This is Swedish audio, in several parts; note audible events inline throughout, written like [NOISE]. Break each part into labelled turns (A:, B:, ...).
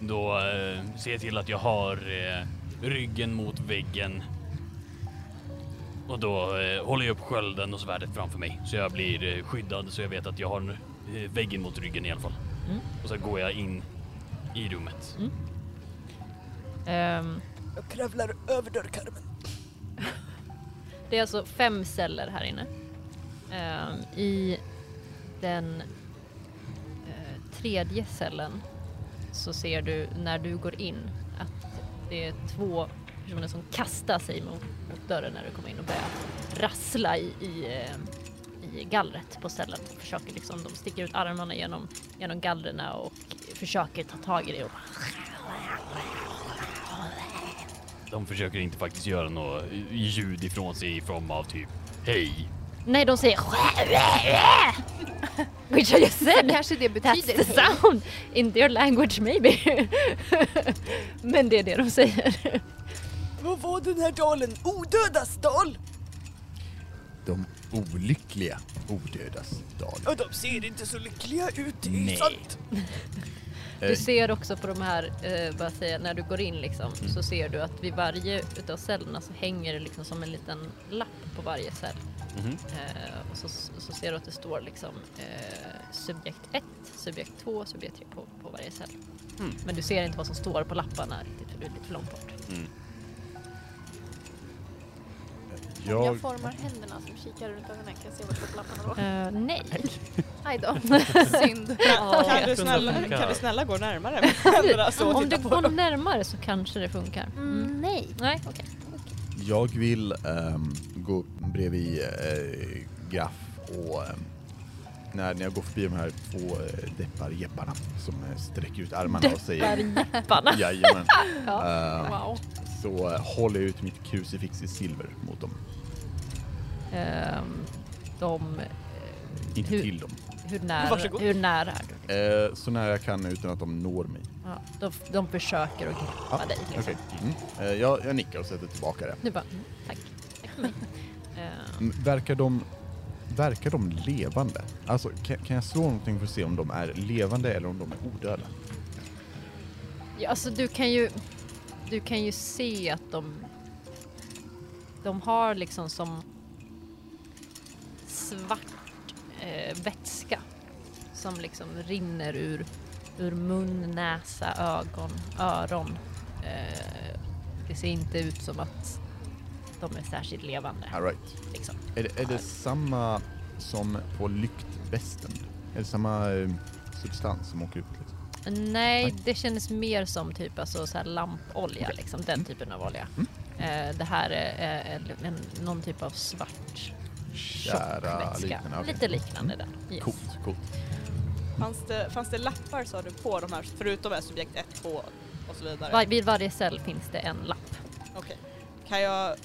A: Då eh, ser jag till att jag har eh, ryggen mot väggen. Och då eh, håller jag upp skölden och svärdet framför mig så jag blir eh, skyddad så jag vet att jag har eh, väggen mot ryggen i alla fall.
B: Mm.
A: Och så går jag in i rummet.
B: Ehm,
C: Jag kravlar över dörrkarmen.
B: Det är alltså fem celler här inne. Ehm, I den eh, tredje cellen så ser du när du går in att det är två personer som kastar sig mot, mot dörren när du kommer in och börjar rassla i, i, eh, i gallret på cellen. Försöker liksom, de sticker ut armarna genom, genom gallren och försöker ta tag i det. Och,
A: De försöker inte faktiskt göra något eh, ljud ifrån sig i form av typ hej.
B: nej, de säger [LAUGHS] Which I just
D: Sen
B: said!
D: kanske det
B: That's
D: betyder
B: the sound in their language maybe. [LAUGHS] Men det är det de säger.
C: Vad var den här dalen? Odödas dal!
E: De olyckliga odödas dal.
C: Ja, de ser inte så lyckliga ut, det är
E: Nej.
C: ju sant.
E: Eh,
B: Du ser också på de här, eh, bara säga, när du går in liksom, så ser du att vid varje utav cellerna så hänger det liksom som en liten lapp på varje cell. Eh, och så, så ser du att det står liksom eh, subjekt 1, subjekt 2, subjekt 3 på, på varje cell. Men du ser inte vad som står på lapparna riktigt för du är lite för långt bort.
D: Jag...
E: jag,
D: jag formar händerna som kikar runt ögonen kan jag se vart stopplapparna var.
B: Eh, nej.
D: Aj då. Synd.
F: Kan du, Jag tror inte snälla, det funkar. kan du snälla
B: [LAUGHS]
F: gå närmare med händerna så typ och
B: Alltså, Om du
F: titta på
B: går
F: dem?
B: närmare så kanske det funkar. Mm.
D: [LAUGHS] Mm, nej.
B: Nej, okej.
E: jag vill ehm, gå bredvid eh, Graff och ehm, när, när jag går förbi de här två eh, depparjepparna som eh, sträcker ut armarna och säger
B: Depparjepparna.
E: [LAUGHS] jajamän.
B: Ja.
E: Ehm,
D: Wow.
E: Så eh, håller jag ut mitt krucifix i silver mot dem.
B: Ehm, de... eh,
E: Inte
B: hur,
E: till dem.
B: Hur nära,
F: Varsågod.
B: hur nära är du?
E: Eh, så nära jag kan utan att de når mig.
B: Ja, de, de försöker att greppa
E: Ah,
B: dig. Liksom.
E: Okej. Mm. Eh, jag, jag nickar och sätter tillbaka det.
B: Du bara, mm, tack. Tack för mig. Ehm,
E: Mm, Verkar de, verkar de levande? Alltså, kan, kan jag slå någonting för att se om de är levande eller om de är odöda?
B: ja, alltså du kan ju... Du kan ju se att de... De har liksom som svart eh, vätska som liksom rinner ur, ur mun, näsa, ögon, öron. Eh, det ser inte ut som att de är särskilt levande.
E: All right.
B: Liksom.
E: Är det, är det samma som på lyktvästen? Är det samma eh, substans som åker ut? Liksom?
B: Nej,
E: Nej.
B: det kändes mer som typ alltså, så här lampolja, liksom,
E: Mm.
B: den typen av olja. Eh, det här är eh, en, en, någon typ av svart
E: Kära
B: vätska.
E: liknande, okej. Mm.
B: Lite liknande där. Yes.
E: Coolt,
B: [LAUGHS]
E: coolt.
F: Fanns det, fanns det lappar sa du på de här förutom här subjekt 1, 2 och så vidare?
B: Var, vid varje cell finns det en lapp.
F: Okej. Kan jag eh,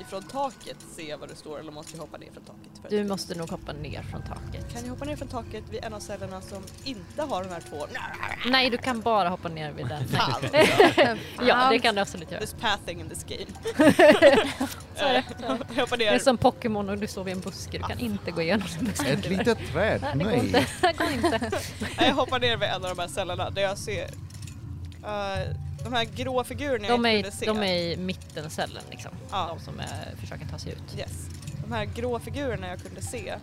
F: ifrån taket se vad det står eller måste jag hoppa ner från taket? för att-
B: Du måste nog hoppa ner från taket.
F: Kan jag hoppa ner från taket vid en av cellerna som inte har de här två?
B: Nej, du kan bara hoppa ner vid
E: [LAUGHS]
B: den.
F: [LAUGHS] Fan!
B: ja, det kan du absolut göra.
F: This pathing in this game.
B: [LAUGHS]
F: Eh, jag hoppar
B: Det är
F: ner.
B: som Pokémon och du står vid en buske, du kan inte gå igenom en buske.
E: Ett litet träd?
B: Nej, det går inte.
E: Ah.
B: [LAUGHS]
E: Nej.
B: Det går inte.
F: Nej, Jag hoppar ner vid en av de här cellerna där jag ser eh, de här grå figurerna
B: De
F: jag
B: är,
F: inte kunde se.
B: de är i mittencellen liksom.
F: Ja.
B: De som eh, försöker ta sig ut.
F: Yes. De här grå figurerna jag kunde se,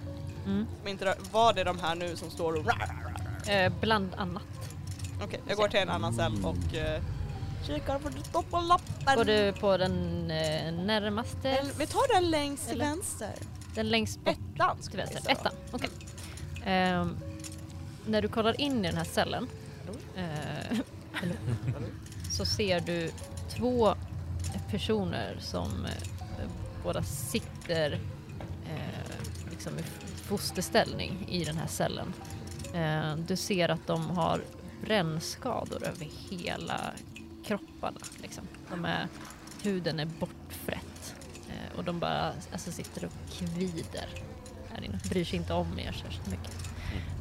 B: Mm.
F: som inte rör- var det de här nu som står och...
B: Eh, bland annat.
F: Okej, jag går till en annan cell och uh, kikar på det står på lappen.
B: Går du på den eh, närmaste?
F: Eller, Vi tar den längst till
B: Eller-
F: vänster.
B: Den längst bort
F: Ettan
B: till
F: skulle jag
B: vänster?
F: säga.
B: Ettan, okej. Ehm, när du kollar in i den här cellen eh, så ser du två personer som eh, båda sitter eh, liksom i fosterställning i den här cellen. Eh, du ser att de har brännskador över hela kropparna. Liksom. De är, huden är bortfrätt eh, och de bara alltså, sitter och kvider här inne. Bryr sig inte om er särskilt mycket.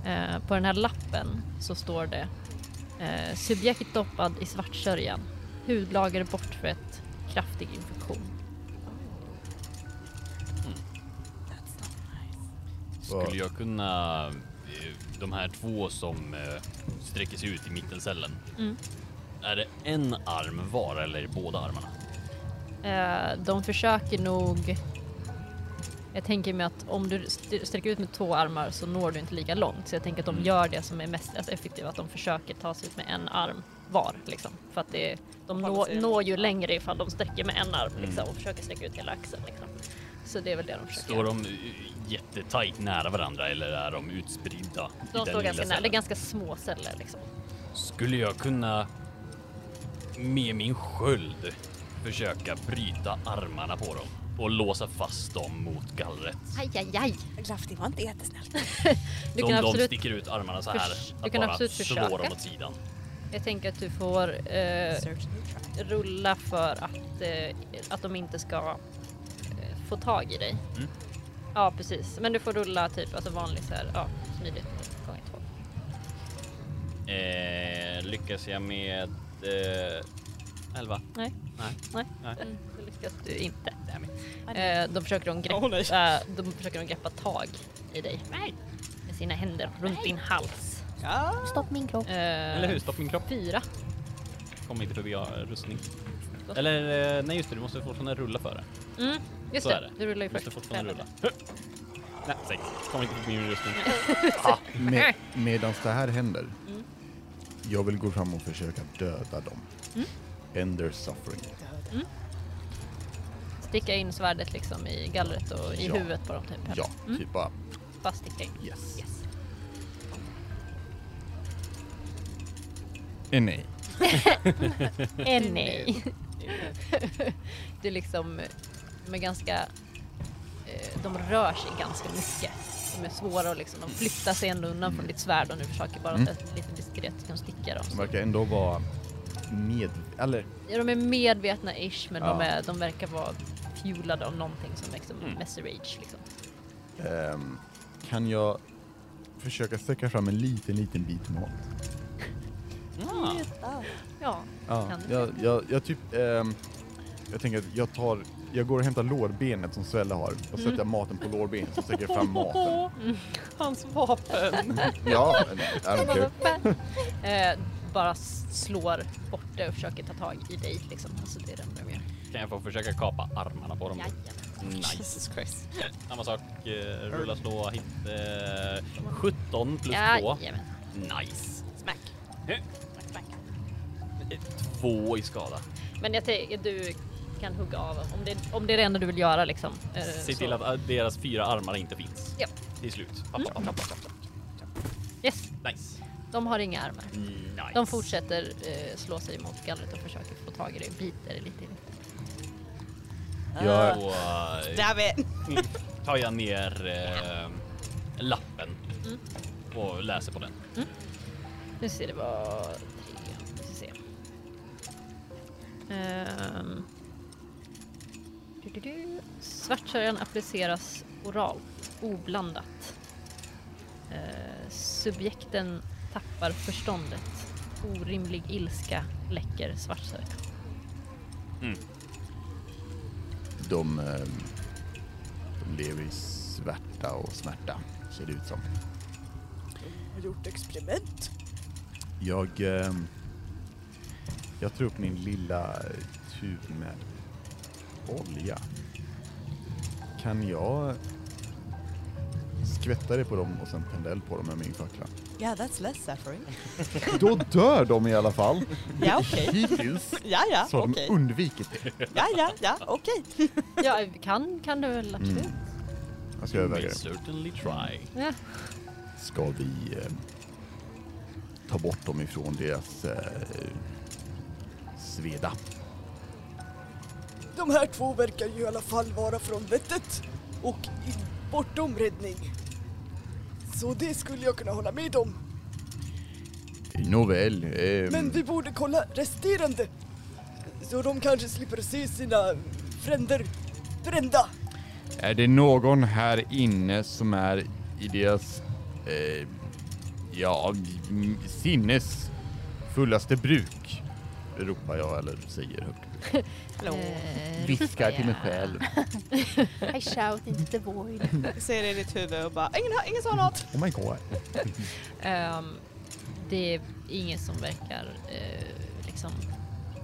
B: Eh, på den här lappen så står det eh, subjekt doppad i svartsörjan. Hudlager bortfrätt. Kraftig infektion.
A: Skulle jag kunna, eh, de här två som eh, sträcker sig ut i mittencellen,
B: Mm.
A: Är det en arm var eller är det båda armarna?
B: Eh, de försöker nog... Jag tänker mig att om du st- sträcker ut med två armar så når du inte lika långt. Så jag tänker att de
A: Mm.
B: gör det som är mest alltså, effektivt, att de försöker ta sig ut med en arm var. Liksom. För att det, de
F: Hålla
B: nå,
F: sig.
B: når ju längre ifall de sträcker med en arm
A: Mm.
B: liksom, och försöker sträcka ut hela axeln. Liksom. Så det är väl det de försöker
A: Står
B: göra.
A: de eh, jättetajt nära varandra eller är de utspridda? i
B: De
A: den
B: står
A: lilla
B: ganska nära, det är
A: cellen?
B: ganska små celler liksom.
A: Skulle jag kunna med min sköld försöka bryta armarna på dem och låsa fast dem mot gallret?
B: Aj, aj, aj.
C: Glaff, det var inte jättesnällt.
B: [LAUGHS] Du
A: Om
B: kan
A: de
B: absolut,
A: sticker ut armarna så här,
B: Förs- du
A: att
B: kan
A: bara
B: absolut
A: slå
B: försöka.
A: dem åt sidan.
B: jag tänker att du får eh,
C: Search and try.
B: rulla för att, eh, att de inte ska eh, få tag i dig.
A: Mm.
B: Ja precis, men du får rulla typ alltså vanlig så här, ja smidigt gånger två.
A: Eh, lyckas jag med eh, 11?
B: Nej.
A: Nej.
B: Nej, Mm,
A: Nej.
B: det lyckas du inte.
A: Damn it.
B: Eh, de, försöker de, greppa,
F: Åh, nej.
B: eh, de försöker de greppa tag i dig med sina händer runt din hals.
F: Ja.
D: Stopp min kropp.
B: Eh,
A: Eller hur? Stopp min kropp.
B: Fyra.
A: Kom inte förbi ja, rustning. Eller eh, nej just det, du måste fortfarande rulla för det.
B: Mm, just
A: Så
B: det.
A: är det.
B: du rullar ju
A: Du måste
B: först.
A: fortfarande
B: Fem.
A: rulla. [LAUGHS] Nej, sex. Kom inte förbi min rustning.
B: [LAUGHS]
E: Med, Medan Ah, det här händer,
B: Mm.
E: jag vill gå fram och försöka döda dem.
B: Mm.
E: End their suffering.
B: Sticka in svärdet liksom i gallret och i
E: Ja.
B: huvudet på dem typ.
E: Ja,
B: Mm.
E: typ bara
B: Bara sticka in.
E: yes.
B: Yes.
E: Eh, nej.
B: Eh, nej. [LAUGHS] det är liksom, de är ganska, eh, de rör sig ganska mycket. De är svåra och liksom, de flyttar sig ändå undan från ditt svärd och nu försöker bara
E: Mm.
B: att lite diskret kan sticka dem.
E: De verkar ändå vara med... Eller
B: Ja, de är medvetna-ish men de,
E: Ja.
B: är, de verkar vara fuelade av någonting som liksom
A: Mm.
B: messerage liksom.
E: ehm, kan jag försöka sträcka fram en liten, liten bit mat?
A: Ah.
B: Ja,
E: Ja,
B: Kan du?
E: jag, jag, jag typ... ehm, jag tänker att jag tar... Jag går och hämtar lårbenet som Svelle har och
B: Mm.
E: sätter jag maten på lårbenet så sträcker
B: [LAUGHS]
E: jag fram maten.
F: Hans vapen.
E: Ja, men I don't care.
B: eh, bara s- slår bort det och försöker ta tag i dig liksom. Alltså det är det enda de gör.
A: Kan jag få försöka kapa armarna på dem?
B: Jajamän.
A: Nice.
F: Jesus Christ.
A: Samma sak, eh, rulla, slå, hit. Eh, 17 plus 2.
B: Jajamän.
A: Nice.
F: Smack.
A: Eh,
F: Smack, smack.
A: Två i skada.
B: Men jag tänker, du kan hugga av om det, om det är det enda du vill göra liksom. Eh,
A: Se
B: så-
A: till att eh, deras fyra armar inte finns.
B: Ja.
A: Till slut. Papp, papp, papp, papp, papp.
B: Yes,
A: Nice.
B: de har inga armar.
A: Nice.
B: Mm. De fortsätter eh, slå sig mot gallret och försöker få tag i dig, biter dig lite i mitten.
E: Jag,
A: Då eh,
F: Damn it.
A: tar jag ner eh, lappen
B: Mm.
A: och läser på den.
B: Nu ser det var tre, vi ska se. Ehm. Du, du, du. Svartsörjan appliceras oralt, oblandat. Eh, subjekten tappar förståndet. Orimlig ilska läcker svartsörjan.
E: de, ehm, de lever i svärta och smärta, ser det ut som.
C: Har gjort experiment.
E: Jag... ehm, jag tar upp min lilla tub med olja. Kan jag skvätta det på dem och sen tända eld på dem med min fackla?
C: Yeah, that's less suffering.
E: Då dör de i alla fall!
F: Ja, okej.
E: Hittills
F: Ja, ja,
E: så har
F: okej.
E: de undvikit det.
F: Ja, ja, ja, okej.
B: Ja, kan, kan du väl absolut.
E: Jag ska överväga det.
A: certainly try.
B: Ja.
E: Ska vi eh, ta bort dem ifrån deras eh, sveda?
C: De här två verkar ju i alla fall vara från vettet och i- bortom räddning. Så det skulle jag kunna hålla med
E: Mm.
C: om.
E: Nåväl. ehm,
C: Men vi borde kolla resterande. Så de kanske slipper se sina fränder brända.
E: Är det någon här inne som är i deras, eh, ja, m- sinnes fullaste bruk? Ropar jag eller säger högt.
F: Hallå.
B: Eh,
E: Viskar till mig
B: ja.
F: [LAUGHS]
E: själv.
D: I shout into the [LAUGHS] void.
F: Jag ser det i ditt huvud och bara ingen, har- ingen sa något.
E: Oh my god.
B: Ehm, det är ingen som verkar eh, liksom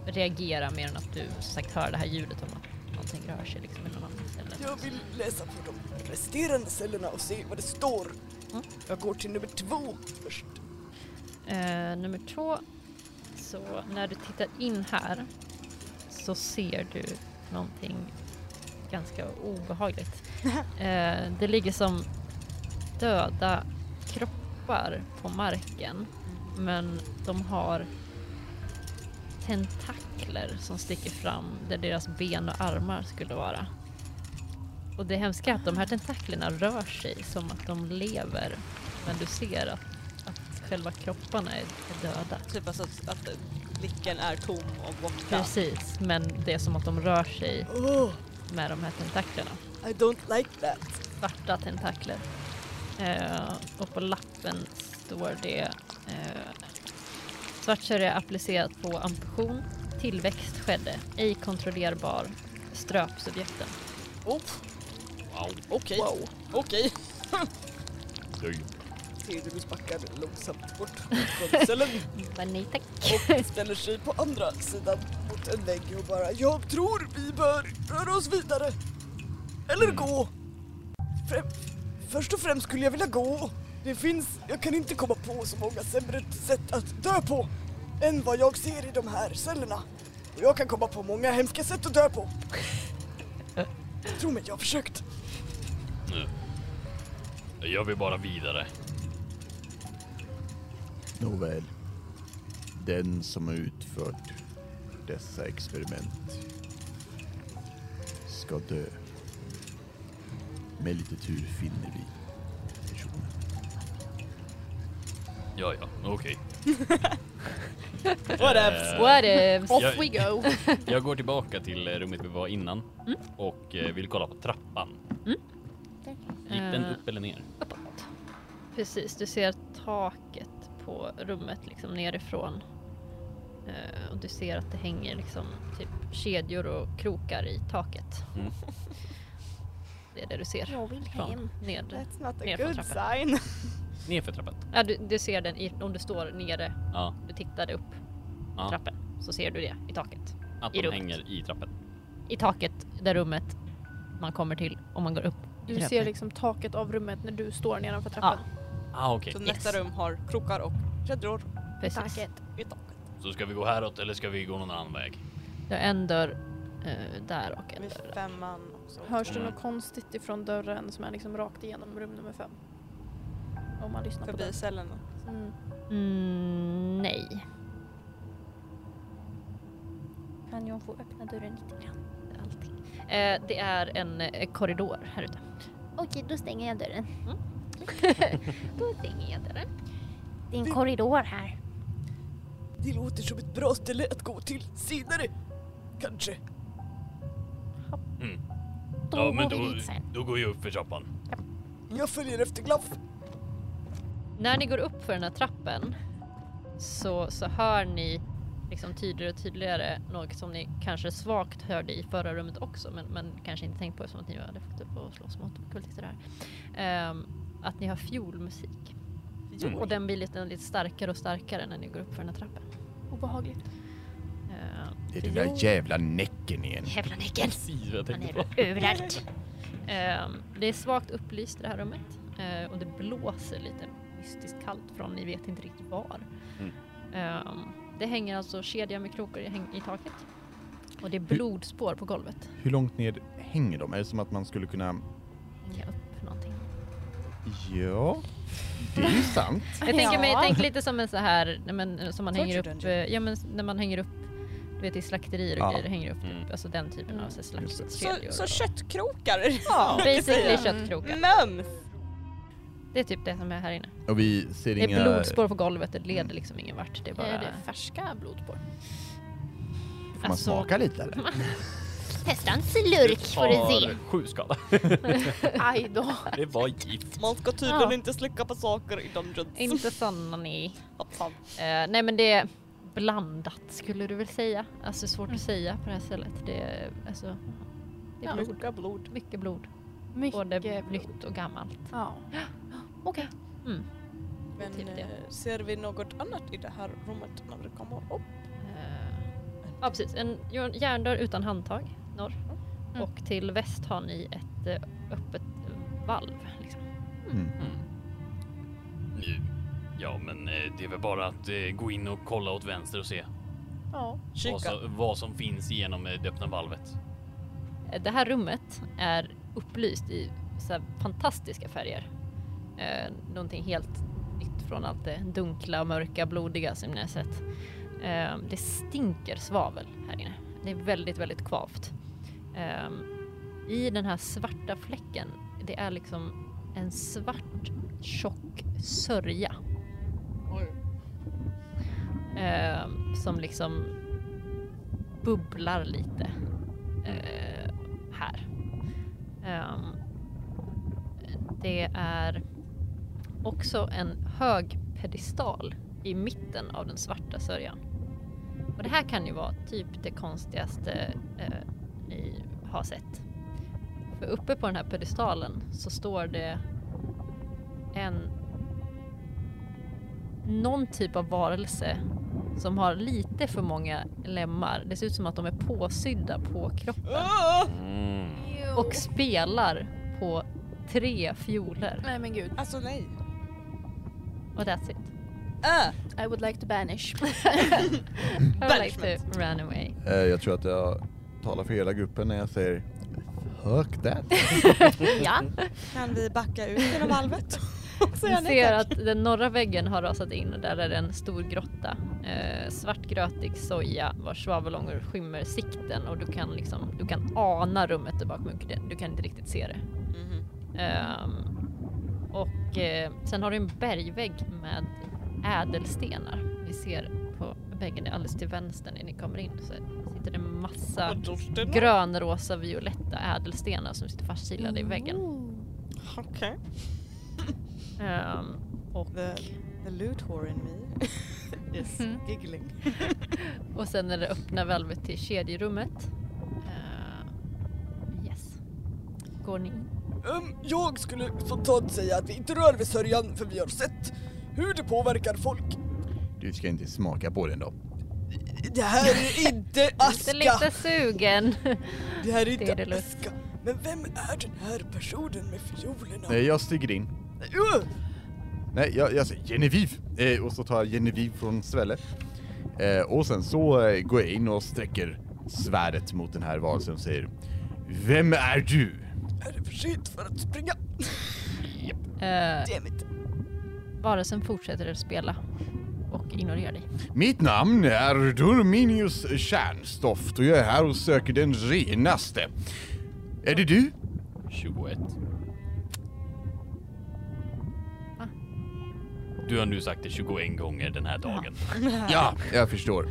B: reagera mer än att du som sagt hör det här ljudet om att någonting rör sig liksom i någon annan ställe.
C: Jag vill läsa på de resterande cellerna och se vad det står.
B: Mm.
C: Jag går till nummer två först.
B: Eh, nummer två. Så när du tittar in här så ser du någonting ganska obehagligt. Eh, det ligger som döda kroppar på marken men de har tentakler som sticker fram där deras ben och armar skulle vara. Och det hemska är att de här tentaklerna rör sig som att de lever men du ser att att själva kropparna är, är döda.
F: Typ alltså att, att blicken är tom och borta.
B: Precis, men det är som att de rör sig
C: Oh,
B: med de här tentaklerna.
C: I don't like that.
B: Svarta tentakler. Eh, och på lappen står det eh, Svartsörja applicerat på amputation. Tillväxt skedde. Ej kontrollerbar. Ströp subjekten.
F: Oh,
A: Wow.
F: Okej,
C: Wow.
F: okej.
C: Theodorus backar långsamt bort från cellen
B: Men nej tack.
C: och ställer sig på andra sidan mot en vägg och bara Jag tror vi bör röra oss vidare. Eller gå. Främ, först och främst skulle jag vilja gå. Det finns, jag kan inte komma på så många sämre sätt att dö på än vad jag ser i de här cellerna. Och jag kan komma på många hemska sätt att dö på. Tro mig, jag har försökt.
A: Nu. Jag vill bara vidare.
E: Nåväl. Den som har utfört dessa experiment ska dö. Med lite tur finner vi personen.
A: Ja, ja, okej.
F: What
A: Eh,
B: What
A: jag-
B: if?
D: Off we [LAUGHS] go.
A: Jag går tillbaka till eh, rummet vi var innan
G: Mm.
A: och eh, vill kolla på trappan. Gick den
B: Eh,
A: upp eller ner?
B: uppåt. Precis, du ser taket på rummet liksom nerifrån. Eh, och du ser att det hänger liksom typ kedjor och krokar i taket.
A: Mm.
B: [LAUGHS] Det är det du ser.
D: Jag vill
B: från
D: hem.
B: Ned.
F: That's not a
B: Ner för
F: good
B: trappan.
F: sign.
A: Nerför trappan?
B: Ja, du, du ser den i, om du står nere,
A: Ja.
B: du tittade upp i
A: ja.
B: trappen, så ser du det i taket.
A: Att
B: I
A: de
B: rummet.
A: hänger i trappen.
B: I taket, där rummet man kommer till om man går upp. i
D: Du ser
B: trappen.
D: liksom taket av rummet när du står nedanför trappan.
A: Ah, okej.
F: Så
B: Yes.
F: nästa rum har krokar och kedjor
B: Precis.
D: Taket.
F: i taket.
A: Så ska vi gå häråt eller ska vi gå någon annan väg?
B: Du har en dörr eh, där och en
F: Vid
B: dörr
F: femman också.
D: Hörs det
A: Mm.
D: något konstigt ifrån dörren som är liksom rakt igenom rum nummer fem? Om man lyssnar
F: Förbi cellerna.
D: på den. Mm.
B: Mm, nej.
D: Kan jag få öppna dörren lite grann?
B: Allting. Eh, det är en eh, korridor här ute.
G: Okej, då stänger jag dörren.
B: Mm.
G: då stänger jag dörren. Det är
C: Du-
G: en korridor här.
C: Det låter som ett bra ställe att gå till senare. Kanske.
A: Mm.
G: Då
A: ja, men
G: går
A: då,
G: vi dit sen.
A: då går jag upp för trappan.
C: Jag följer efter Glaff.
B: När ni går upp för den här trappen så, så hör ni liksom tydligare och tydligare något som ni kanske svagt hörde i förra rummet också men, men kanske inte tänkt på eftersom att ni hade fått upp och slåss mot kultister här. Ehm, att ni har fiolmusik.
A: Mm.
B: Och den blir lite, lite starkare och starkare när ni går upp för den här trappen.
D: Obehagligt.
B: Ehm,
E: Det är den där jävla näcken igen.
G: Jävla nyckeln!
A: Precis vad jag
G: Han
A: tänkte på.
G: är överallt.
B: Ehm, Det är svagt upplyst i det här rummet eh, och det blåser lite mystiskt kallt från ni vet inte riktigt var.
A: Mm.
B: Ehm, Det hänger alltså kedja med krokar i, häng- i taket och det är blodspår på golvet.
E: Hur långt ner hänger de? Är det som att man skulle kunna...
B: Hänga upp någonting.
E: Ja, det är ju sant.
B: Jag tänker mig, tänk lite som en så här, nej men, eh, som man hänger upp,
F: Torture
B: eh, ja men s- när man hänger upp du vet i slakterier och
E: Ja.
B: grejer, hänger upp
A: Mm.
B: typ, alltså den typen av
D: Mm.
B: så här
E: Just det.
B: slaktkedjor.
F: Så, så
B: och-
F: köttkrokar. [LAUGHS] Ja.
B: Basically
D: Mm.
B: köttkrokar.
F: Men
B: Det är typ det som är här inne.
E: Och vi ser
B: Det är
E: inga...
B: blodspår på golvet, det leder liksom ingen vart. Det är bara...
D: Är det färska blodspår?
E: Får man smaka lite eller?
G: Testa en slurk får du se.
A: Tar Sju skada.
D: Aj då.
A: Det var gift.
F: man ska tydligen
B: Ja.
F: inte slicka på saker i Dungeons.
B: Inte sådana nej.
F: Hoppsan.
B: Eh, nej men det är blandat skulle du väl säga. Alltså svårt att säga på det här stället. Det är, alltså, det är
D: Ja.
B: blod.
F: Mycket blod.
B: Mycket blod.
D: Mycket
B: Både
D: blod.
B: nytt och gammalt.
D: Ja.
B: Okej. Mm.
F: [LAUGHS] Men
B: Typ det.
F: eh, ser vi något annat i det här rummet när vi kommer upp?
B: Eh, Ja precis, en jör- järndörr utan handtag norr.
D: Mm.
B: Och till väst har ni ett eh, öppet eh, valv. Liksom.
E: Mm.
A: Nu. Ja, men eh, det är väl bara att eh, gå in och kolla åt vänster och se
D: Ja.
A: vad
F: Kika.
A: som, vad som finns genom eh, det öppna valvet.
B: Eh, Det här rummet är upplyst i så här fantastiska färger. Eh, någonting helt nytt från allt det dunkla, mörka, blodiga som ni har sett. Eh, det stinker svavel här inne. Det är väldigt, väldigt kvavt. Eh, I den här svarta fläcken, det är liksom en svart tjock sörja. Eh, som liksom bubblar lite eh, här. Ehm, det är också en hög pedestal i mitten av den svarta sörjan. Och det här kan ju vara typ det konstigaste eh, ni har sett. För uppe på den här pedestalen så står det en någon typ av varelse som har lite för många lemmar. Det ser ut som att de är påsydda på kroppen
F: Ah!
B: Mm. och spelar på tre fioler.
D: Nej men gud.
F: Alltså nej.
B: Och that's it.
F: Äh.
D: I would like to banish.
B: I would like to run away.
E: Eh, Jag tror att jag talar för hela gruppen när jag säger Fuck that!
B: ja.
F: Kan vi backa ut
B: [LAUGHS]
F: genom valvet? Och
B: Ni
F: säga nej
B: ser
F: tack?
B: att den norra väggen har rasat in och där är det en stor grotta. Eh, svartgrötig soja vars svavelångor skymmer sikten och du kan liksom, du kan ana rummet där bakom. Du- Du kan inte riktigt se det.
F: Mhm.
B: Ehm, och eh, sen har du en bergvägg med ädelstenar. Vi ser på väggen alldeles till vänster när ni kommer in så sitter det en massa
F: Och då är det någon-
B: grönrosa, violetta ädelstenar som sitter fastkilade i väggen.
F: Okej.
B: Ehm, och, Mm.
F: The, the loot whore in [LAUGHS] me is giggling.
B: och sen är det öppna valvet till kedjerummet. Ehm, yes. Går ni in?
C: Ehm, jag skulle spontant säga att vi inte rör vid sörjan för vi har sett hur det påverkar folk.
E: Du ska inte smaka på den då.
C: Det här
B: [LAUGHS]
C: är inte
B: Lite,
C: aska!
B: lite sugen. [LAUGHS]
C: Det här är
B: Det är
C: inte
B: det lust.
C: aska. Men vem är den här personen med fiolerna?
E: Nej, jag stiger in.
C: Öh!
E: Nej, jag, jag säger Genevieve! Eh, och så tar jag Genevieve från Svelle. Eh, och sen så eh, går jag in och sträcker svärdet mot den här varelsen och säger Vem är du?
C: Är det för sent för att springa?
B: Ehm,
C: Damn [LAUGHS] it.
B: Varelsen fortsätter att spela och ignorerar dig.
E: Mitt namn är Durminius Kärnstoft och jag är här och söker den renaste. Är det du?
A: 21.
B: Va?
A: Du har nu sagt det 21 gånger den här dagen.
E: Ja, jag förstår.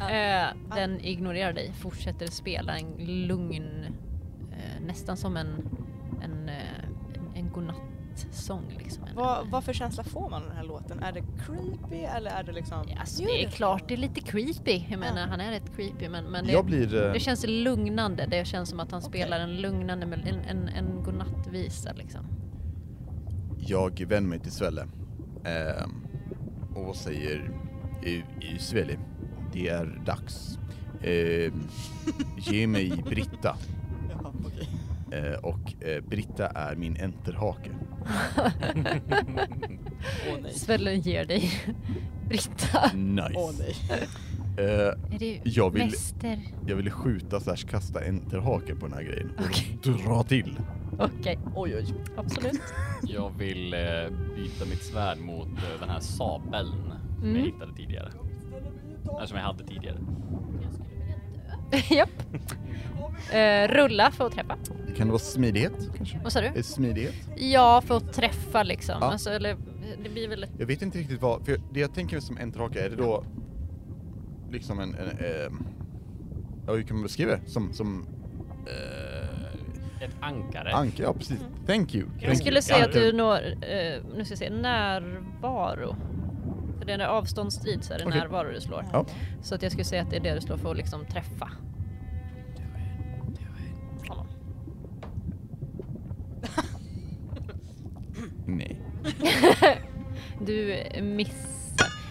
B: Eh, den ignorerar dig, fortsätter spela en lugn, eh, nästan som en, en, eh, en, en godnattsång. Liksom. En-
F: Vad, vad för känsla får man av den här låten? Är det creepy eller är det liksom...
B: alltså, det är klart det är lite creepy, jag menar han är rätt creepy men, men det,
E: Jag blir... eh,
B: det känns lugnande, det känns som att han spelar en lugnande, mel- en, en, en godnattvisa liksom. [LAUGHS]
E: Jag vänder mig till Svelle ehm, och säger "Eh, eh, Svelle, det är dags. Ehm, ge mig Britta.
F: Jaha, okej.
E: Eh, och eh, Britta är min enterhake.
F: Åh nej.
B: Svällen ger dig Britta.
E: Nice.
F: Åh nej.
E: Eh,
B: Är det
E: Mm. Jag vill-
B: mäster?
E: jag ville skjuta slash kasta enterhaken på den här grejen och dra till.
B: Okej,
F: Oj oj.
B: absolut.
A: [LAUGHS] Jag vill eh, byta mitt svärd mot eh, den här sabeln som jag
B: Mm.
A: hittade tidigare. Nej, som jag hade tidigare.
B: [LAUGHS] Japp. Eh, rulla för att träffa.
E: Kan det vara smidighet kanske?
B: Vad sa du?
E: Eh, Smidighet?
B: Ja, för att träffa liksom.
E: Ja.
B: Alltså, eller, det blir väl...
E: Jag vet inte riktigt vad, för jag- det jag tänker som enterhake, är det då liksom en, en ehm, ja hur kan man beskriva det? Som, som eh,
A: Ett ankare.
E: Anka, ja precis. Thank you.
A: Jag
B: Jag skulle säga att
A: Anker.
B: du når, eh, nu ska jag se, närvaro. För den är avståndsstrid så är det
E: Okej.
B: närvaro du slår.
E: Ja.
B: Så att jag skulle säga att det är det du slår för att liksom träffa. honom.
E: Nej.
B: Du missar.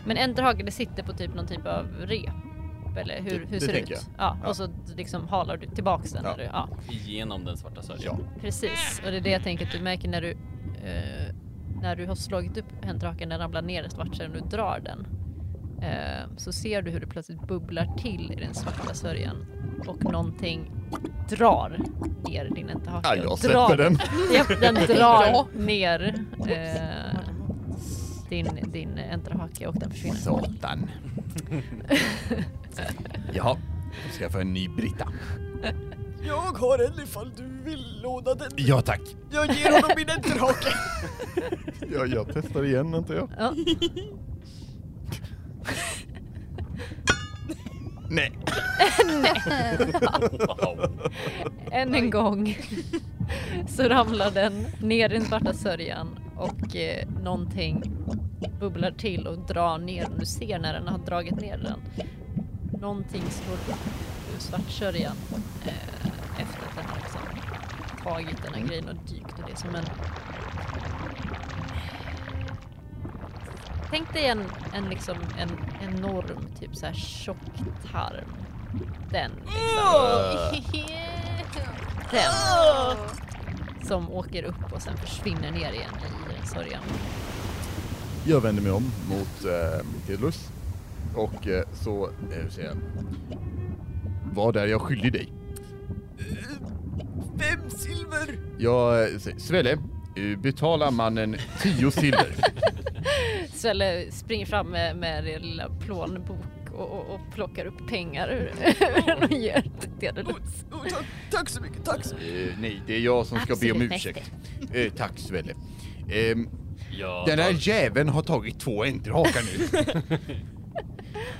B: Men enterhagen det sitter på typ någon typ av rep. ihop eller hur,
E: Det-
B: hur
E: det
B: ser det ut?
E: tänker jag.
B: Ja,
E: Ja.
B: Och så liksom halar du tillbaks den.
E: Ja.
B: Eller, ja.
A: Igenom den svarta sörjan.
E: Ja.
B: Precis, och det är det jag tänker att du märker när du eh, när du har slagit upp händraken, den ramlar ner i svartsörjan och du drar den. Eh, så ser du hur det plötsligt bubblar till i den svarta sörjan och någonting drar ner din händrake.
E: Ja,
B: och
E: jag
B: drar
E: släpper den.
B: Japp, den drar ner eh, din, din enterhake och den försvinner.
E: Satan. Jaha, ska jag få en ny Britta?
C: Jag har en ifall du vill låna den.
E: Ja tack.
C: Jag ger honom min enterhake.
E: Ja, jag testar igen antar jag. [LAUGHS]
B: Ja. [LAUGHS]
E: Nej.
A: Wow.
B: [LAUGHS] Än en gång så ramlar den ner i den svarta sörjan och eh, någonting bubblar till och drar ner. Du ser när den har dragit ner den. Någonting slår upp ur svartsörjan eh, efter att den har liksom tagit den här grejen och dykt och det är som en... Tänk dig en, en, liksom, en enorm typ så här tjock tarm. Den den Oh! som åker upp och sen försvinner ner igen i sörjan.
E: [LAUGHS] Jag vänder mig om mot eh, Tidlus och eh, så eh, säger jag. Vad är jag skyldig dig?
C: Fem silver.
E: Jag eh, säger, Svelle, eh, betala mannen 10 [LAUGHS] silver.
B: Svelle springer fram med, med det lilla plånbok och, och, och plockar upp pengar ur [LAUGHS] den och ger till Theodulus.
C: Oh, tack, tack så mycket, tack så mycket.
E: Eh, nej, det är jag som ska be om
G: Absolut,
E: ursäkt. Eh, tack Svelle. Ehm,
A: Jag
E: den
A: tar-
E: här jäveln har tagit två enterhakar nu.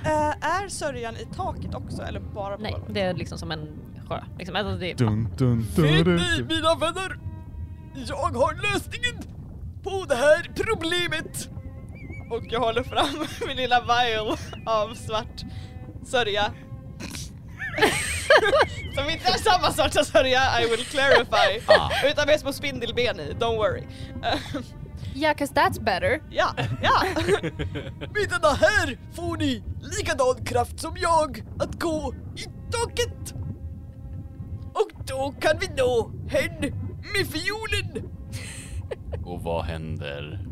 F: Eh, är sörjan i taket också eller bara på
B: Nej,
F: golvet?
B: det är liksom som en sjö. Liksom. Alltså det,
E: [LAUGHS] dun, dun,
C: Vet ni, mina vänner? Jag har lösningen på det här problemet.
F: Och jag håller fram [LAUGHS] min lilla vial av svart
B: [LAUGHS]
F: sörja. Som inte är samma sorts sörja, I will clarify.
B: [LAUGHS] Ah.
F: Utan med små spindelben i, don't worry. [LAUGHS] Eh,
G: Yeah, cause that's better.
F: Ja, ja!
C: Med denna här får ni likadan kraft som jag att gå i taket. Och då kan vi nå hen med fiolen.
A: [LAUGHS] Och vad händer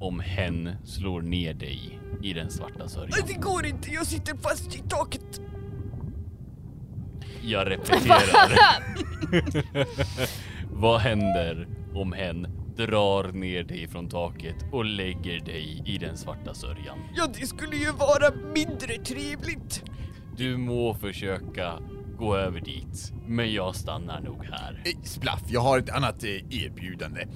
A: om hen slår ner dig i den svarta
C: Nej,
A: sörjan?
C: det går inte. Jag sitter fast i taket.
A: Jag
B: [LAUGHS]
A: repeterar. vad händer om hen drar ner dig från taket och lägger dig i den svarta sörjan?
C: Ja, det skulle ju vara mindre trevligt.
A: Du må försöka gå över dit, men jag stannar nog här.
E: Eh, Splaff, jag har ett annat eh, erbjudande.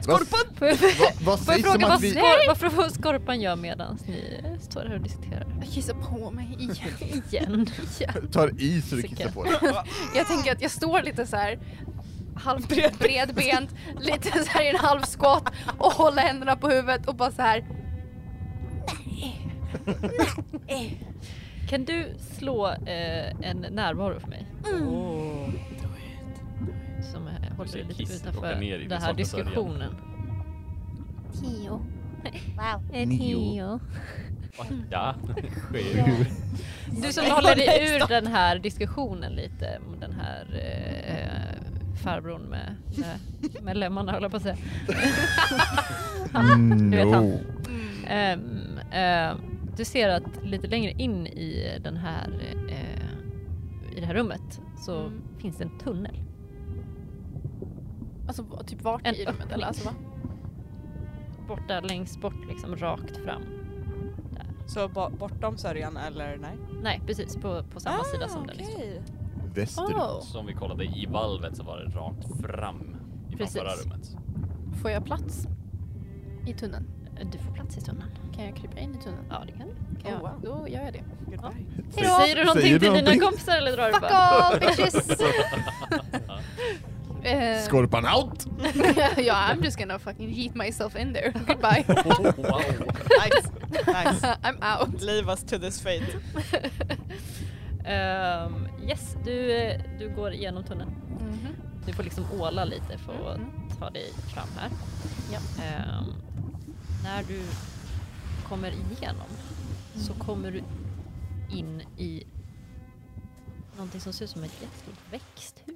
C: Skorpan!
B: Får jag,
E: Vad, vad
B: får jag
E: sägs om
B: fråga vad,
E: att vi...
B: skor, vad får Skorpan gör medan ni eh, står här och diskuterar?
G: Jag kissar på mig igen.
D: [LAUGHS]
B: Igen.
E: tar i så du kissar på dig.
G: Jag tänker att jag står lite så här halvbred, bredbent, lite så här i en halv squat och håller händerna på huvudet och bara så här.
B: [LAUGHS]
D: eh,
B: Kan du slå eh, en närvaro för mig?
D: mm,
B: Som eh, håller
A: ser
B: lite
A: kisset
B: utanför
A: åka ner i
B: den här
A: svarta sörjan.
B: diskussionen.
G: Tio. Wow.
D: Eh,
E: Nio.
B: [LAUGHS]
A: Ja, sker.
B: Du som håller dig ur den här diskussionen lite, om den här eh, farbrorn med, med, med lemmarna höll jag på att [LAUGHS] säga. Du vet han. Ehm, eh, du ser att lite längre in i den här eh, i det här rummet så
D: Mm.
B: finns det en tunnel.
D: Alltså va- typ vart
B: En
D: i rummet eller? Alltså, va?
B: Borta längst bort liksom rakt fram.
F: [LAUGHS] Så bo- bortom sörjan eller nej?
B: Nej precis på, på samma sida som den. Liksom.
F: Ah, okej.
E: Västerut.
D: Oh.
A: Som vi kollade i valvet så var det rakt fram i
B: Precis.
A: förra rummet.
D: Får jag plats i tunneln?
B: Du får plats i tunneln.
D: Kan jag krypa in i tunneln?
B: Ja det kan du.
D: Kan
F: Oh, wow.
D: jag, då gör jag det.
F: Goodbye.
B: Säger du någonting
E: Säger du
B: till
E: någonting?
B: dina kompisar eller drar du
G: Fuck
B: bara?
D: [LAUGHS]
A: [LAUGHS]
G: all
B: [LAUGHS]
G: bitches! Eh,
E: Skorpan out!
D: [LAUGHS]
G: yeah, I'm just gonna fucking heat myself in
B: [LAUGHS]
G: there.
E: [LAUGHS]
G: Goodbye.
A: Wow.
F: Nice,
D: [LAUGHS]
F: nice.
G: I'm out.
F: Leave us to this fate.
B: Ehm, yes, du, eh, du går igenom tunneln.
F: Mm-hmm.
B: Du får liksom åla lite för att ta dig fram här.
D: Mm. Ja.
B: Ehm,
D: Mm.
B: när du kommer igenom så kommer du in i någonting som ser ut som ett jättestort växthus.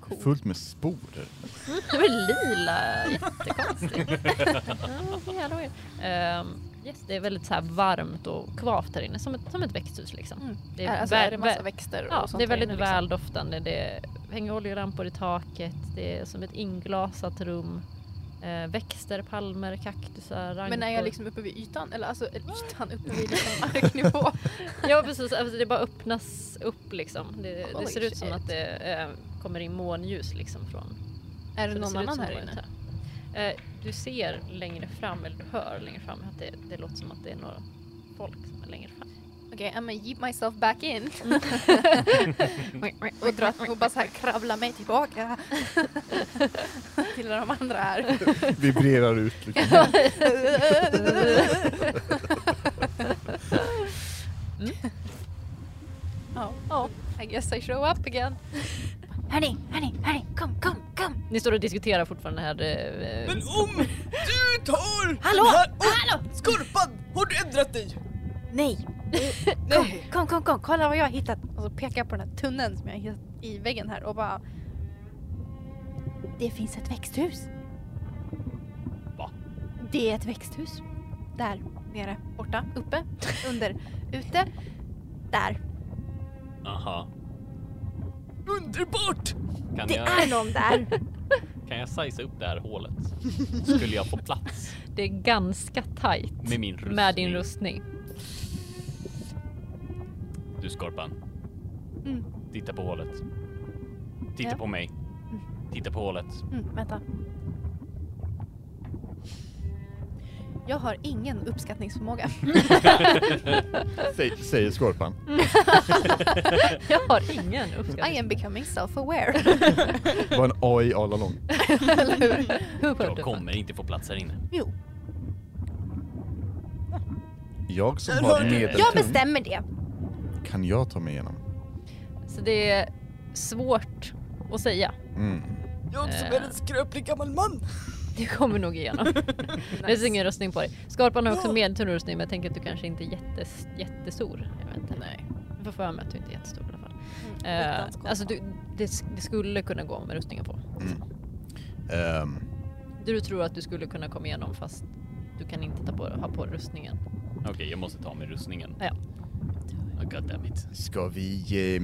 B: Coolt.
E: Fullt med sporer.
B: Det var lila,
D: [LAUGHS]
B: jättekonstigt. ja, så jävla weird. Ehm, yes, det är väldigt så här varmt och kvavt här inne, som ett, som ett växthus liksom. Det är,
D: alltså,
B: vä-
D: är det massa
B: vä-
D: växter och
B: ja,
D: sånt
B: det
D: där
B: är väldigt
D: inne, liksom?
B: väldoftande. Det hänger oljelampor i taket, det är som ett inglasat rum. Eh, växter, palmer, kaktusar, rankor.
D: Men är jag liksom uppe vid ytan? Eller alltså
B: Mm.
D: eller ytan, uppe vid liksom
B: [LAUGHS]
D: marknivå?
B: Ja precis, alltså, det bara öppnas upp liksom. Det, det
D: Holy
B: ser ut som
D: shit.
B: att det eh, kommer in månljus liksom från
D: är det
B: Så
D: någon
B: ser ut
D: annan
B: som
D: här
B: det var
D: inne?
B: ett här. Eh, Du ser längre fram, eller du hör längre fram, att det, det låter som att det är några folk som är längre fram.
D: Okej, okay, I'm gonna yeep myself back in. och,
B: [LAUGHS]
D: dra, och bara så här kravla mig tillbaka. Till de andra här.
B: [LAUGHS]
E: Vibrerar ut liksom.
D: Ja, oh, I guess I show up again.
G: Hörni, hörni, hörni, kom, kom, kom!
B: Ni står och diskuterar fortfarande här. eh,
C: Men om du tar
G: Hallå,
C: den här... Oj,
G: hallå!
C: Skorpan! Har du ändrat dig?
A: [LAUGHS]
G: Nej!
D: Nej.
G: Kom, kom, kom, kolla vad jag har hittat!
D: Och så pekar jag på den här tunneln som jag har hittat i väggen här och bara
G: Det finns ett växthus.
A: Va?
G: Det är ett växthus. Där nere, borta, uppe,
A: [LAUGHS]
G: under, ute, där.
A: Aha.
C: Underbart!
A: Kan
G: Det
A: jag,
G: är
A: [LAUGHS]
G: någon där.
A: kan jag sizea upp det här hålet? Skulle jag få plats
B: Det är ganska tajt
A: med min rustning?
B: med din rustning.
A: Du Skorpan.
G: Mm.
A: Titta på hålet. Titta
G: Ja.
A: på mig. Titta på hålet.
G: Mm, vänta.
D: Jag har ingen
A: [LAUGHS]
G: [LAUGHS]
D: uppskattningsförmåga.
E: Säg- Säger Skorpan.
B: [LAUGHS] Jag har ingen
D: I
B: uppskattning.
D: am becoming self-aware.
E: [LAUGHS] Var en AI all along.
D: Eller
B: [LAUGHS]
D: hur?
A: Jag kommer inte få plats här inne.
E: Jag som
C: Där
E: har
C: hör du.
G: Jag
E: medeltung,
G: bestämmer det.
E: kan jag ta mig igenom?
B: Så det är svårt att säga.
E: Mm.
C: Jag som
B: Eh.
C: är en skröplig gammal man.
B: Du kommer nog [LAUGHS] igenom. Det finns ingen rustning på dig. Skorpan har också medeltung rustning men jag tänker att du kanske inte är jättes, jättestor. Jag vet inte.
D: Nej.
B: Jag får för mig att du inte är jättestor i alla fall.
D: Mm,
B: Eh,
D: utan
B: alltså du, det, sk- det skulle kunna gå med rustningen på.
E: Mm. Ehm,
B: Du tror att du skulle kunna komma igenom fast du kan inte ta på, ha på dig rustningen.
A: Okej, jag måste ta mig rustningen.
B: Ja.
A: Oh, God damn it.
E: ska vi eh,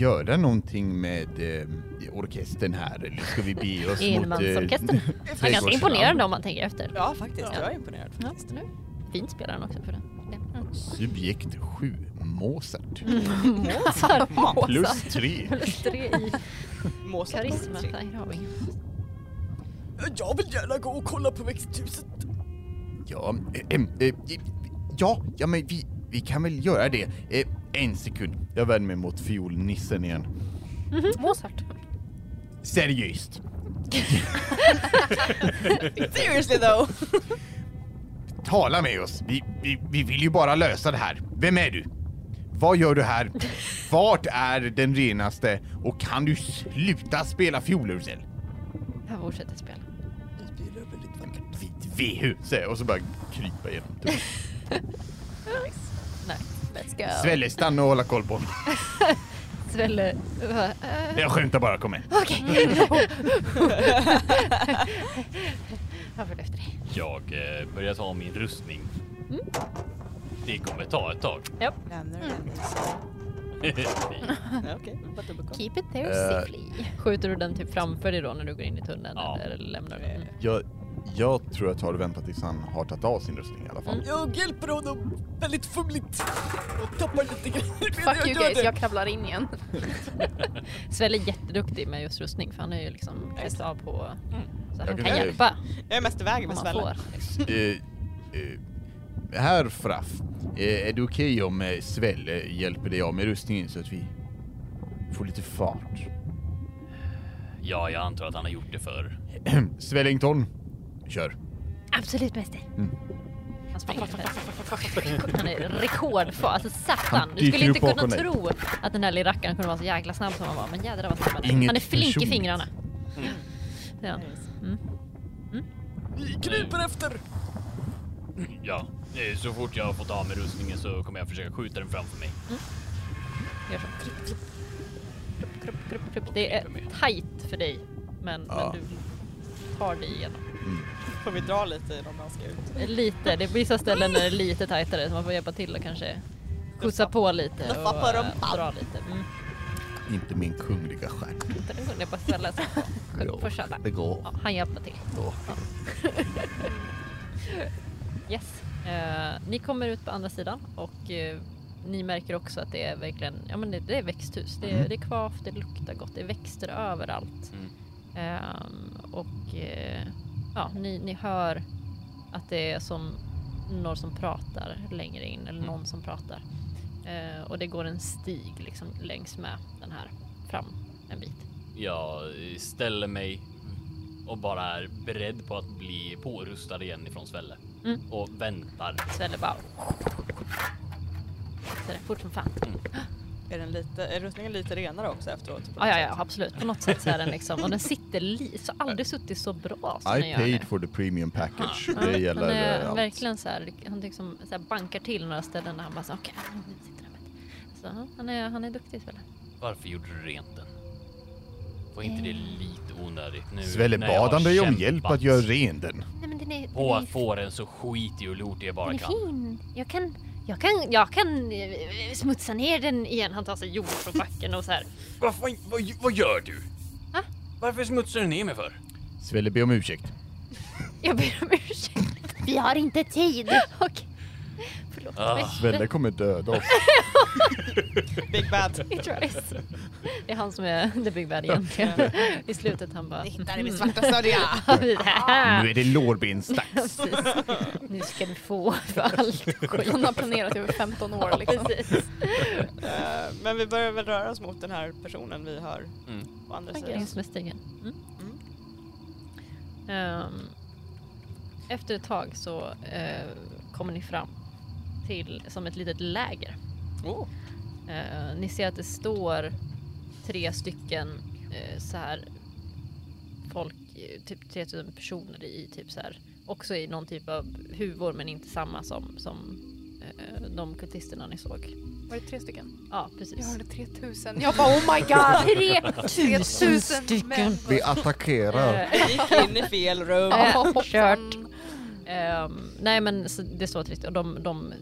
E: göra någonting med eh, orkestern här eller ska vi
B: [LAUGHS]
E: bege oss mot... eh, [LAUGHS]
B: Enmansorkestern. Det är ganska
E: trädgårdsland?
B: imponerande om man tänker efter.
C: Ja faktiskt, jag är imponerad.
B: Ja. Fint spelar han också för den.
E: Subjekt 7, Mozart.
B: Mm. [LAUGHS] Mozart.
E: Plus 3.
B: Plus tre i
F: Måsar.
B: karisma. Nej, det har vi ingen.
C: Jag vill gärna gå och kolla på växthuset.
E: Ja, eh, eh, eh, ja, ja men vi, vi kan väl göra det. Eh, en sekund. Jag vänder mig mot fiolnissen igen.
B: Mhm.
D: Mozart.
E: Seriöst.
F: Seriously though!
E: Tala med oss. Vi, vi, vi vill ju bara lösa det här. Vem är du? Vad gör du här? Vart är den renaste? Och kan du sluta spela fiol, Ursel?
B: Han fortsätter spela.
C: Ni bilar är väldigt vackert.
E: Vitt vehu, säger jag och så bara krypa igenom. Typ.
B: Nej.
D: Let's go.
E: Svelle, stanna och hålla koll på honom.
B: Svelle. va?
E: Jag skämtar bara, kom med.
B: Han följer efter dig.
A: Jag eh, börjar ta min rustning.
B: Mm.
A: Det kommer ta ett tag. [LAUGHS]
F: Lämnar du den? Nej, Okej, bara dubbelkolla.
D: Keep it there
E: Eh.
D: [LAUGHS] safely.
B: Skjuter du den typ framför dig då när du går in i tunneln?
A: Ja.
B: Eller lämnar du [LAUGHS] den?
E: Jag, jag tror jag tar och väntar tills han har tagit av sin rustning i alla fall.
C: Jag hjälper honom väldigt fumligt och tappar lite [LAUGHS] grejer medan
D: Fuck you
C: gör
D: guys,
C: det.
D: jag kravlar in igen.
B: Svelle är jätteduktig med just rustning för han är ju liksom klätt av på... Så han
E: Jag
B: kan
E: kan-
B: hjälpa
F: Jag är mest i vägen
B: om
F: med
B: man får.
F: svällen.
E: Eh, eh, Herr Fraff, eh, är det okej om eh, Svelle hjälper dig av med rustningen så att vi får lite fart?
A: ja, jag antar att han har gjort det förr.
E: [CLEARS THROAT] Svellington, kör.
G: Absolut mäster.
E: Mm.
B: Han springer ungefär. [LAUGHS] Han är rekordfart. Alltså satan. Du
E: dyker
B: skulle inte
E: upp bakom
B: kunna
E: dig.
B: tro att den här lilla rackaren kunde vara så jäkla snabb som han var. Men jädrar vad snabb han är.
E: Inget
B: Han är flink i
E: personligt.
B: fingrarna.
F: Mm.
B: Det är han.
C: Ni kryper efter.
A: Ja, eh, så fort jag har fått av mig rustningen så kommer jag försöka skjuta den framför mig.
B: Gör så. Krupp, krupp. Krupp, krupp, krupp, krupp. Det är tight för dig, men,
E: Ja.
B: men du tar dig igenom.
F: Får vi dra lite i dem när han ska ut?
B: Lite, det är vissa ställen där det är lite tajtare så man får hjälpa till och kanske skjutsa på lite och
F: Luffa på rumpan.
B: eh, dra lite. Mm.
E: Inte min kungliga stjärt.
B: Inte den kunde jag bara ställa
E: [LAUGHS]
B: sig på. Får köra.
E: Det går.
B: Ja, han hjälper till.
E: Ja.
B: Yes. Eh, ni kommer ut på andra sidan och eh, ni märker också att det är verkligen, ja men det, det är växthus. Det,
E: Mm.
B: det är kvavt, det luktar gott, det är växter överallt.
A: Mm.
B: Ehm, och eh, ja, ni, ni hör att det är som någon som pratar längre in eller
A: Mm.
B: någon som pratar. Eh, och det går en stig liksom längs med den här fram en bit.
A: Jag eh, ställer mig och bara är beredd på att bli pårustad igen ifrån Svelle.
B: Mm.
A: Och väntar.
B: Svelle bara... Så det är fort som fan.
F: Är, den lite, är rustningen lite renare också efteråt?
B: Ja, ja, ja, absolut. På något sätt så är den liksom... Och den sitter li... Så aldrig suttit så bra som den
E: I
B: gör nu.
E: paid for the premium package. Det
B: Han
E: gäller
B: är
E: eh, allt.
B: verkligen så här, han liksom så här bankar till några ställen där han bara så okej, nu sitter den med." Så han- han är, han är duktig Svelle.
A: Varför gjorde du rent den? Var inte det
B: Eh.
A: lite onödigt nu?
E: Svelle
A: när jag har
E: bad han dig om
A: kämpat
E: hjälp att göra ren den.
G: Nej men den är, den
A: På
G: är,
A: att få den så skitig och lortig jag
G: den
A: bara
G: är
A: kan.
G: fin. Jag kan...
B: Jag kan, jag kan eh, smutsa ner den igen. Han tar sig jord från backen och så här.
A: Vad, fan- vad, vad gör du?
B: Va?
A: Varför smutsar du ner mig för?
E: Svelle be om ursäkt.
B: Jag ber om ursäkt. [LAUGHS]
G: Vi har inte tid!
B: Okej. Förlåt.
A: Ah.
B: [LAUGHS]
E: Svelle kommer döda oss.
F: Typ
B: [LAUGHS]
F: Big bad.
B: He tries. Det är han som är the big bad egentligen. I slutet han bara... "Hmm."
F: Där är min svarta sörja!
E: Nu är det lårbensdags.
B: Precis. Nu ska du få för allt skit.
D: Hon har planerat i över 15 år liksom.
B: [LAUGHS] Precis.
F: Eh, Men vi börjar väl röra oss mot den här personen vi hör
A: Mm.
F: på andra sidan.
B: Längs med stigen. Mm. Ehm, efter ett tag så eh, kommer ni fram till som ett litet läger.
F: Oh.
B: Eh, ni ser att det står tre stycken eh, så här folk, eh, typ 3000 personer i typ så här, också i någon typ av huvor men inte samma som, som eh, de kultisterna ni såg.
D: Var det tre stycken?
B: Ja
D: Jag
B: precis.
D: hörde 3000. Jag bara oh my god! 3000
B: stycken.
E: Vi attackerar.
B: Eh,
F: Jag gick in i fel rum.
B: Ja,
D: Hoppsan.
B: Eh, kört. Ehm, nej men så det står trist och de, de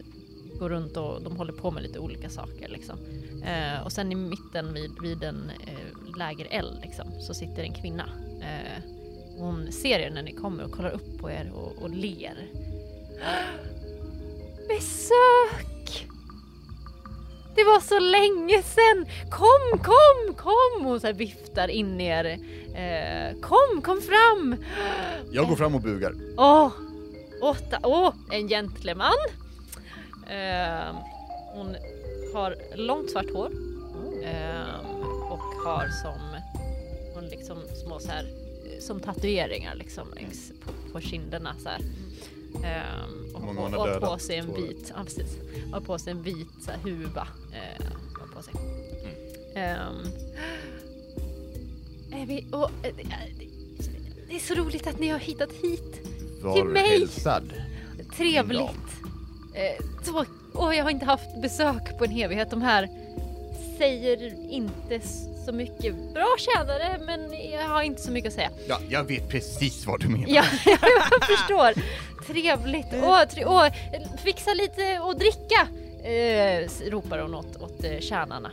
B: går runt och de håller på med lite olika saker liksom. Eh, och sen i mitten vid, vid en eh, lägereld liksom, så sitter en kvinna. Eh, hon ser er när ni kommer och kollar upp på er och, och ler. [GASPS] Besök! Det var så länge sen! Kom, kom, kom! Hon så här viftar in er. Eh, kom, kom fram!
E: Jag går fram och bugar.
B: Åh! åtta, åh! En gentleman! Ehm, hon har långt svart hår ehm, och har som hon liksom små så här eh, som tatueringar liksom längs på, på kinderna så här. Ehm, och,
E: Hur många
B: och,
E: hon har
B: och,
E: dödat?
B: på sig en
E: Två.
B: vit, ja, precis, och på sig en vit så här, huva. Eh, har på sig. Ehm, [GASPS] är vi, och, eh, det är- det är så roligt att ni har hittat hit. Till
E: Var
B: mig.
E: hälsad.
B: Trevligt. Eh, så, åh, jag har inte haft besök på en evighet. De här säger inte s- så mycket. Bra tjänare, men jag har inte så mycket att säga.
E: Ja, jag vet precis vad du menar.
B: Ja, [LAUGHS] jag förstår. Trevligt. Åh, tre, åh, fixa lite och dricka, eh, s- ropar hon åt, åt eh, tjänarna.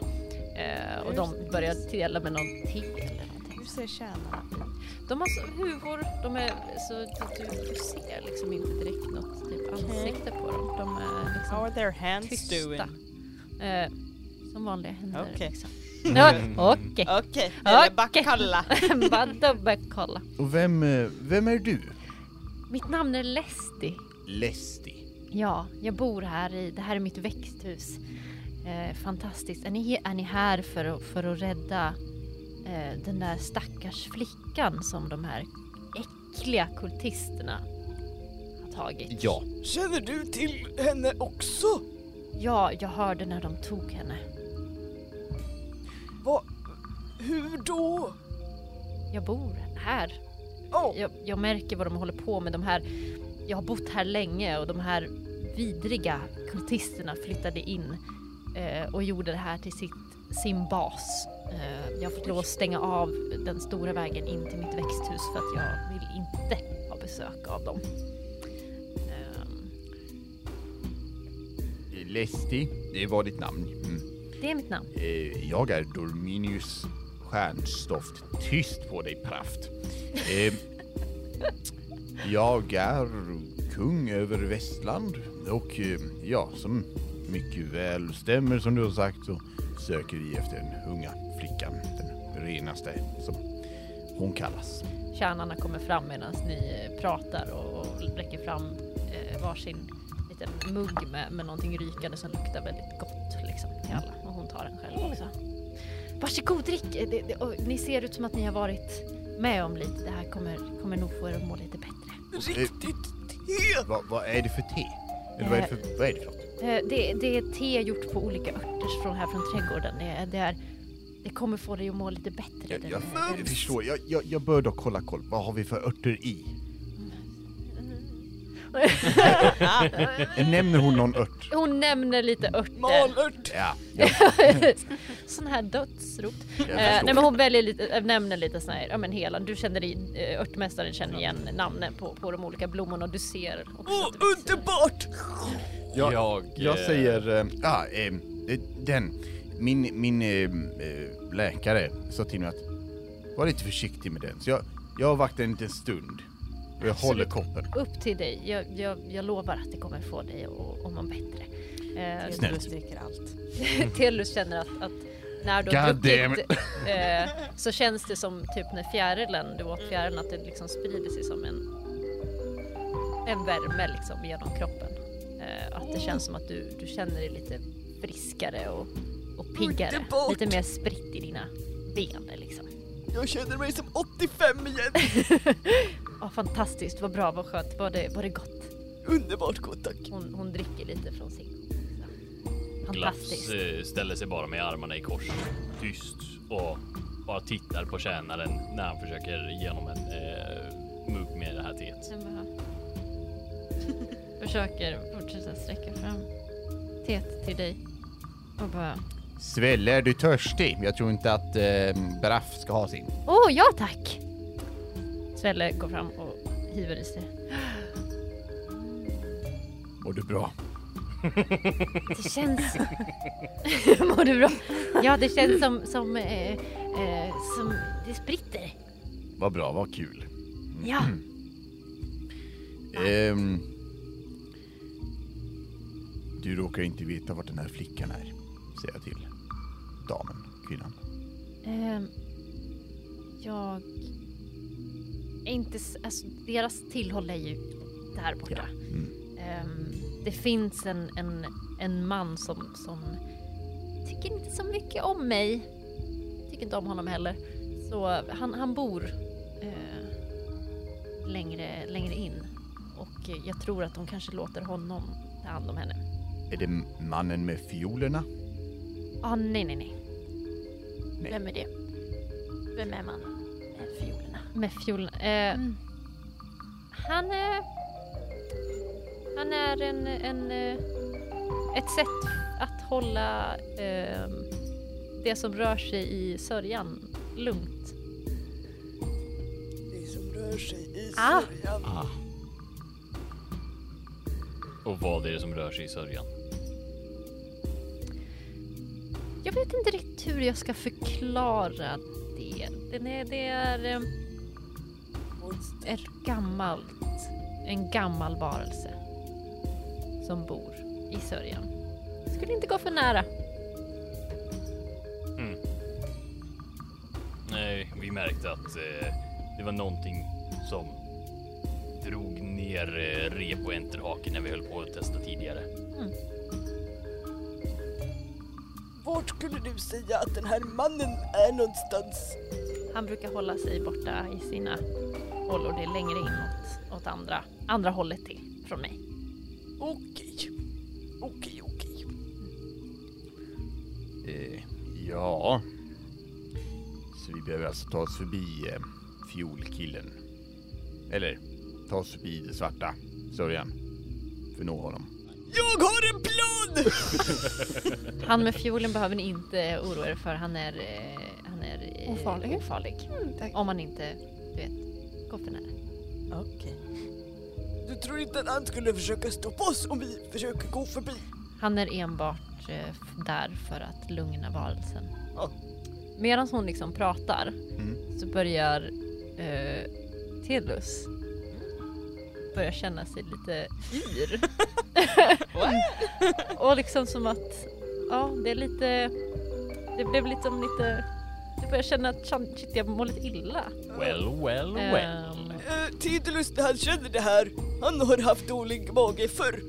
B: Eh, och de börjar dela med någon te eller någonting.
D: Hur ser tjänarna
B: De har så huvor, de är så du, du ser liksom inte direkt något typ ansikte på dem. De är liksom
F: How are their hands
B: tysta.
F: doing?
B: Eh, som vanliga händer.
F: Okej. [LAUGHS]
B: Liksom. Ja, Okej.
F: Okej,
B: Okej.
F: okay. Bacalla.
B: [LAUGHS] Bara dubbelkolla.
E: Och vem, eh, vem är du?
B: Mitt namn är Lesti.
E: Lesti.
B: Ja, jag bor här i, det här är mitt växthus. Eh, fantastiskt. Är ni, är ni här för att, för att rädda eh, den där stackars flickan som de här äckliga kultisterna har tagit?
E: Ja.
C: Känner du till henne också?
B: Ja, jag hörde när de tog henne.
C: Va? Hur då?
B: Jag bor här.
C: Ja,
B: Jag, jag märker vad de håller på med. De här jag har bott här länge och de här vidriga kultisterna flyttade in eh, och gjorde det här till sitt, sin bas. Eh, jag har fått lov att stänga av den stora vägen in till mitt växthus för att jag vill inte ha besök av dem. Ehm,
E: Lesti, det var ditt namn. Mm.
B: det är mitt namn.
E: Eh, jag är Dorminius Stjärnstoft. Tyst på dig, Praft. Eh, jag är kung över Västland och eh, ja, som mycket väl stämmer som du har sagt så söker vi efter den unga flickan, den renaste som hon kallas.
B: Kärnarna kommer fram medan ni eh, pratar och och räcker fram eh, varsin liten mugg med, med någonting rykande som luktar väldigt gott liksom, till alla. Och hon tar den själv också. Varsågod drick! Eh, Det, det, och ni ser ut som att ni har varit med om lite. Det här kommer, kommer nog få er att må lite bättre.
D: Eh.
C: Riktigt te!
E: Vad, vad är det för te? Eller vad är det för, vad är det för något?
B: Eh, Det, det är te gjort på olika örter från här från trädgården. Det, det, är, det kommer få dig att må lite bättre.
E: Jag,
B: Den-
E: jag,
B: den-
E: jag förstår, jag, jag, jag bör dock kolla koll. Vad har vi för örter [LAUGHS] i? Nämner hon någon ört?
B: Hon nämner lite örter.
C: Malört!
E: Ja, jag,
B: [LAUGHS] Sån här dödsrot.
E: jag
B: Eh,
E: förstår.
B: nej men hon väljer lite, äh, nämner lite sån här, ja men hela, du känner dig, eh, örtmästaren känner igen namnen på, på de olika blommorna och du ser också
D: Eh.
C: Åh,
B: att det växer.
C: underbart!
E: Jag,
A: Jag,
E: jag
A: eh,
E: säger... eh, Ja, eh, eh, den. Min, min eh, eh, läkare sa till mig att var lite försiktig med den. Så jag, jag vaktar en liten stund. Och jag håller koppen.
B: Upp till dig, jag, jag, jag lovar att det kommer få dig att att må bättre. Eh,
E: Snällt.
D: Snällt. dricker allt.
B: [LAUGHS] Telus känner att, att när du har
E: God damn
B: druckit eh, så känns det som typ när fjärilen, du åt fjärilen, att det liksom sprider sig som en, en värme liksom genom kroppen. Eh, att det känns som att du, du känner dig lite friskare och, och piggare.
C: Underbart!
B: Lite mer spritt i dina ben liksom.
C: Jag känner mig som 85 igen.
B: Ja, fantastiskt, vad bra, vad skönt, var det, var det gott?
C: Underbart gott tack.
B: Hon, hon dricker lite från sin. så.
A: Glaps
B: Fantastiskt.
A: eh, ställer sig bara med armarna i kors, tyst och bara tittar på tjänaren när han försöker genom en eh, mugg med det här teet.
B: Sen bara... Försöker fortsätta sträcka fram teet till dig. Och bara...
E: Svelle, är du törstig? Jag tror inte att eh, Braff ska ha sin.
B: Åh, ja tack! Svelle går fram och hiver i sig.
E: Mår du bra?
B: Det känns... [LAUGHS] Mår du bra? Ja, det känns som... Som... Eh, eh, som det spritter.
E: Vad bra, vad kul.
B: Ja.
E: Ehm, du råkar inte veta vart den här flickan är, säger jag till damen, kvinnan.
B: Ehm, jag... Är inte... s- Alltså, deras tillhåll är ju där borta.
E: Mm.
B: Ehm, det finns en, en, en man som, som tycker inte så mycket om mig. Tycker inte om honom heller. Så han, han bor eh, längre, längre in. Och eh, jag tror att de kanske låter honom ta hand om henne.
E: Är det mannen med fiolerna?
B: Ah, nej, nej, nej.
E: Nej.
G: Vem är det? Vem är man? Med fiolerna.
B: Med fiolen. Eh, Han är... Han är en... en eh, ett sätt att hålla eh, det som rör sig i sörjan lugnt.
C: Det som rör sig i
B: Ah.
C: sörjan.
A: Och vad är det som rör sig i sörjan?
B: Jag vet inte riktigt hur jag ska förklara det. Den är, det är eh, ett gammalt... En gammal varelse som bor i sörjan. Skulle inte gå för nära.
A: Nej, vi märkte att eh, det var någonting som drog ner eh, rep och enterhaken när vi höll på att testa tidigare.
C: Vart skulle du säga att den här mannen är någonstans?
B: Han brukar hålla sig borta i sina hållor. Det är längre inåt, åt andra, andra hållet till från mig.
C: Okej. Okej, okej.
E: Eh, ja. Så vi behöver alltså ta oss förbi eh, fiolkillen. Eller ta oss förbi det svarta sörjan för att nå honom.
C: Jag har en plan!
B: Han med fiolen behöver ni inte oroa er för. Han är, eh, han är eh,
D: Ofarlig. Mm,
B: ofarlig.
D: tack.
B: Om man inte, du vet, går för nära.
C: Du tror inte att han skulle försöka stoppa oss om vi försöker gå förbi?
B: Han är enbart eh, f- där för att lugna varelsen.
C: Ja.
B: Medan hon liksom pratar
E: Mm.
B: så börjar eh, Tedlus börja känna sig lite yr. [LAUGHS] Och liksom som att, ja det är lite, det blev liksom lite, jag börjar känna att "Chan, shit, jag mår lite illa.
A: Well, well, well.
B: Ehm,
C: Uh, Tidulus när han känner det här, han har haft dålig mage förr.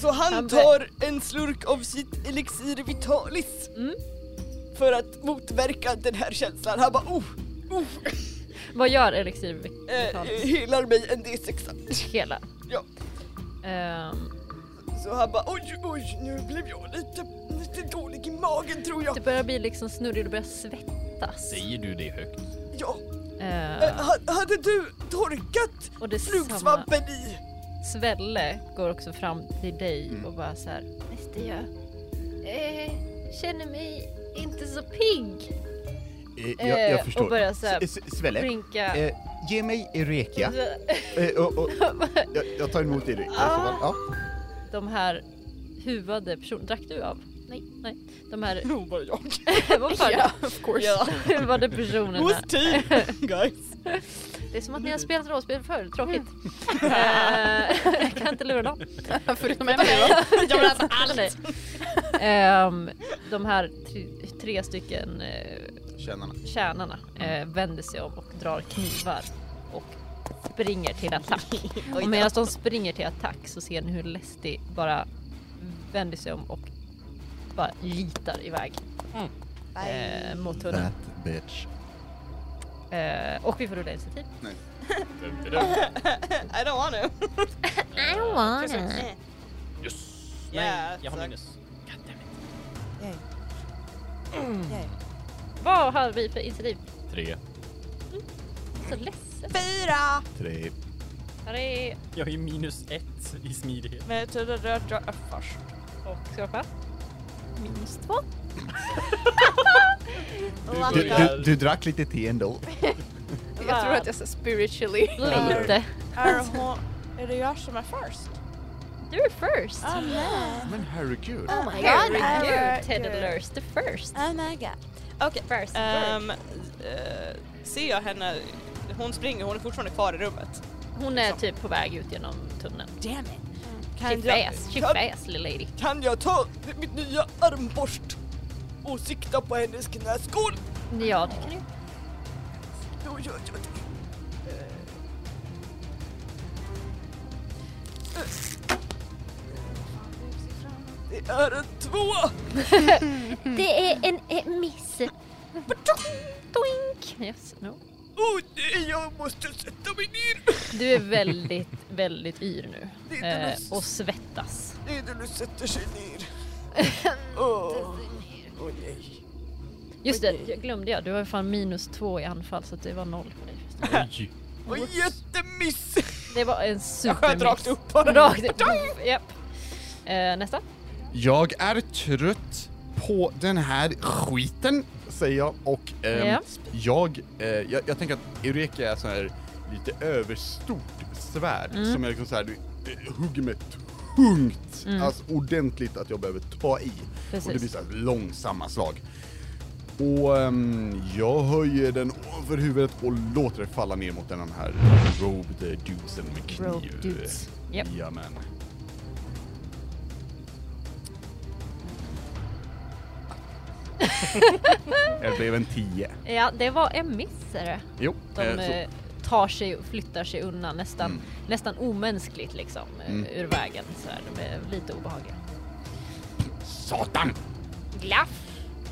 C: Så
B: Han
C: han
B: be-
C: tar en slurk av sitt elixir vitalis.
B: Mm.
C: För att motverka den här känslan. Han bara oh, oh,
B: vad gör Elixir
C: eh,
B: Vitalis?
C: helar mig en D6.
B: hela?
C: Ja.
B: Ehm,
C: Så han bara oj, oj, nu blev jag lite, lite dålig i magen tror jag.
B: det börjar bli liksom snurrigt och börjar svettas.
A: Säger du det högt?
C: Ja. Eh,
F: Ah,
B: Ehm,
C: ha- hade du torkat
B: och det samma
C: flugsvampen i?
B: Svelle går också fram till dig och bara så här.
G: Visste jag. Eh, känner mig inte så pigg.
E: Eh, jag, jag
B: Eh,
E: förstår.
B: och börjar så här
E: S- s- Svelle,
B: Brinka.
E: eh, ge mig Eureka. Eh, och, och, jag, jag tar emot Eureka.
B: Ah.
E: Ja.
B: [LAUGHS] De här huvade personerna. Drack du av?
G: Nej.
B: Nej. De här [LAUGHS]
F: Jo, bara jag.
B: vad fan?
F: Ja, of course.
B: huvade
F: Who's
B: personerna.
F: team, guys?
B: Det är som att
F: Mm.
B: ni har spelat rollspel förr. Tråkigt. Eh, jag kan inte lura dem.
D: Förutom en mig.
F: Jag vill alltså
B: Nej.
F: allt.
B: Ehm, de här tre, tre stycken eh,
E: Tjänarna.
B: kärnarna eh, vänder sig om och drar knivar och springer till
F: [LAUGHS]
B: attack. Och medan de springer till attack så ser ni hur Lesty bara vänder sig om och bara gitar iväg eh, mot tunneln.
E: That bitch.
B: Eh, och vi får rulla initiativ. Eh.
F: [LAUGHS] I don't want to.
B: I don't want it.
A: Yes.
F: Yeah,
A: Nej, jag har
F: suck.
A: minus. Goddammit.
B: Vad har vi för initiativ?
A: Tre.
B: Så ledsen.
D: Fyra!
E: Tre.
B: Här är...
A: Jag har ju minus ett i smidighet.
F: Men jag trodde rört jag först.
B: Och skorpa.
D: Minst två.
E: Du, du, du drack lite te ändå.
D: Jag tror att jag sa spiritually.
B: Lite.
F: Är, hon, är det jag som är först?
B: You're first.
D: Oh, nej.
E: Men herregud.
D: Oh my
B: Ah, Herregud, Teddelers the first. Um,
D: Oh my god.
F: Okej.
B: First.
F: Ehm, eh, ser jag henne? Hon springer, hon är fortfarande kvar i rummet.
B: Hon är typ på väg ut genom tunneln.
D: Damn it.
B: She
F: Kan jag,
B: fast, she
C: kan-
B: fast little lady.
C: Kan jag ta mitt nya armborst och sikta på hennes knäskål?
B: Ja, det kan du.
C: Då gör jag det. Eh. Det är en tvåa!
G: Det är en eh, miss.
B: Doink! Yes, no.
C: Oh nej, jag måste sätta mig ner!
B: Du är väldigt, [LAUGHS] väldigt yr nu.
C: Det är inte
B: Eh,
C: något-
B: och svettas.
C: Nej, när du sätter sig ner. Åh, Åh, nej.
B: Just det, jag glömde jag. Du har ju fan minus två i anfall så att det var noll på dig.
A: Oj.
C: Vad jättemiss!
B: Det var en
F: jag sköt
B: supermiss.
F: rakt upp bara.
B: Rakt upp. Japp. Eh, nästa.
E: Jag är trött på den här skiten, säger jag. Och ehm,
B: Ja.
E: jag, eh, jag, jag tänker att Eureka är så här lite överstort svärd
B: Mm.
E: som jag liksom så här, du, eh, hugger med tungt, alltså ordentligt att jag behöver ta i. Och det
B: Mm. Precis.
E: blir så här långsamma slag. Och ehm, jag höjer den ovanför huvudet och låter det falla ner mot den här robed dudesen med kniv.
B: Rogue dudes. Japp. [LAUGHS]
E: Jajamän. Det blev en 10.
B: Ja, det var en miss är det.
E: Jo.
B: De
E: eh, så-
B: eh, tar sig och flyttar sig undan nästan,
E: Mm.
B: nästan omänskligt liksom eh,
E: Mm.
B: ur vägen. Så här. De är lite obehagliga.
E: Satan!
B: Glaff!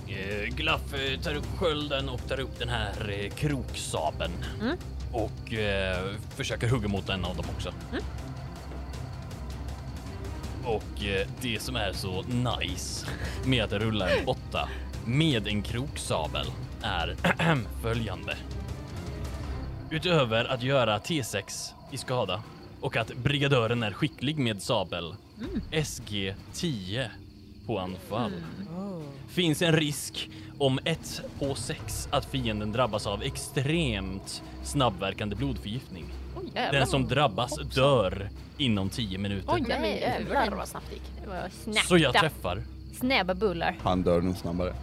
A: Eh, Glaff eh, tar upp skölden och tar upp den här eh, kroksabeln.
B: Mm.
A: Och eh, försöker hugga mot en av dem också. Och eh, det som är så nice med att rulla en åtta med en kroksabel [CLEARS THROAT] är följande. Utöver att göra T6 i skada och att brigadören är skicklig med sabel. SG 10 på anfall. Finns en risk om 1 på 6 att fienden drabbas av extremt snabbverkande blodförgiftning.
B: Oj jävlar.
A: Den som drabbas dör inom 10
B: Oj
A: minuter.
B: nej,
G: Nej, jävlar
B: jävlar.
G: vad snabbt det gick.
B: Det var
A: Så jag
B: snabba,
A: träffar.
B: snäva bullar.
E: Han dör nog snabbare.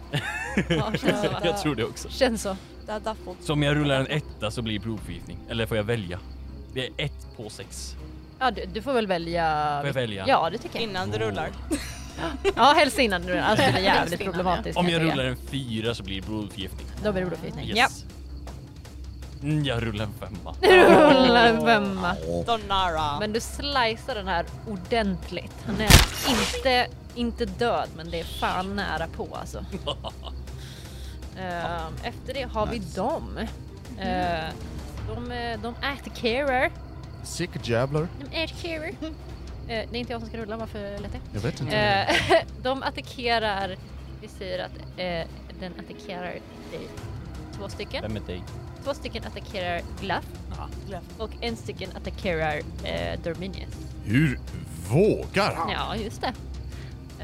F: [LAUGHS]
B: Ja, känns så.
A: [LAUGHS] Jag tror det också.
B: Känns så.
D: Dadda får
A: Så om jag rullar en etta så blir det blodförgiftning. Eller får jag välja? Det är 1 på 6.
B: Ja, du, du får väl välja.
A: Får jag välja?
B: Ja, det tycker jag.
F: Innan du rullar.
B: Ja, helst innan nu. Annars blir det jävligt
G: [LAUGHS] Helst innan,
B: problematiskt.
A: Om
B: kan
A: jag
B: tycka.
A: rullar en 4 så blir det blodförgiftning.
B: Då blir det blodförgiftning.
A: Yes.
B: Ja.
A: Mm, Jag rullar en
B: [LAUGHS]
A: femma.
B: Rulla en femma.
F: Donara.
B: Men du slicear den här ordentligt. Han är inte, inte död, men det är fan nära på alltså. Ehm, efter det har vi dem. Ehm, de, eh, de attackerar.
E: Sick Jabbler.
B: De attackerar. Uh, det är inte jag som ska rulla, varför lät det?
E: Jag vet inte.
B: Eh, [LAUGHS] de attackerar, vi säger att eh, den attackerar dig. Två stycken.
A: Vem är dig?
B: Två stycken attackerar Glaf.
A: Ja.
B: Och en stycken attackerar eh, Dorminius.
E: Hur vågar han?
B: Ja, just det.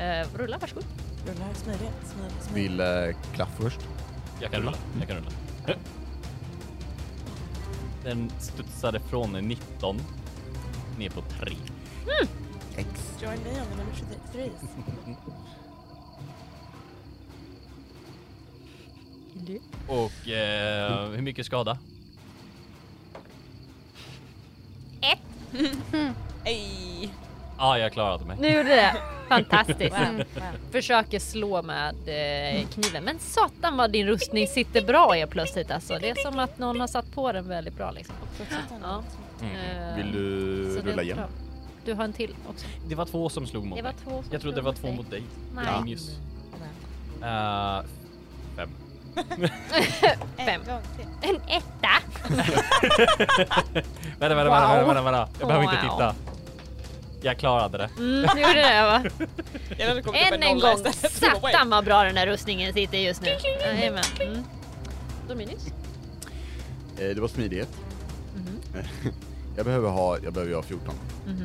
B: Eh, rulla, varsågod.
F: Rullar, smidigt, smidigt, smidigt.
E: Vill eh, klaff först.
A: Jag kan rulla. Jag kan rulla. Den studsade från 19 ner på 3.
F: Join me on the number 23.
A: Och eh, hur mycket skada?
F: Ej.
A: Ja, ah, jag klarade mig.
B: Nu gjorde det! Fantastiskt! Försöker slå med eh, kniven. Men satan vad din rustning sitter bra helt plötsligt alltså. Det är som att någon har satt på den väldigt bra liksom. Ja. Eh,
E: Mm. Vill du
B: så det
E: rulla
B: är
E: igen?
B: bra. Du har en till också.
A: Det var två som slog mot
B: Det var
A: mig.
B: två som
A: jag trodde det
B: slog
A: var
B: mot
A: två mot
B: dig.
A: dig.
B: Nej.
A: Det var Nyss. Eh,
B: [LAUGHS]
A: fem.
D: en
B: Fem.
D: gång till.
B: En etta!
A: Vänta, vänta, vänta, vänta, vänta, vänta. Jag behöver inte
B: Wow.
A: titta. Jag klarade det.
B: Mm, du gjorde det va?
F: Jag hade kommit upp
B: Än en
F: nolla
B: gång,
F: istället. Throw away.
B: satan vad bra den här rustningen sitter just nu. Jajamän. Mm. Dominus?
E: Eh, det var smidighet.
B: Mhm.
E: [LAUGHS] jag behöver ha, jag behöver ha 14.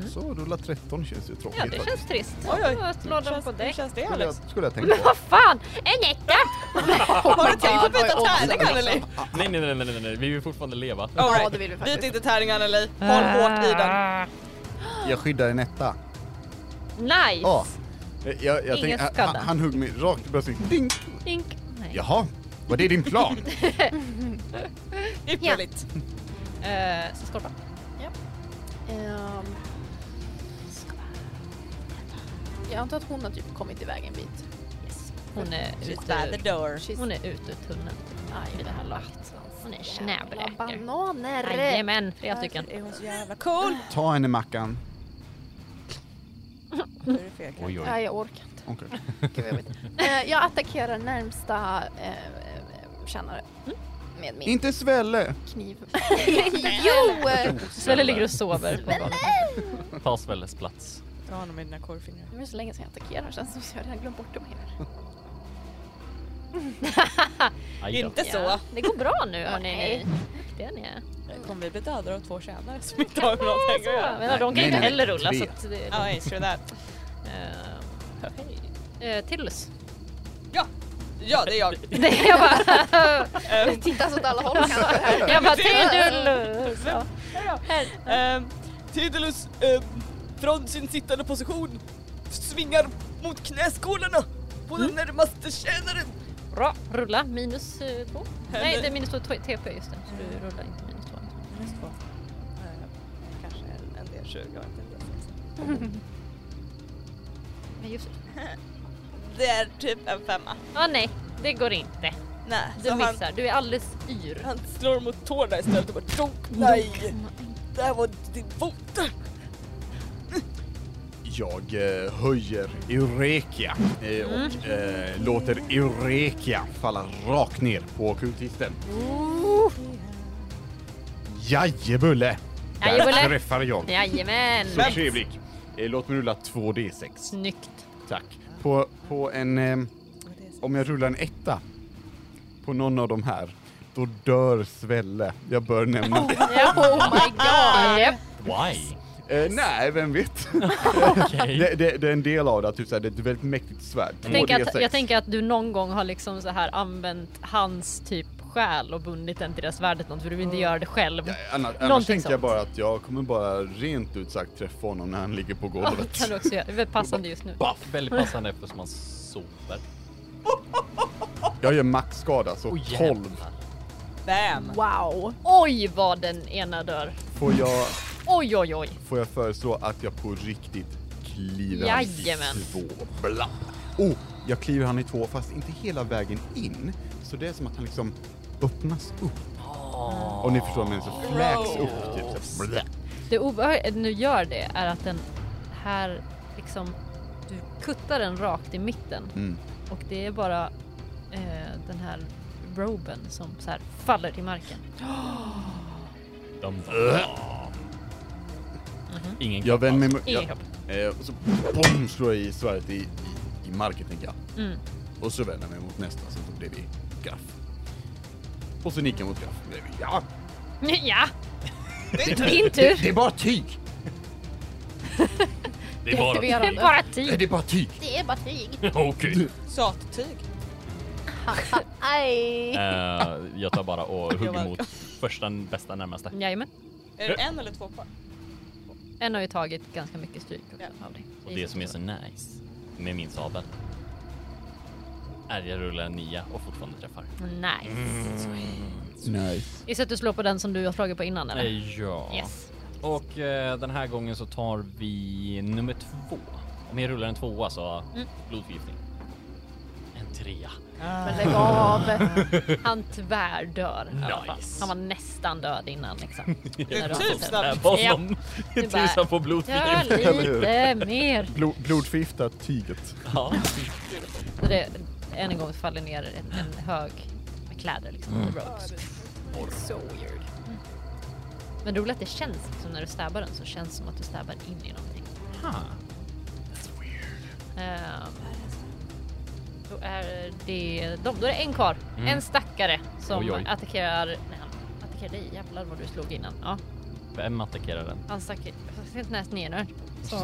E: Så rulla 13 känns ju tråkigt
B: Ja, det känns
E: faktiskt.
B: trist.
F: Oj, oj.
B: Slå på
F: Hur
B: dig.
F: känns det
E: Skulle jag,
F: Alex?
E: skulle jag tänka
B: Men
E: på.
B: vad fan! En etta!
F: [LAUGHS] Har du tänkt på att byta tärning Anneli?
B: Ah.
A: Nej, nej, nej, nej, nej, nej. vi vill fortfarande leva.
F: All
G: Ja,
F: right.
G: det vill vi faktiskt.
F: Byt inte tärning Anneli. Håll hårt i den.
E: Jag skyddar en etta.
B: Nice!
E: Ja. Jag, jag, jag
B: Ingen
E: tänk,
B: skada.
E: han, han hugg mig rakt i bröstet. Dink!
B: Dink. Nej.
E: Jaha, var det
B: [LAUGHS]
E: din plan?
F: Ypperligt.
B: Eh, så skorpa.
G: Ehm, ska- Jag antar att hon har typ kommit iväg en bit.
B: Hon är
F: She's
B: ute
F: by
B: ur,
F: the door.
B: hon är ute ur tunneln
G: Aj,
B: vid det här laget. Hon är
G: jävla
B: snäbräker.
G: bananer!
B: Jajamän, flera stycken.
F: Är hon så jävla
B: Mm.
F: cool?
E: Ta henne Mackan.
F: Hur är det för er?
A: Oj, oj.
G: Nej, jag orkar inte.
E: Okej.
G: Gud, jag, vet. Eh, jag attackerar närmsta eh, eh, tjänare med min
E: Inte Svelle!
G: kniv. [LAUGHS] jo!
B: Svelle ligger och sover.
A: Ta Svelles plats.
F: Dra honom med dina korvfingrar.
G: Det var så länge sedan jag attackerade känns som att jag redan glömt bort dem hela.
A: Aj då.
F: Inte så.
B: Ja, det går bra nu hörni.
G: Nej.
B: Duktiga ni är.
F: Kommer vi bli dödade av två tjänare som inte har med någonting att
B: Ja,
F: göra?
B: men de kan ju
E: Nej,
B: inte
E: nej,
B: heller
E: nej.
B: rulla så
E: Tre.
B: att det...
F: Ja, oh, true that.
B: Ehm, hej. Eh, [LAUGHS] Tillus.
F: Ja, ja det är jag.
B: jag bara...
F: Ehm,
G: Tittas åt alla håll kanske.
B: jag bara Tillus! Ja.
F: ehm, Tidalus ehm, från sin sittande position svingar mot knäskålarna på den närmaste tjänaren.
B: Bra, rulla minus eh, två. Nej,
F: Händer.
B: det är minus två t- TP just det. Så du rullar inte minus två.
F: Kanske en, en del 20 och en del 60.
B: Men just
F: Det är typ en femma.
B: ah, nej, det går inte.
F: Nej,
B: Du
F: så han,
B: missar, du är alldeles yr.
F: han slår mot tårna istället och bara dunk, nej! Det här var din fot!
E: Jag eh, höjer Eurekia eh, och eh, låter Eurekia falla rakt ner på kultisten. Jajebulle! Där
B: Jajebulle.
E: träffar jag.
B: Jajamän!
E: Så trevligt. Eh, låt mig rulla 2D6.
B: Snyggt.
E: Tack. eh, På, på en... ehm, om jag rullar en etta på någon av de här, Då dör Svelle. Jag bör nämna det.
G: Oh my
B: [LAUGHS]
G: god!
A: Why?
E: Eh, nej, vem vet?
A: Okej.
E: det, det, det är en del av det, att typ såhär, det är ett väldigt mäktigt svärd.
B: Jag tänker, att,
E: 2D6.
B: jag tänker att du någon gång har liksom så här använt hans typ själ och bundit den till det här svärdet något för du vill inte göra det själv.
E: Mm. Ja, annars annars
B: Någonting
E: tänker jag
B: sånt.
E: bara att jag kommer bara rent ut sagt träffa honom när han ligger på
B: [LAUGHS]
E: golvet.
B: Kan du också göra. Det är väl passande just nu.
A: Buff. Väldigt passande eftersom man sover.
E: Jag gör maxskada, så
A: Åh,
E: 12.
A: jävlar.
F: Bam!
G: [LAUGHS] Wow.
B: Oj vad den ena dör.
E: Får jag,
B: Oj oj oj.
E: får jag föreslå att jag på riktigt kliver han
B: Jajamän.
E: i två? Bla. Oh, jag kliver han i två, fast inte hela vägen in. Så det är som att han liksom öppnas upp. Och ni förstår mig, så fläks upp typ. Så här, blä.
B: Det obehagliga nu gör det är att den här liksom, du kuttar den rakt i mitten
E: Mm.
B: och det är bara eh, den här roben som så här faller till marken.
A: De... Äh. Mhm. Ingen
E: Jag vänder mig mot...
B: Ingen
E: jag-
B: kropp.
E: Eh, och så boom, slår jag i svärdet i, i, i marken, tänker jag.
B: Mm.
E: Och så vänder jag mig mot nästa som stod bredvid Graff. Och så nickar jag mot Graff. bredvid. Ja,
B: [LAUGHS] Ja! Din tur!
E: det är bara tyg!
A: [LAUGHS] Det är bara...
B: Det är bara
E: Eh,
B: tid.
E: Det är bara tyg!
G: Det är bara tyg.
A: [LAUGHS] Okej.
F: Sattyg.
G: [LAUGHS] Aj.
A: Eh, jag tar bara
B: [LAUGHS]
A: och
F: Jag
A: hugger
F: bara-
A: mot första bästa närmaste.
B: Jajamän.
F: Är det en eller två kvar?
B: En har ju tagit ganska mycket stryk också av dig.
A: Och det som är så nice med min sabel är jag rullar en nia och fortfarande träffar.
B: Nice.
A: Mm.
E: Nice.
B: Visst att du slår på den som du har slagit på innan eller?
A: Eh, Ja.
B: Yes.
A: Och eh, den här gången så tar vi nummer två. Om jag rullar en tvåa så
B: Mm.
A: blodförgiftning. En trea.
G: Men lägg av.
B: Han tvärdör i alla fall.
A: Nice.
B: Han var nästan död
A: [LAUGHS]
B: innan liksom. När du har
F: Typ
B: fått
F: snabbt.
A: Där var
B: Ja.
A: de.
B: Det är bara-
A: Tusan på
B: Gör
A: blodförgiftning.
B: lite mer.
E: Blo- blodförgifta tyget.
A: Ja.
B: Så det än en gång faller ner en, en hög med kläder liksom. Mm.
G: So weird.
B: Men roligt att det känns liksom när du stäbar den så känns det som att du stäbar in i någonting. Ehm, då är det de, då är det en kvar. En stackare som
A: Mm. Oj, oj.
B: attackerar, nej han attackerar dig, jävlar vad du slog innan. Ja,
A: Vem attackerar den?
B: han stack helt näst ner nu. Så.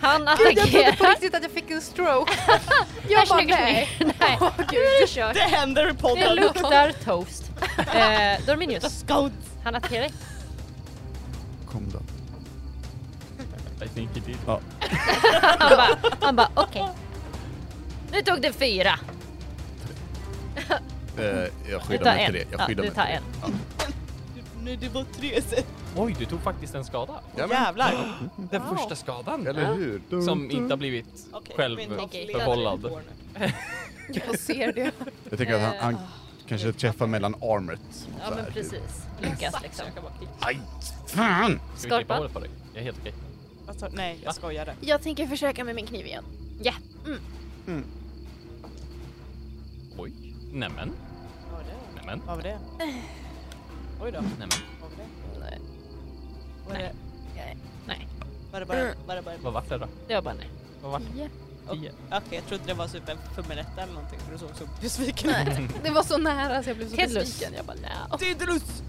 B: Han attackerar.
G: På riktigt att jag fick en stroke. jag bara
B: snygg,
G: nej.
B: nej, du kör.
F: Det händer i podden!
B: Det luktar toast. Eh, Dorminius,
F: Scout!
B: han attackerar dig.
E: Kom då.
A: I think it is.
E: Ja.
B: Han bara, han bara okej. Nu tog det fyra.
E: Eh, jag
B: Du
E: skyddar
B: tar
E: mig till
B: en.
E: det. Jag
B: Ja,
E: skyddar
B: du
E: mig
B: tar
E: till
B: en.
E: det.
F: Nu det var tre set.
A: Oj, du tog faktiskt en skada.
E: Ja, men,
F: Jävlar!
A: Den första skadan.
E: eller hur?
A: Som inte har blivit
F: Okej, min toppledare
A: självförvållad.
F: går nu.
G: [LAUGHS] Jag ser det.
E: Jag tänker att han, han kanske träffar mellan armet.
B: Eh, Ja men precis. Lyckas liksom.
F: Jag kan bara klicka.
E: typ. Aj! Fan!
A: Ska vi klippa
B: Skorpan.
A: håret på dig? Jag är helt okej.
F: Vad sa- Nej, jag skojade.
G: Jag tänker försöka med min kniv igen.
B: Ja. Mm.
A: Oj. Nämen.
F: Vad var det?
A: Nämen.
F: Vad var det? Oj då.
A: Nämen.
F: Vad var det?
B: Nej.
F: Var det,
B: Nej,
F: var det bara... Var det bara...
A: Vad vart det då?
B: det var bara nej.
A: Vad vart
G: Tio.
A: det? Tio.
F: Okej, jag trodde det var typ en fummeletta eller någonting för du såg så [LAUGHS] besviken ut.
G: Det var så nära så jag blev så
B: Hedlös.
G: besviken. Jag bara nej.
F: Daedalus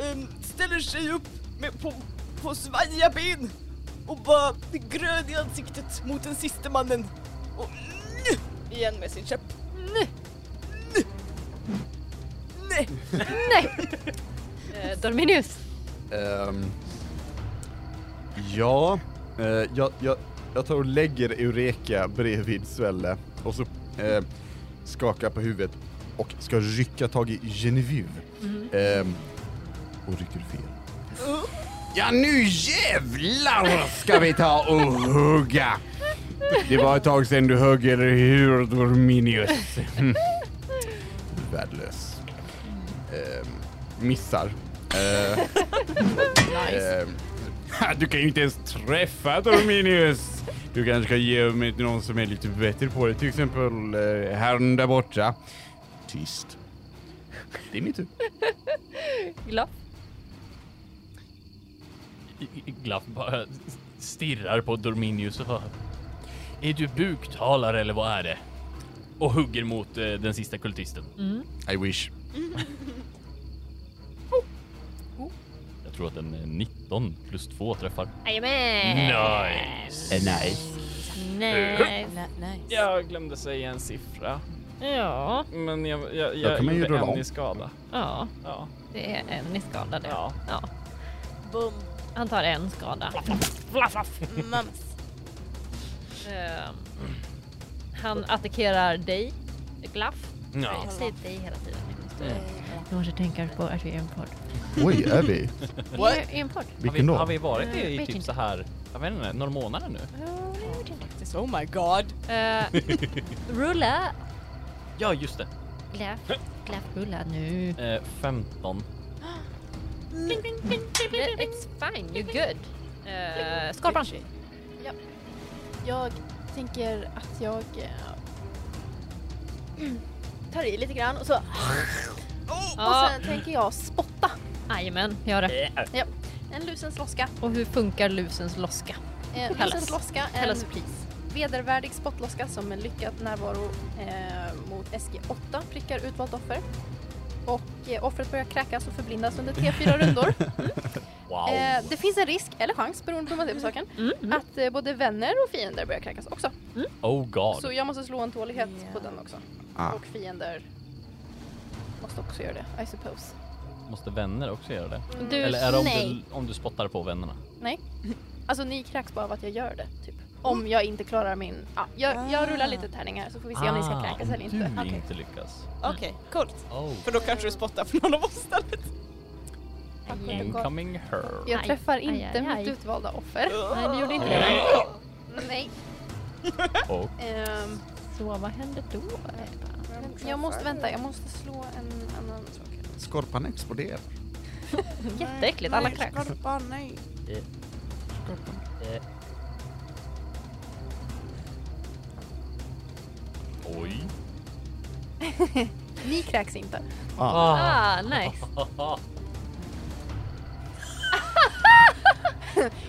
F: ehm, ställer sig upp med, på, på svajiga ben och bara grön i ansiktet mot den sista mannen. Och nj, igen med sin käpp.
B: Nej.
F: Nej!
B: Eh, Dorminius.
E: Ehm, ja, eh, jag, jag, jag tar och lägger Eureka bredvid Svelle och så eh, skakar på huvudet och ska rycka tag i Genevieve. Ehm, och rycker fel. Ja nu jävlar ska vi ta och hugga! Det var ett tag sedan du högg, eller hur Dorminius? [LAUGHS] Värdelös. Ehm, missar. Eh, Eh, [LAUGHS] du kan ju inte ens träffa Dominius. Du kanske ska ge mig till någon som är lite bättre på det, till exempel eh, herrn där borta. Tyst. Det är min tur.
B: Glapp.
A: I- I- Glaff bara stirrar på Dorminius och bara, Är du buktalare eller vad är det? Och hugger mot eh, den sista kultisten.
E: I wish.
H: tror att en 19 plus 2 träffar.
I: Nice!
H: Nice.
B: Nej.
A: Jag glömde säga en siffra,
B: Ja,
A: men jag, jag,
J: Då
A: jag
J: kan man ju
A: gjorde
J: rulla
A: en
J: om.
A: i skada.
B: ja,
A: Ja.
B: det är en i skada det.
A: Ja.
C: Bum.
B: Han tar en skada.
F: Mm.
G: Mums.
B: Ehm, han attackerar dig, Glaff.
I: Ja.
B: Jag säger dig hela tiden. Du måste tänka på att vi är en podd.
J: Oj, är [LAUGHS] vi?
B: Vi är en podd.
A: Har, vi,
J: Vilken
A: har
J: då?
A: vi varit
B: Jag
A: i
B: vet
A: typ
B: inte.
A: så här, jag vet inte, några månader nu?
C: Oh my god.
B: Eh, rulla!
A: Ja, just det.
B: Glaff, glaff, rulla nu.
A: Eh, 15.
B: Eh, It's fine, you're good. Uh, Skorpan.
G: Jag tänker att jag eh, tar i lite grann och så... Och
B: Ja.
G: sen tänker jag spotta.
B: Jajamän, gör det.
A: Eh,
G: En lusens loska.
B: Och hur funkar lusens loska?
G: Eh,
B: Kallas.
G: lusens loska är en
B: Kallas pris.
G: vedervärdig spottloska som med lyckad närvaro eh, mot SG8 prickar utvalt offer. Och eh, offret börjar kräkas och förblindas under
B: [LAUGHS]
G: T4 rundor.
H: Wow.
G: Eh, det finns en risk, eller chans beroende på hur man ser på saken,
B: Mm,
G: att eh, både vänner och fiender börjar kräkas också.
H: Oh god.
G: Så jag måste slå en tålighet på den också. Och fiender måste också göra det, I suppose.
H: Måste vänner också göra det?
B: Du,
H: Eller är det om
G: Eh, nej.
H: du, om du spottar på vännerna?
B: [LAUGHS]
G: Alltså ni kräks bara av att jag gör det, typ.
B: Mm.
G: Om jag inte klarar min... Ja, jag,
B: Ah.
G: jag rullar lite tärningar så får vi se om ni
A: Ah,
G: ska kräkas eller inte.
H: Om du inte lyckas.
C: Okej, coolt.
H: Oh.
C: För då kanske du spottar för någon av oss istället.
H: Incoming her.
G: Jag
B: Aj,
G: träffar
B: aj,
G: inte
B: aj, aj.
G: mitt utvalda offer.
B: Nej, det gjorde inte det.
G: Nej.
A: Oh,
H: Och
G: Ehm,
B: Så vad hände då?
G: jag måste vänta, jag måste slå en annan sak.
J: Skorpan exploderar.
B: Jätteäckligt, alla kräks.
F: nej.
B: Eh,
A: Eh.
H: oj.
G: Ni kräks inte.
B: Ah, nice.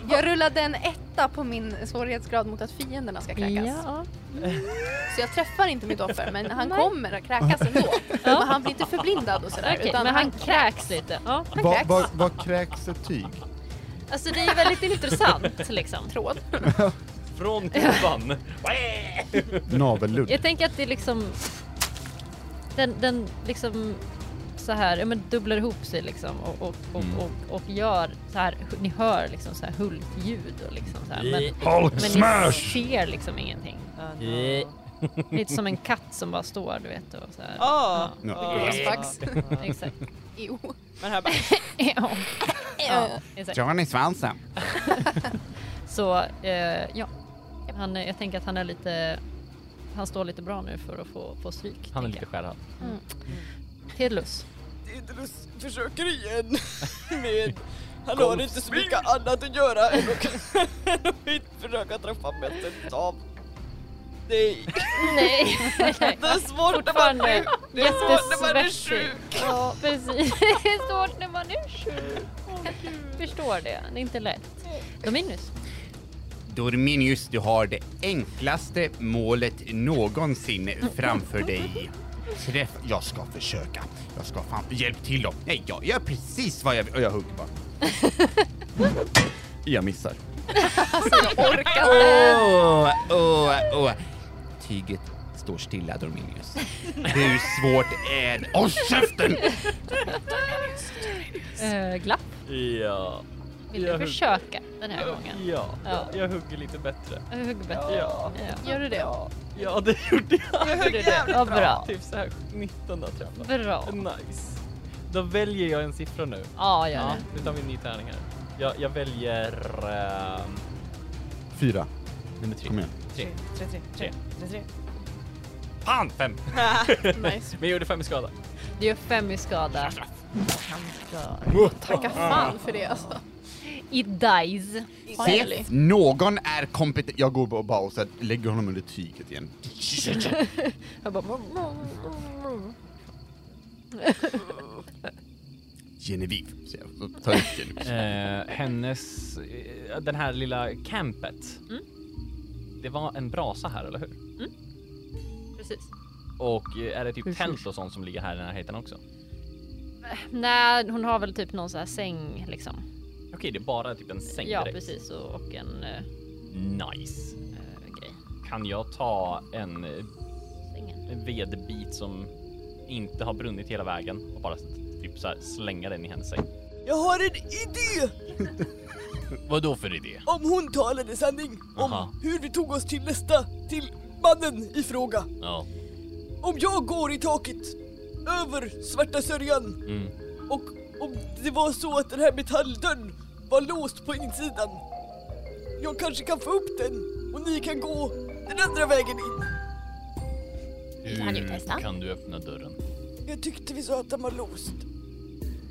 G: Jag rullade en etta på min svårighetsgrad mot att fienderna ska kräkas.
B: Ja.
G: Så jag träffar inte mitt offer men han kommer att kräkas ändå.
B: Ja.
G: Men han blir inte förblindad och sådär.
B: Okej,
G: utan
B: men han kräks lite. Ja.
G: Han
J: Vad
G: kräks.
J: va, va kräks ett tyg?
B: Alltså det är väldigt intressant liksom.
G: tråd. [LAUGHS]
H: Från
A: [LAUGHS]
B: [LAUGHS]
H: klubban.
J: Navelludd.
B: Jag tänker att det liksom... Den, den liksom så här, ja, men dubblar ihop sig liksom och, och, och,
H: Mm.
B: och, och gör så här, ni hör liksom så här hulkljud och liksom så här, men,
J: Hulk
B: men ni
J: smash!
B: ser liksom ingenting.
A: Eh.
B: Lite som en katt som bara står du vet och så här.
C: Ah.
J: Ja.
A: Eh. [LAUGHS]
G: Gråsfax.
B: Ja, exakt. [LAUGHS]
G: Jo.
C: Men här bara...
B: Ja, ja, exakt.
J: Johnny i svansen.
B: Så eh, ja, han, är- jag tänker att han är lite, han står lite bra nu för att få, få stryk.
H: Han är
B: tänker
H: lite skärrad.
B: jag. Hedlös.
C: Idrus försöker igen [LAUGHS] med... Han har inte så mycket annat att göra än att- [LAUGHS] än att försöka träffa mästet av. Nej,
B: Nej,
C: det är svårt när man
B: fortfarande
C: är, det är svårt när man är
B: jättesvettig.
C: sjuk.
B: Ja, precis. [LAUGHS] Det är svårt när man är sjuk. Förstår det, det är inte lätt. Dominus.
E: Dorminius, du har det enklaste målet någonsin framför dig. Träff... Jag ska försöka. Jag ska fan... Hjälp till dem. Nej, jag gör precis vad jag vill. Och jag hugger [LAUGHS] bara. Jag missar. Åh, åh, åh. Tyget står stilla, Dorminius. Hur svårt är det? Håll käften!
B: Äh, glapp.
A: Ja,
B: Vill du
A: Jag-
B: försöka den här gången?
A: ja,
B: Ja.
A: jag hugger lite bättre.
B: Hugg bättre.
A: Ja,
B: Ja.
G: Gör du det?
A: ja det gjorde jag.
B: Gjorde du det? Ja, bra.
A: Typ så här 19 där träffar.
B: Bra.
A: Nice. Då väljer jag en siffra nu.
B: Ja, gör
A: Ja,
B: det.
A: nu tar vi en ny tärning här. Jag, jag väljer... ehm,
J: Fyra.
A: nummer tre.
J: Kom igen.
A: Tre.
F: Tre, tre, tre, tre, tre.
A: Fan! Fem! [LAUGHS]
G: Nice.
A: Men jag gjorde fem i skada.
B: Du gör fem i skada.
G: Tacka fan för det alltså.
B: I dice.
E: Finally. Någon är kompetent. Jag går bara och så här lägger honom under tyget igen.
B: Jag
C: "Mm,
B: bara...
E: Genevieve, säger jag. Så tar jag ut Genevieve.
A: Eh, hennes... eh, Den här lilla campet. Det var en brasa här, eller hur?
B: Precis.
A: Och eh, är det typ
B: Precis.
A: tält och sånt som ligger här i närheten också?
B: Nej, hon har väl typ någon sån här säng liksom.
K: Okej, det är bara typ en säng
B: Ja,
K: direkt.
B: precis. Och, och en eh,
K: Nice.
B: eh, grej.
K: Kan jag ta en eh,
B: Sängen.
K: en vedbit som inte har brunnit hela vägen och bara typ så här slänga den i hennes säng?
C: Jag har en idé
A: Vad då för idé?
C: om hon talade sanning om
A: Aha.
C: hur vi tog oss till nästa, till mannen i fråga.
A: Ja.
C: Om jag går i taket över svarta sörjan
A: Mm.
C: och om det var så att den här metalldörren var låst på insidan. Jag kanske kan få upp den och ni kan gå den andra vägen in.
G: kan ju testa.
A: Hur kan du öppna dörren?
C: Jag tyckte vi sa att den var låst.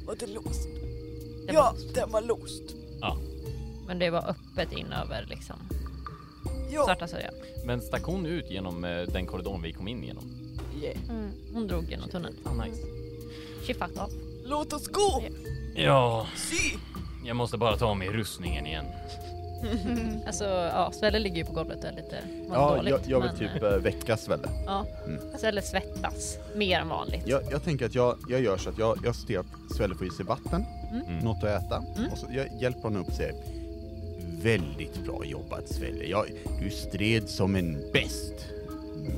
C: Var den låst?
B: Den var
C: ja,
B: låst.
C: den var låst.
B: Men det var öppet inöver liksom.
C: Ja,
B: Svarta sörjan.
K: Men stack hon ut genom eh, den korridoren vi kom in genom?
B: Hon drog genom tunneln.
K: Ah, nice.
B: Mm. She fucked off.
C: låt oss gå!
A: Ja,
C: Se!
A: jag måste bara ta mig rustningen igen.
B: Alltså, ja, Svelle ligger ju på golvet och är lite mår
E: Ja,
B: dåligt.
E: jag, jag vill
B: men,
E: typ Mm.
B: eh,
E: eh, väcka Svelle.
B: Ja, Svelle svettas mer än vanligt.
E: Jag, jag tänker att jag, jag gör så att jag, jag ser att Svelle får i sig vatten,
K: Mm.
E: något att äta och så jag hjälper honom upp och säger
L: Väldigt bra jobbat Svelle. Jag, du stred som en bäst. Mm,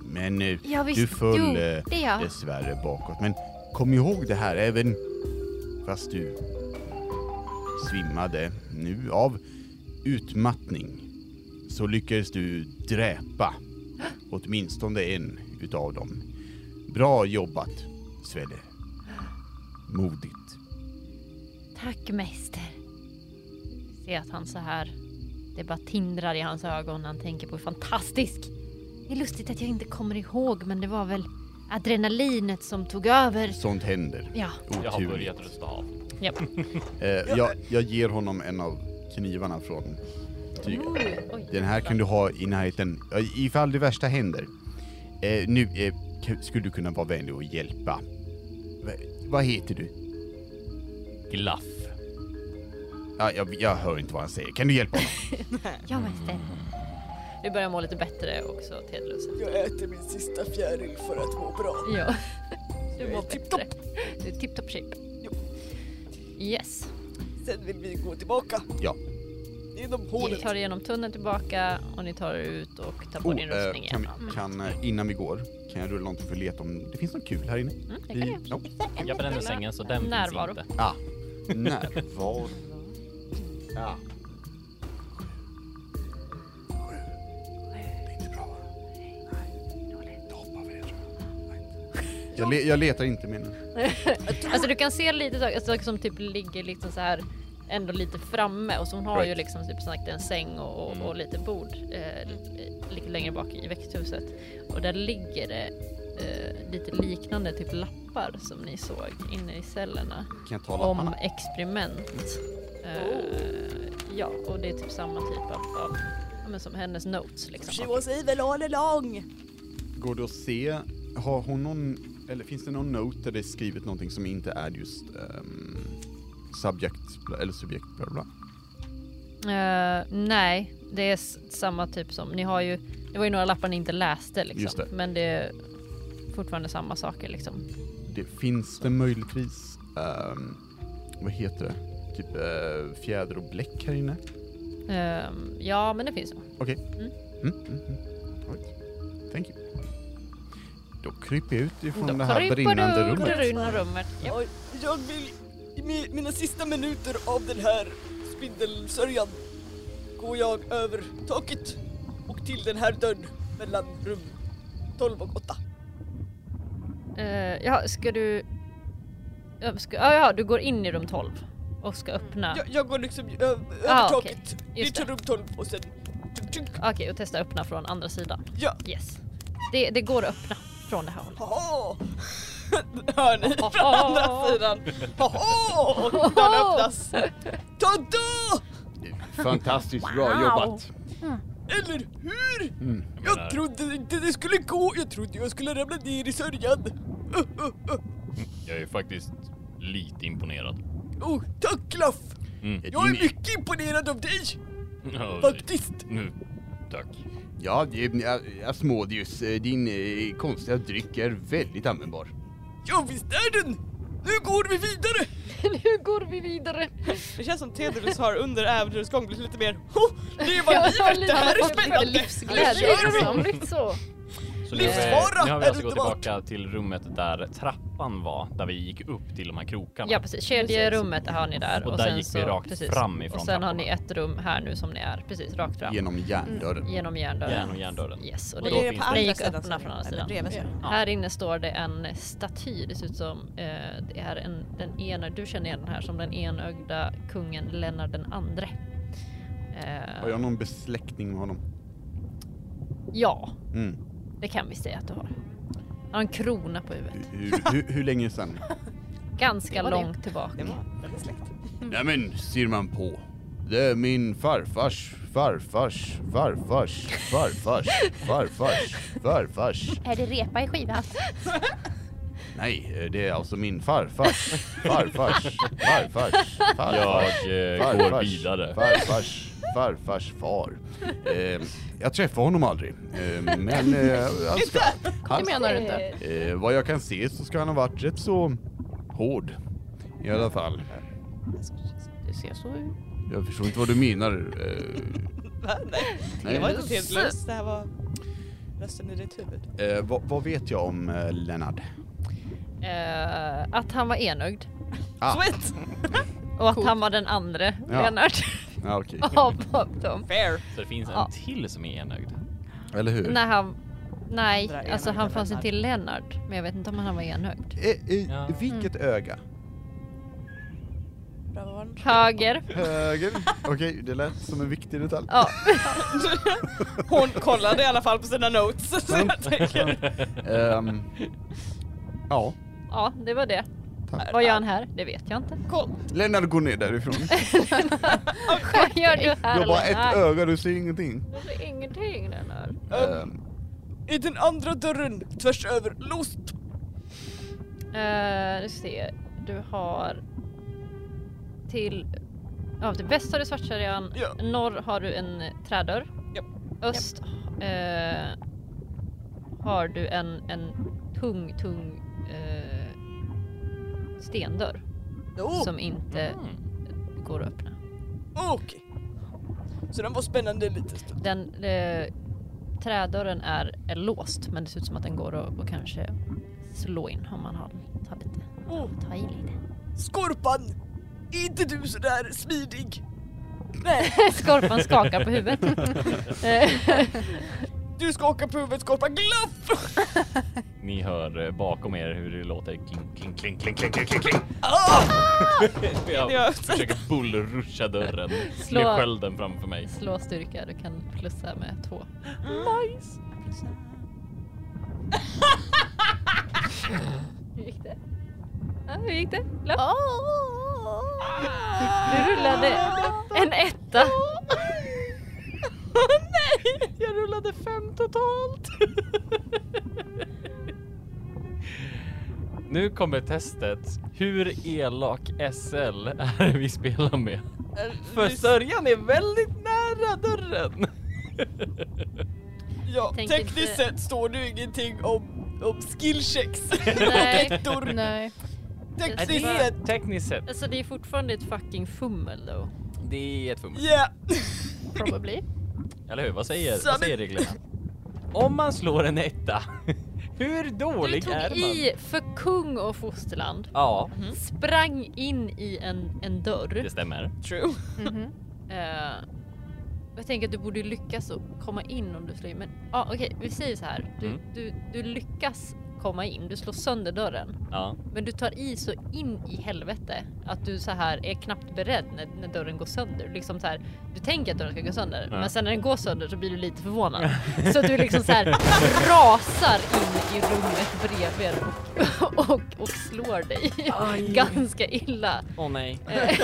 L: Men eh,
G: Ja, visst.
L: du föll
G: Jo,
L: eh,
G: det ja.
L: dessvärre bakåt. Men kom ihåg det här även fast du svimmade nu av utmattning så lyckades du dräpa åtminstone en utav dem. Bra jobbat Svelle. Modigt.
B: Tack mäster. Se att han så här. Det bara tindrar i hans ögon när han tänker på hur fantastisk. Det är lustigt att jag inte kommer ihåg men det var väl adrenalinet som tog över.
L: Sånt händer.
B: Ja,
A: Jag har
L: Oturligt.
A: börjat rusta av.
B: ja.
E: eh, jag, jag ger honom en av knivarna från tyget.
B: Mm. Oj.
L: Den här kan du ha i närheten ja, ifall det värsta händer. Eh, nu eh, k- skulle du kunna vara vänlig och hjälpa. Va, vad heter du?
A: Glaff.
L: Ja, jag, jag hör inte vad han säger. Kan du hjälpa honom?
B: Ja mäster. Du börjar må lite bättre också Tedlus.
C: Jag äter min sista fjäril för att må bra.
B: Ja. Du
C: Jag
B: mår
C: är
B: bättre.
C: tipptopp.
B: Du är tipptopp shape.
C: Jo.
B: Yes.
C: Sen vill vi gå tillbaka.
L: Ja.
C: Genom
B: Ni
C: hålet.
B: tar er genom tunneln tillbaka och ni tar er ut och tar på din
E: eh,
B: rustning
E: kan,
B: igen. Mm.
E: vi- kan, eh, innan vi går, kan jag rulla någonting för att leta om det finns något kul här inne?
B: Mm, det kan
E: Vi,
B: jag.
E: nope.
K: Jag bränner sängen så den
B: Närvaro.
K: finns inte.
E: Ah, närvaro. Ja. Jag, le- jag letar inte med den.
B: Alltså du kan se lite saker saker som typ ligger liksom så här ändå lite framme och som har ju
E: Right.
B: liksom typ sagt en säng och, och, och lite bord eh, li- lite längre bak i växthuset och där ligger det eh, lite liknande typ lappar som ni såg inne i cellerna
E: Kan jag ta
B: om
E: lapparna? Mm.
B: experiment. Eh, Ja, och det är typ samma typ av, av ja, men som hennes notes
C: She
B: liksom.
C: was evil all along.
E: Går det att se, har hon någon, eller finns det någon note där det är skrivet någonting som inte är just um, subject, bla- eller subjekt, bla bla?
B: Eh, nej, det är s- samma typ som, ni har ju, det var ju några lappar ni inte läste liksom.
E: Just det.
B: Men det är fortfarande samma saker liksom.
E: Det, finns det möjligtvis, ehm, vad heter det, typ eh, fjäder och bläck här inne?
B: Eh, ja, men det finns nog.
E: Okej.
B: Mm.
E: Mm. Mm. Mm. Right. Thank you. Då kryper jag ut ifrån
B: Då
E: det här
B: kryper
E: brinnande
B: du
E: rummet.
B: ur rummet. Ja.
C: Ja, jag vill i mi- mina sista minuter av den här spindelsörjan går jag över taket och till den här dörren mellan rum 12 och 8.
B: Eh, ja, ska du... Ja, ska, ja, ja, du går in i rum 12 och ska öppna.
C: Jag, jag går liksom ö- över
B: Ah, okej.
C: taket ner
B: Just
C: till
B: det.
C: rum 12 och sen tjunk, tjunk.
B: Okej, och testa öppna från andra sidan.
C: Ja.
B: Yes. Det, det går att öppna från det här hållet.
C: Haha! [LAUGHS] Hör ni från andra sidan? Haha! Och Dörren öppnas. Tada!
E: Fantastiskt
G: bra jobbat.
C: Eller hur?
E: Mm.
A: menar-
C: Jag trodde inte det skulle gå. Jag trodde jag skulle ramla ner i sörjan. Uh, uh, uh.
A: Jag är faktiskt lite imponerad.
C: Oh, tack Klaff!
A: Mm.
C: Jag är mycket imponerad av dig
A: Ja,
C: faktiskt!
A: Nu, tack.
L: Ja, det- eh, Asmodeus, eh, din eh, konstiga dryck är väldigt användbar.
C: Ja visst är den! Nu går vi vidare!
B: [LAUGHS] nu går vi vidare.
A: [LAUGHS]
C: Det känns som Tedrus har under äventyrets gång blivit lite mer oh, det var livet, det här är spännande!
B: Livsglädje
C: Nu kör vi!
B: liksom. Så.
A: Så nu, är vi-
C: Livsfara
A: nu har vi
C: är
A: alltså gått
C: underbart.
A: tillbaka till rummet där trappan var, där vi gick upp till de här krokarna.
B: Ja precis, kedjerummet har ni där.
A: Och där
B: sen
A: gick vi
B: så,
A: rakt
B: precis.
A: fram ifrån
B: Och sen har
A: trapporna.
B: ni ett rum här nu som ni är, precis rakt fram.
E: Genom järndörren.
B: Genom järndörren.
A: Järn och järndörren.
B: Yes, och
A: Och
B: det,
A: då
B: det,
A: finns det-
B: gick
C: sidan
B: öppna
C: så-
B: från andra
C: eller
B: sidan.
C: bredvid sidan.
A: Ja.
B: Här inne står det en staty, det ser ut som eh, det är en, den ena, du känner igen den här som den enögda kungen Lennart den andre. Eh,
E: Har jag någon besläktning med honom?
B: Ja,
E: Mm.
B: det kan vi säga att du har. Han har en krona på huvudet.
E: Hur, hur, hur, hur länge sedan?
B: Ganska
C: var det.
B: långt tillbaka.
E: Nej men ser man på. Det är min farfars farfars farfars farfars farfars farfars.
G: Är det repa i skivan?
E: Nej, det är alltså min farfars farfars farfars
M: Jag
E: farfars.
M: eh, går vidare.
E: Farfars, farfars far. Eh, jag träffade honom aldrig. Eh, men eh, han ska, han,
N: Det menar du inte?
E: eh, vad jag kan se så ska han ha varit rätt så hård. I alla fall.
N: Det ser så ut.
E: Jag förstår inte vad du menar. Eh,
C: Va? Nej,
E: nej.
C: det var inte helt löst. Det här var rösten i ditt huvud.
E: Eh, vad, vad vet jag om eh, Lennart?
B: Eh, att han var enögd
E: Ah.
C: [LAUGHS] Sweet!
B: och att han var den andre
E: Ja.
C: [LAUGHS]
B: Lennart
E: Ja,
N: [LAUGHS]
E: okej.
B: av dem.
C: Fair!
A: Så det finns en
B: Ja.
A: till som är
B: [LAUGHS]
A: enögd.
E: Eller hur?
B: När han... Nej,
C: Andra
B: alltså
C: enögda
B: han fanns
C: Lennart.
B: inte till Lennart, men jag vet inte om han var enögd.
E: Eh, eh,
A: Ja.
E: Vilket
N: Mm.
E: öga?
C: Bra, vad var
F: [LAUGHS]
C: den?
B: Höger.
E: Höger? Okej, det lät som en viktig detalj.
B: Ja, [LAUGHS]
C: Hon kollade i alla fall på sina
F: [LAUGHS]
C: notes. Så
A: Mm.
C: jag tänker,
E: Ehm, ja,
B: ja, det var det.
E: Tack.
B: Vad gör han här? Det vet jag inte.
E: Lennart går ner därifrån.
B: [LAUGHS] Vad gör du här?
E: Du har bara
B: Lennart?
E: ett öga, du ser ingenting.
B: Det blir ingenting Lennart.
E: Ehm,
C: I den andra dörren tvärs över, låst!
B: Uh, nu ska vi se. Du har till... Ja, till väst har du Svartsärjan.
C: Ja.
B: Norr har du en trädörr.
C: Japp.
B: Öst eh, har du en, en tung, tung eh, stendörr
C: Oh,
B: som inte
A: Mm.
B: går att öppna.
C: Okej. Så den var spännande en liten stund.
B: Den eh, trädörren är, är låst men det ser ut som att den går att, att kanske slå in om man har, tar lite,
C: Oh,
B: tar i lite.
C: Skorpan! Är inte du sådär smidig? Nej,
B: [LAUGHS] Skorpan skakar på huvudet. [LAUGHS] Eh,
C: du ska åka på huvudet Skorpan. Glaff!
A: Ni hör eh, bakom er hur det låter kling, kling, kling, kling, kling, kling, kling, kling.
C: Ah!
A: [LAUGHS] Jag
C: Jag-
A: försöker bullruscha dörren
B: [LAUGHS] Slå.
A: med skölden framför mig.
B: Slå styrka, du kan plussa med två.
C: [LAUGHS]
B: Hur gick det? Ja, hur gick det? Lopp.
C: Ah!
B: Du rullade en etta.
C: Ah! [LAUGHS] Nej! Jag rullade fem totalt.
A: Nu kommer testet. Hur elak SL är vi spelar med?
B: Eh,
A: För Sörjan är väldigt nära dörren.
C: Ja,
B: Tänk
C: tekniskt
B: inte-
C: sett står det ju ingenting om, om
B: [LAUGHS]
C: skillchecks.
A: [LAUGHS]
B: Nej.
C: Dor-
K: [LAUGHS]
N: Nej.
C: tekniskt
B: bara-
C: sett.
A: Tekniskt sett,
B: Alltså det är fortfarande ett fucking fummel då.
A: det är ett fummel.
C: Yeah.
B: Probably.
A: Eller hur? Vad säger,
C: Så
A: vad
C: men-
A: säger reglerna? Om man slår en etta, [LAUGHS] hur
B: Du
A: dålig
B: tog
A: är man? Mm.
B: i Mhm. för kung och fosterland.
A: Ja,
B: Sprang in i en, en dörr.
A: det stämmer.
C: True.
B: Eh, jag tänker att du borde ju lyckas att komma in om du slår in. Men ja, okej, vi säger så här. Du,
A: Mm.
B: du, du lyckas komma in, du slår sönder dörren.
A: Ja.
B: Men du tar i så in i helvete att du så här är knappt beredd när, när dörren går sönder. Du Liksom så här, du tänker att dörren ska gå sönder,
A: Ja.
B: men sen när den går sönder så blir du lite förvånad. [LAUGHS] Så att du liksom så här rasar in i rummet bredvid och, och, och slår dig ganska illa.
A: [LAUGHS] Åh nej.
B: Eh,
A: nej,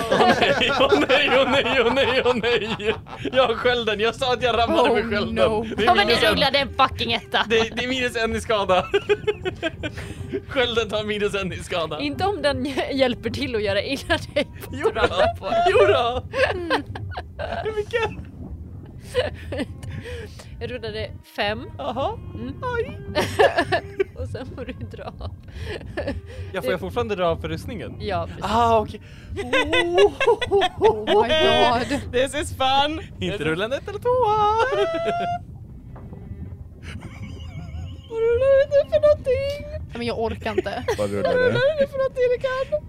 A: åh nej, åh nej, åh nej, åh nej! Jag har skölden, jag sa att jag ramlade med skölden. Det,
B: Oh, Ja
A: är
B: men du
A: minus en.
B: rullade en fucking etta!
A: Det, är- det är minus en i skada. [LAUGHS] skölden tar minus en i skada.
B: Inte om den [LAUGHS] hjälper till att göra illa dig.
A: Jo då. Jo då. Vilken?
B: Jag rullade fem.
A: Jaha.
B: Mm.
A: Oj.
B: [LAUGHS] Och sen får du dra av.
A: Jag får jag fortfarande dra av för rustningen?
B: Ja, precis.
A: Ah, okej.
G: Oh my god.
F: This is fun!
A: Inte rulla en ett eller [LAUGHS] tvåa!
G: Vad rullar du nu för någonting? Nej, men jag orkar inte.
K: [LAUGHS]
E: Vad rullar det?
G: Vad är det för någonting Rickard?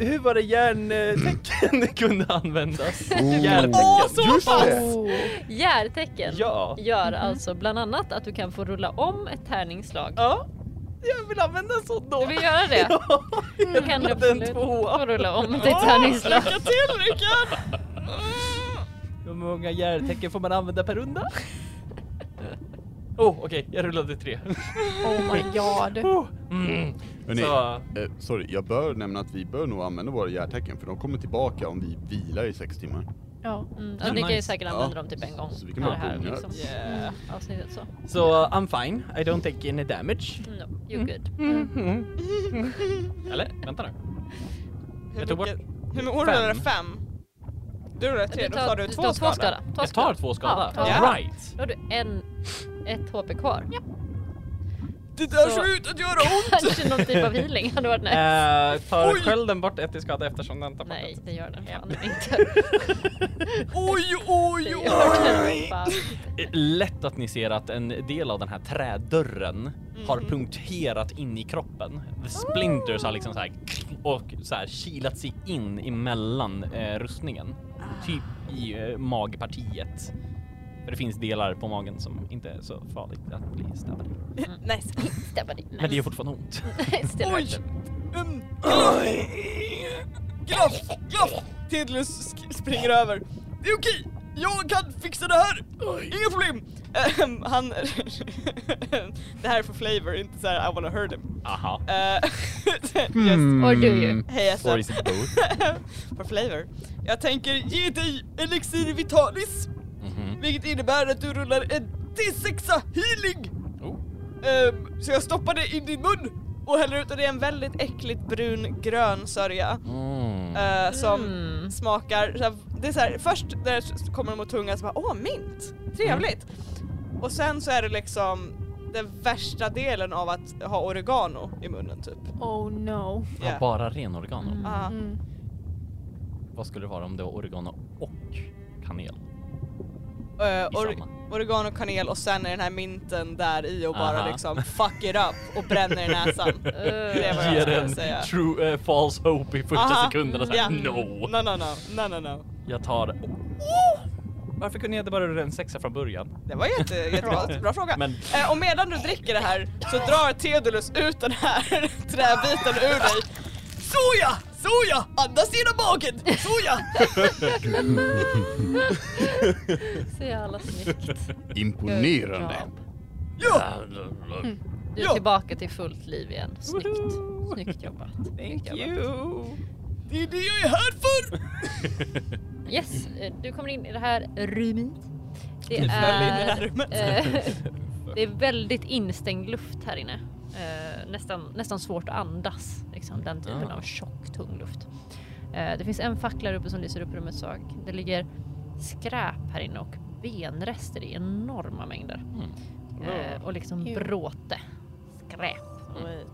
A: Hur var det järntecken [LAUGHS] kunde användas?
E: Oh.
A: Järntecken.
E: Just det!
G: Oh.
B: Järtecken
A: Ja.
B: gör
F: Mhm.
B: alltså bland annat att du kan få rulla om ett tärningsslag.
A: Ja, jag vill använda en sån då.
B: Du vill göra
F: [LAUGHS]
B: det? Då kan du
A: rullade en
B: absolut
A: tvåa.
B: få rulla om ditt tärningsslag.
F: Lycka till Rickard!
A: Hur många järntecken får man använda per runda? Oh, okej, jag rullade tre.
G: oh my god.
A: Oh. Mm.
E: Hörrni,
A: Så,
E: eh, sorry, jag bör nämna att vi bör nog använda våra hjärtecken för de kommer tillbaka om vi vilar i sex timmar.
G: Ja.
B: Mm, ja, ni kan ju
A: Nice.
B: säkert använda dem typ en gång
E: Så vi kan
B: per
E: bara
B: här
E: punga.
B: liksom.
F: eh,
A: Yeah.
B: Mm, avsnittet så.
A: så I'm fine, I don't take any damage.
B: No, you're
F: Mm.
B: good.
A: Eller? Vänta nu.
F: Hur,
A: Jag tog bort-
F: mycket, hur många år rullar
A: Fem.
F: du? Fem? Du rullar tre,
B: Du
F: då tar du två
B: tar
F: skada.
B: Två
A: Jag tar två skada.
B: Ja,
F: Ja.
A: Right!
B: Då har du en, ett HP kvar. [LAUGHS]
F: Det där
B: Så-
F: ser ut att göra
B: [LAUGHS]
F: ont!
B: Kanske någon typ av healing hade varit nice.
A: Eh, tar
F: Oj.
A: skölden bort ett i skada eftersom den tar bort
B: Nej,
A: ett?
B: det gör den fan
F: [LAUGHS]
B: inte.
A: [LAUGHS]
B: [LAUGHS]
F: Oj, oj,
B: Det
F: oj!
B: gör den fan
A: Eh, Lätt att ni ser att en del av den här trädörren har
B: Mm.
A: punkterat in i kroppen. The splinters har liksom så här och så här kilat sig in emellan eh, rustningen.
B: Ah.
A: Typ i eh, magpartiet. För det finns delar på magen som inte är så farligt att bli stabbad i.
F: Nice.
B: Stabba dig.
A: Men det gör fortfarande ont.
B: [LAUGHS] Oj!
F: Oj! Um, glaff, glaff! Tedlus sk- springer över. Det är okej, jag kan fixa det här! Inga problem! Ehm, han... [LAUGHS] det här är för flavor, inte så här I wanna hurt him.
A: [LAUGHS] Aha.
F: Eh, [LAUGHS] just,
A: Hmm.
E: Mm.
B: Or do you?
F: hej alltså.
A: Or is it
B: [LAUGHS]
A: both?
F: [LAUGHS] för flavor. Jag tänker ge dig elixir vitalis,
A: Mhm.
F: vilket innebär att du rullar en D6 healing!
A: Oh.
F: Ehm, så jag stoppar det i din mun och häller ut och det är en väldigt äckligt brun grön sörja
A: Mm.
B: Uh,
F: eh, som
B: Mm.
F: smakar, så här, det är så här, först när det kommer mot tungan så bara åh mint, trevligt! Och sen så är det liksom den värsta delen av att ha oregano i munnen typ.
G: Oh no.
A: Ja,
F: ja.
A: bara ren oregano.
B: Mm.
F: Ah.
G: Mm.
A: Vad skulle det vara om det var oregano och kanel?
F: Eh,
A: I
F: or-
A: samma.
F: oregano och kanel och sen är den här minten där i och bara
A: Aha.
F: liksom fuck it up och bränner
A: [LAUGHS]
F: i näsan.
B: Eh,
F: det var jag
A: Ger
F: skulle
A: en
F: säga.
A: true, eh, false hope i första
F: Aha.
A: sekunden och så här,
F: Ja.
A: no.
F: No, no, no, no, no, no.
A: Jag tar...
F: Oh!
A: Varför kunde jag inte bara rulla en sexa från början?
F: Det var jätte, Eh,
A: [LAUGHS]
F: jättebra, bra fråga.
A: Men-
F: Eh, och medan du dricker det här så drar Theodulus ut den här [LAUGHS] träbiten ur dig. Såja! Såja! Andas genom magen! Såja!
B: [LAUGHS] Så jävla snyggt.
O: Imponerande.
F: Ja!
B: Mm, Du är
F: Ja.
B: tillbaka till fullt liv igen. Snyggt. Snyggt
F: [LAUGHS]
B: jobbat. Snyggt jobbat.
F: Det är det jag är här för!
B: Yes, eh, du kommer in i det här rummet. Det
F: Du föll in i det här
B: är,
F: rummet. [LAUGHS]
B: eh, det är väldigt instängd luft här inne. Eh, nästan, nästan svårt att andas, liksom, den typen
A: Ah.
B: av tjock, tung luft. Eh, det finns en fackla här uppe som lyser upp rummet svag. Det ligger skräp här inne och benrester i enorma mängder. Eh, och liksom
G: Ew.
B: bråte. Skräp.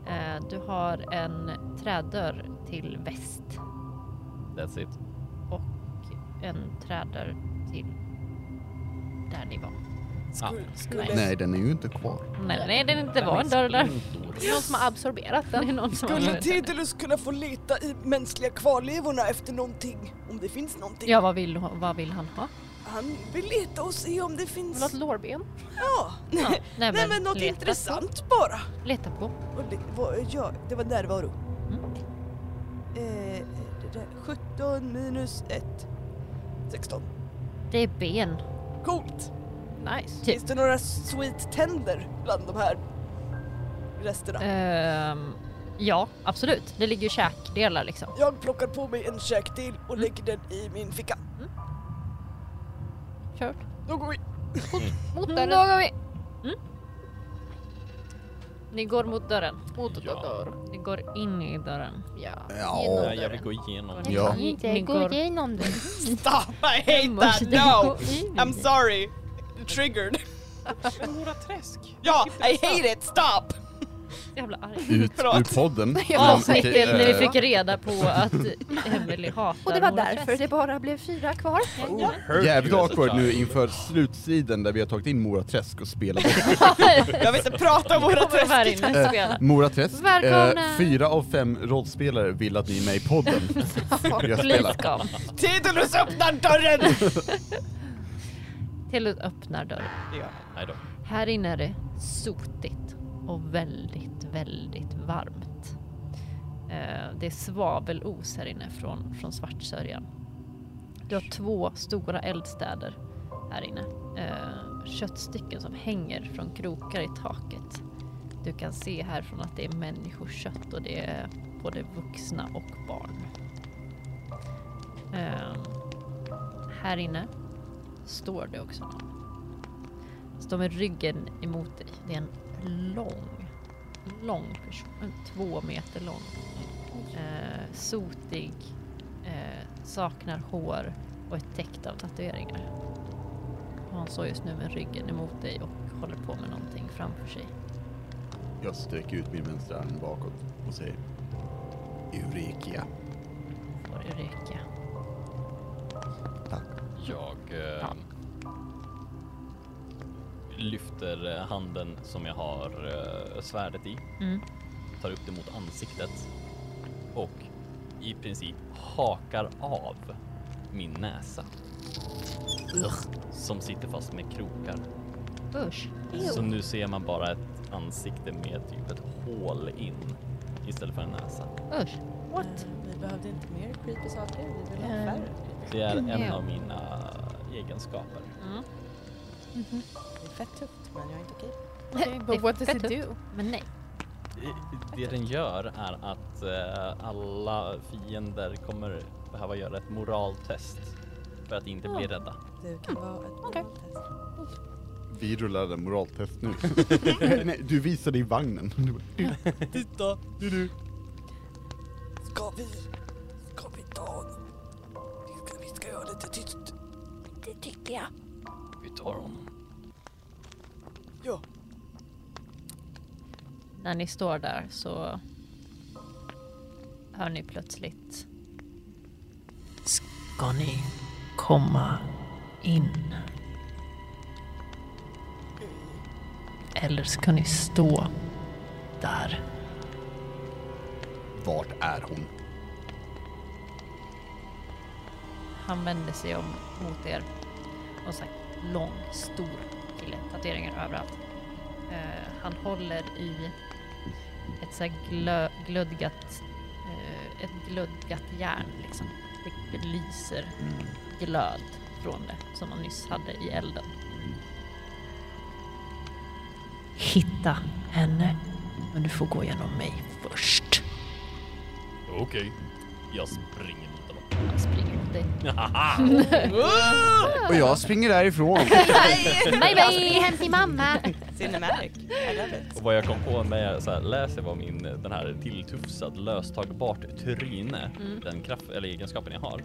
B: Eh, du har en trädörr till väst
A: [LAUGHS] That's it.
B: och en trädörr till där ni var.
A: Ah.
B: Nej,
E: Nej, den är ju inte kvar.
B: nej, nej det är liksom inte var en dörr där.
G: Det är någon som har absorberat
B: Det är
G: den.
B: någon som har
C: Skulle
B: varit där.
C: Tidulus kunna få leta i mänskliga kvarlevorna efter någonting? Om det finns någonting?
B: Ja, vad vill, hon- vad vill han ha?
C: Han vill leta och se om det finns...
G: Något lårben.
C: Ja.
B: Ja,
C: Nej,
B: [LAUGHS] nej,
C: men, något
B: leta
C: intressant bara.
B: På, leta på.
C: Och det, vad, ja, det var närvaro.
B: Mm.
C: Eh, det där, 17 minus 1. 16.
B: Det är ben.
C: Coolt!
G: Nice.
C: Finns det några sweet tänder bland de här resterna?
B: Ehm, ja, absolut. Det ligger ju käkdelar liksom.
C: Jag plockar på mig en käkdel och lägger den i min ficka.
G: Kört.
C: Då går vi.
G: Mot
B: Mm, då
G: dörren.
B: går vi. Mm. Ni går mot dörren.
G: Mot dörren.
B: Ni går in i dörren.
G: Ja.
E: Ja.
G: Genom
A: Nej, jag
G: dörren.
A: vill gå igenom.
E: Ja.
B: Ni- ni går-
G: igenom det.
F: Stop! I hate that!
B: Måste ni
F: No!
B: gå in?
F: I'm sorry! Triggered.
A: Stora träsk.
F: Ja, I hate it! Stop!
B: jävla arg.
E: ut ur podden.
B: Avsnittet när vi
E: Eh,
B: fick reda på att Emily hatar
G: Och det var
B: våra
G: därför
B: [LAUGHS]
G: det bara blev fyra kvar.
A: Oh,
E: Jävligt awkward nu inför slutstriden där vi har tagit in Mora Träsk och spelat.
F: Jag vill [LAUGHS] inte prata om våra
B: Kommer här
F: träsk.
E: Eh,
B: inne och spelar.
E: Mora Träsk,
G: Välkomna.
E: eh, fyra av fem rollspelare vill att ni är med i podden. Jag spelar.
B: Please come.
F: Tidulus öppnar dörren!
B: Tillus öppnar dörren.
F: Ja.
P: Nej då.
B: Här inne är det sotigt och väldigt, väldigt varmt. Eh, Det är svavelos här inne från, från svartsörjan. Du har två stora eldstäder här inne. Eh, Köttstycken som hänger från krokar i taket. Du kan se härifrån att det är människokött och det är både vuxna och barn. Eh, Här inne står det också någon står med ryggen emot dig. Det är en lång, lång person. En två meter lång. Eh, sotig. Eh, saknar hår och är täckt av tatueringar. Och han står just nu med ryggen emot dig och håller på med någonting framför sig.
E: Jag sträcker ut min vänstra arm bakåt och säger Eureka.
B: Får Eureka.
A: Jag eh, lyfter eh, handen som jag har eh, svärdet i,
B: Mm.
A: tar upp det mot ansiktet och i princip hakar av min näsa. Som sitter fast med krokar.
B: Usch.
A: Så nu ser man bara ett ansikte med typ ett hål in istället för en näsa.
B: Usch. What?
F: Vi behövde inte mer creepy saker, vi ville ha färre.
A: Det är en
B: Ja.
A: av mina egenskaper.
B: Mm.
G: [LAUGHS]
F: Det är fett tufft, men jag är inte okej.
B: Det är
G: But Mm-hmm. what does
B: fett
G: it do?
B: Men nej.
A: Det den gör är att eh, alla fiender kommer behöva göra ett moraltest för att inte bli rädda.
F: Du kan vara ett okay.
E: Vi rullar en moraltest [LAUGHS] nu. Nej, du visade i vagnen. Du bara,
F: Titta! Du, du. Ska vi... Ska vi ta... Vi ska, vi ska göra lite tyst.
G: Det tycker jag.
A: Vi tar honom.
F: Ja.
B: När ni står där så hör ni plötsligt. Ska ni komma in? Eller ska ni stå där?
E: Vart är hon?
B: Han vänder sig om mot er. Och så här lång, stor kille. Tatueringar överallt. Eh, han håller i ett så här glö, glödgat, eh, ett glödgat järn liksom. Det lyser glöd från det som han nyss hade i elden. Hitta henne, men du får gå genom mig först.
Q: Okej.
A: Jag springer mot honom.
B: Han springer mot dig.
R: Och jag springer därifrån.
G: Bye bye! Jag springer hem till mamma.
F: Cinemärk. I love it.
A: Och vad jag kom på när jag så här läser var min, den här tilltufsad löstagbart tryne, den kraft, eller egenskapen jag har,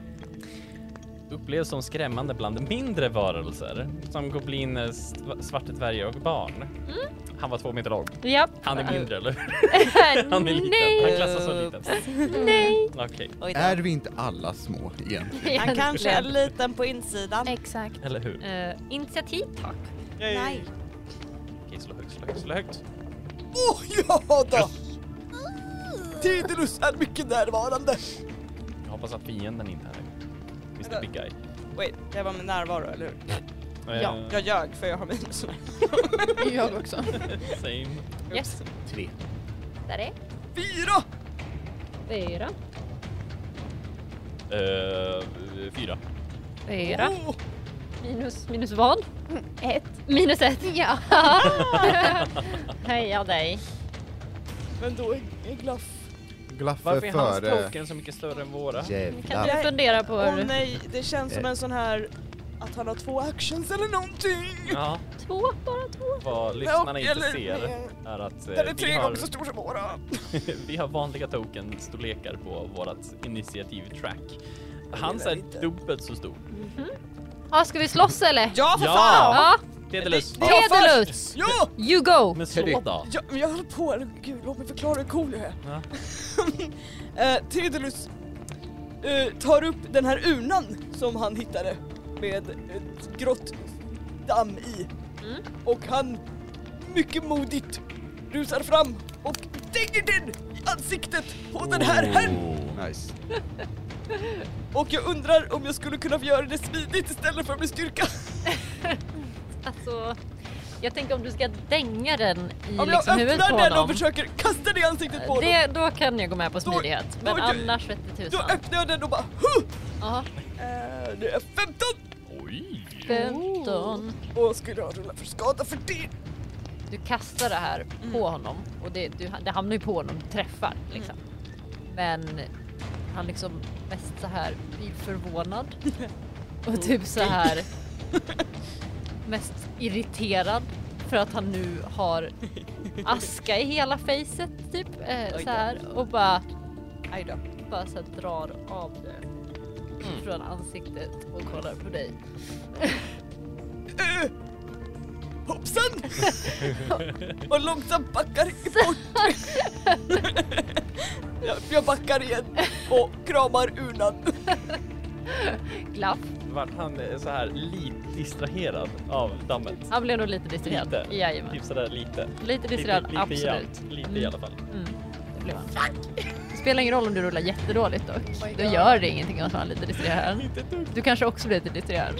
A: upplevs som skrämmande bland mindre varelser som gobliner, st- svarta dvärgar och barn. Han var två meter lång.
B: Japp.
A: Han är mindre eller hur? Han är [LAUGHS] liten. Han klassas som liten.
G: Nej.
A: Okej.
F: Oj då.
E: Är vi inte alla små egentligen?
F: Han kanske är liten på insidan.
G: Exakt.
A: Eller hur?
B: Eh, initiativ tack.
F: Nej.
A: Okej, slå högt, slå högt, slå högt.
C: Åh, ja då! Tidulus är mycket närvarande.
A: Jag hoppas att fienden inte är här. Mr Big Guy.
F: Wait, det var med närvaro, eller hur?
A: Ja.
F: Jag ljög för jag har minus.
G: Jag också.
A: Eh, Same.
B: Yes.
R: Tre.
B: Där är
C: Fyra!
B: Fyra.
A: Eh, fyra.
B: Fyra.
C: Åh,
B: Minus, minus vad?
G: Ett.
B: Minus ett.
G: Ja.
B: [LAUGHS] Heja dig.
C: Men då är är glaff...
E: Glaffe
A: Varför är hans
E: före...
A: token så mycket större än våra?
B: Kan
E: Jävlar.
B: du fundera på
F: Åh
B: hur
F: nej, det känns som en sån här... Att han har två actions eller någonting.
A: Ja,
B: två, bara två?
A: vad lyssnarna
F: och-
A: inte
F: eller-
A: ser är att eh,
F: Den
A: vi,
F: är tre gånger
A: har,
F: så stor som våra.
A: [LAUGHS] vi har vanliga token-storlekar på vårt initiativ-track. Hans
F: gillar
A: är
F: inte.
A: dubbelt så stor.
B: Ja, ska vi slåss eller?
F: Ja, för
A: Ja.
F: fan!
B: Ja.
K: Tedelus.
C: Det är jag först!
B: Tedelus!
C: Ja!
B: You go!
K: Men slå då.
C: Jag, men jag höll på, eller gud låt mig förklara hur cool jag är.
K: Ja.
C: [LAUGHS] eh, Tedelus eh, tar upp den här urnan som han hittade med ett grått damm i.
B: Mm.
C: Och han mycket modigt rusar fram och dänger den i ansiktet på den här herrn.
E: Oh, Nice.
C: Och jag undrar om jag skulle kunna få göra det smidigt istället för med styrka.
B: Mm, Alltså, jag tänker om du ska dänga den i
C: Om jag
B: liksom huvudet på
C: öppnar den
B: honom. Eh,
C: och försöker kasta den i ansiktet på honom.
B: det, då kan jag gå med på
C: Då-
B: smidighet,
C: då
B: men
C: är det-
B: annars vette
C: Då
B: tusan.
C: öppnar jag den och bara huh!
B: Ja,
C: Eh, Det är 15
S: Oj.
B: 15.
C: och skulle jag rulla för skada för det.
B: Du kastar det här
K: Mm.
B: på honom och det, du, det hamnar ju på honom, du träffar liksom. Men han liksom mest så här blir förvånad
K: [LAUGHS]
B: och typ så här mest irriterad för att han nu har aska i hela facet typ eh, så här och bara aj då, bara så här drar av det
K: Mm.
B: från ansiktet och kollar på dig.
C: Eh, Hoppsan! och långsamt backar i bort. jag, jag backar igen och kramar urnan.
B: Glapp.
K: Vart han är så här lite distraherad av dammet.
B: Han blev nog lite distraherad.
K: Lite.
B: Jajamän.
K: Typ sådär lite.
B: Lite distraherad,
K: lite, lite i all-
B: absolut.
K: Lite i
B: Mm.
K: alla fall.
B: Det blev han. Det spelar ingen roll om du rullar jättedåligt dock. Då gör det ingenting om han är lite distraherad. Du kanske också blir lite distraherad.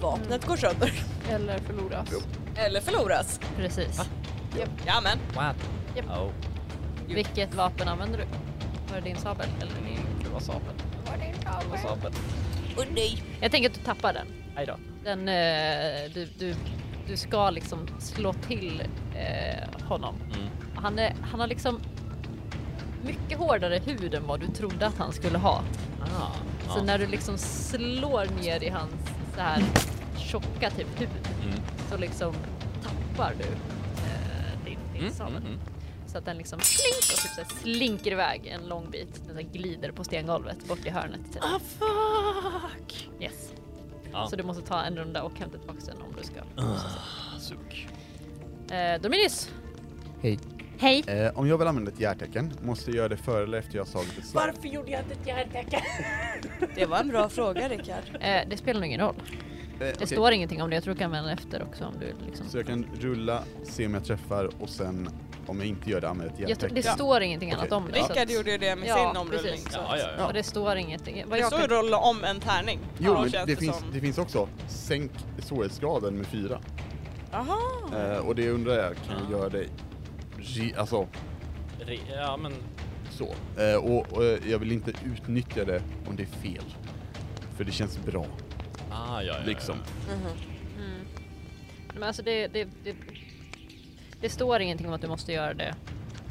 F: Vapnet går sönder.
D: Eller förloras.
F: Eller förloras.
B: Precis.
F: Jajamän.
K: What?
D: Japp.
K: Oh.
B: Vilket vapen använder du? Var det din sabel? Eller din...
K: Det var sabeln. Det var sabeln.
F: Och nej.
B: Jag tänker att du tappar den.
K: Aj då.
B: den eh, du, du, du ska liksom slå till eh, honom. Han, är, han har liksom mycket hårdare hud än vad du trodde att han skulle ha.
K: Ah.
B: Så när du liksom slår ner i hans så här tjocka typ hud så liksom tappar du eh, din, din
A: Mm,
B: sabel. Så att den liksom slink och typ så här slinker iväg en lång bit. Den så här glider på stengolvet bort i hörnet. Typ. Ah fuck! Yes.
K: Ja.
B: Så du måste ta en runda och hämta tillbaka den om du ska.
A: Ah,
K: Suck.
B: Eh, Dominius!
E: Hej.
B: Hej!
E: Eh, om jag vill använda ett hjärtecken, måste jag göra det före eller efter jag har slagit ett slag?
G: Varför gjorde jag inte ett hjärtecken?
F: Det var en bra fråga Rickard.
B: Eh, det spelar nog ingen roll.
E: Eh,
B: Det
E: okej.
B: står ingenting om det. Jag tror du kan använda den efter också om du vill, liksom.
E: Så jag kan rulla, se om jag träffar och sen om jag inte gör det använder jag ett
B: Jag tror,
E: hjärtecken.
B: det står ingenting annat
E: Okej.
B: om det. så att-
F: [LAUGHS] Rickard gjorde ju det med
B: Ja,
F: sin omrullning.
B: precis.
F: Så.
K: Ja, ja, ja.
B: Och det står ingenting. Vad
F: Det
B: jag
F: står ju
B: kan...
F: rolla om en tärning.
E: Jo,
F: Ja,
E: men
F: känns
E: det finns,
F: som.
E: det finns också sänk svårighetsgraden med fyra.
F: Aha.
E: Eh, och det undrar jag, kan jag
K: Ah.
E: göra det ri- alltså
K: Re- Ja, men
E: så? Eh, och, och jag vill inte utnyttja det om det är fel. För det känns bra,
K: Ah, ja, ja,
E: liksom.
B: Men alltså det, det, det, det står ingenting om att du måste göra det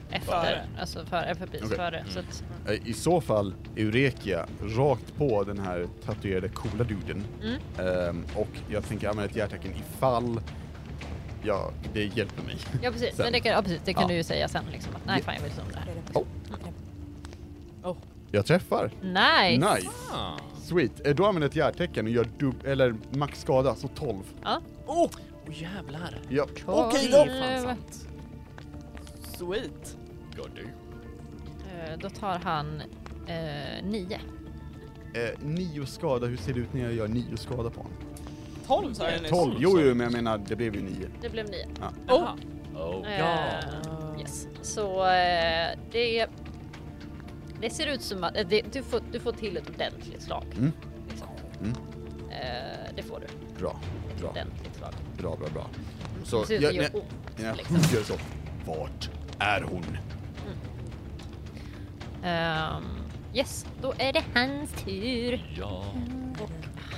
B: efter.
F: Före.
B: Alltså före, förbi,
E: Okej.
B: före. Så att,
E: Eh, I så fall, Eurekia, rakt på den här tatuerade coola duden.
B: Mm.
E: Ehm, och jag tänker använda ett hjärtecken ifall ja, det hjälper mig.
B: ja precis,
E: Sen.
B: men det kan, ja, precis, det kan
E: Ja.
B: du ju säga sen liksom. Att, nej
E: Ja.
B: fan jag vill inte om det här.
E: Oh. Jag träffar!
B: Nice!
E: Nice! Sweet! Eh, Då använder jag ett hjärtecken och gör dub- eller max skada, så 12.
B: Ja.
C: Åh,
K: Oh, jävlar.
E: Ja.
C: Okej
B: då.
C: sweet.
K: God du.
B: Då tar han eh, nio.
E: Eh, nio skada, hur ser det ut när jag gör nio skada på honom?
F: 12 sa jag nyss.
E: 12, jo, jo men jag menar det blev ju nio.
B: Det blev nio.
K: Oh. Oh, ja.
B: Eh, yes. Så eh, det det ser ut som att eh, det, du, får, du får till ett ordentligt slag.
E: Mm.
B: Liksom.
E: Mm.
B: Eh, det får du. Ett
E: Bra, bra,
B: ordentligt slag.
E: bra, bra, bra. Så
B: Det ser
E: jag,
B: ut att det
E: när,
B: gör ont.
E: när jag
B: liksom.
E: hugger så, vart är hon?
B: Ehm, yes, då är det hans tur.
K: Ja.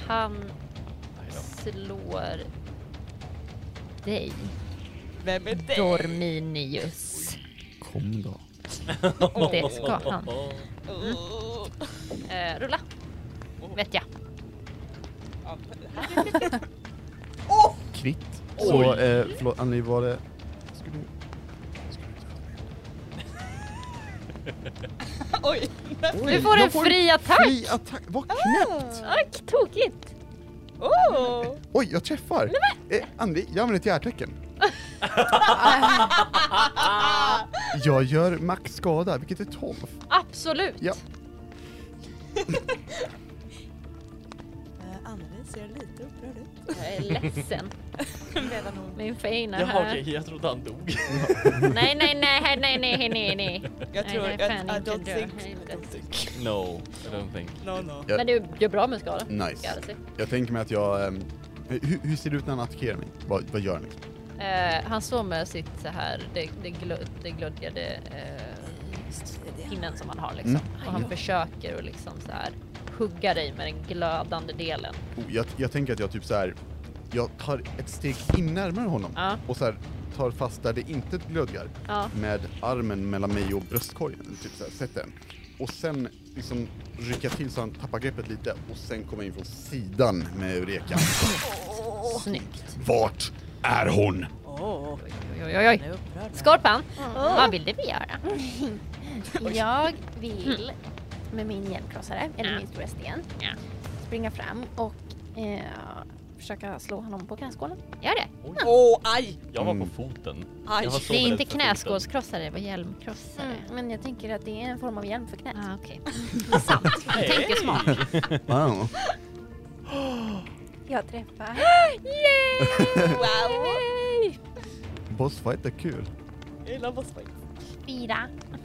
B: Han
K: Aj då.
B: slår dig,
F: Vem är det?
B: Dorminius.
E: Kom då.
B: Det ska han. Eh, rulla.
C: Oh.
B: Vet jag.
F: Ja, det här-
E: Kvitt. Så, eh, förlåt Annelie, var det... Skulle du...
F: [LAUGHS] Oj.
B: Du får en
E: jag
B: fri attack!
E: Fri attack, vad knäppt!
B: Ack, tokigt!
C: Oh.
E: Oj, jag träffar! Eh, Andy, jag använder
B: [LAUGHS]
E: ett hjärtecken. jag gör max skada, vilket är 12.
B: Absolut!
E: Ja.
C: Eh, Anneli ser lite upprörd ut.
B: Jag är ledsen.
C: Medan hon...
B: Min fina
A: Jaha
B: här.
A: okej, jag trodde han dog.
B: Nej, nej, nej, nej, nej, nej, nej.
C: Jag
B: Nej,
C: tror...
B: nej,
C: jag,
B: fan
C: I
B: inte
C: don't
B: dö,
C: think... I
B: inte.
C: don't think.
A: [LAUGHS] No, I don't think.
C: No, no.
E: Ja.
B: Men du gör bra med skada.
E: Nice.
B: Gör det.
E: Jag tänker mig att jag... ehm, hur, hur ser det ut när han attackerar mig? Vad, vad gör han? liksom?
B: Eh, han står med sitt så här, det, det, glöd, det glödgade eh, pinnen som han har liksom. Och han försöker att liksom så här hugga dig med den glödande delen.
E: Oh, jag, jag tänker att jag typ så här. Jag tar ett steg in närmare honom
B: Ja.
E: och så här tar fast där det inte glödgar
B: Ja.
E: med armen mellan mig och bröstkorgen. Typ så här, sätter den. Och sen liksom rycka till så han tappar greppet lite och sen kommer in från sidan
B: [LAUGHS]
E: med Eureka.
B: Snyggt.
E: Vart är hon?
C: Åh,
B: Oj, oj, oj, oj, oj.
C: hon är upprörd. nu.
B: Skorpan, vad vill du vi göra?
G: [LAUGHS] Jag vill med min hjälmkrossare, eller
B: Ja.
G: min stora sten,
B: Ja.
G: springa fram och eh, försöka slå honom på knäskålen.
B: Gör det.
C: Åh, aj!
A: Jag var på
E: Mm.
A: foten.
C: Aj!
A: Jag var så
B: Det är
A: rädd
B: inte
A: för foten.
B: knäskålskrossare, det var hjälmkrossare.
G: Men jag tänker att det är en form av hjälm för knät.
B: Ah, [LAUGHS] okej. Sant. Du tänker smart.
E: Wow.
B: [LAUGHS]
G: Jag träffar.
C: Wow!
E: Bossfight är kul.
C: Jag gillar bossfight.
G: [GASPS] Fyra.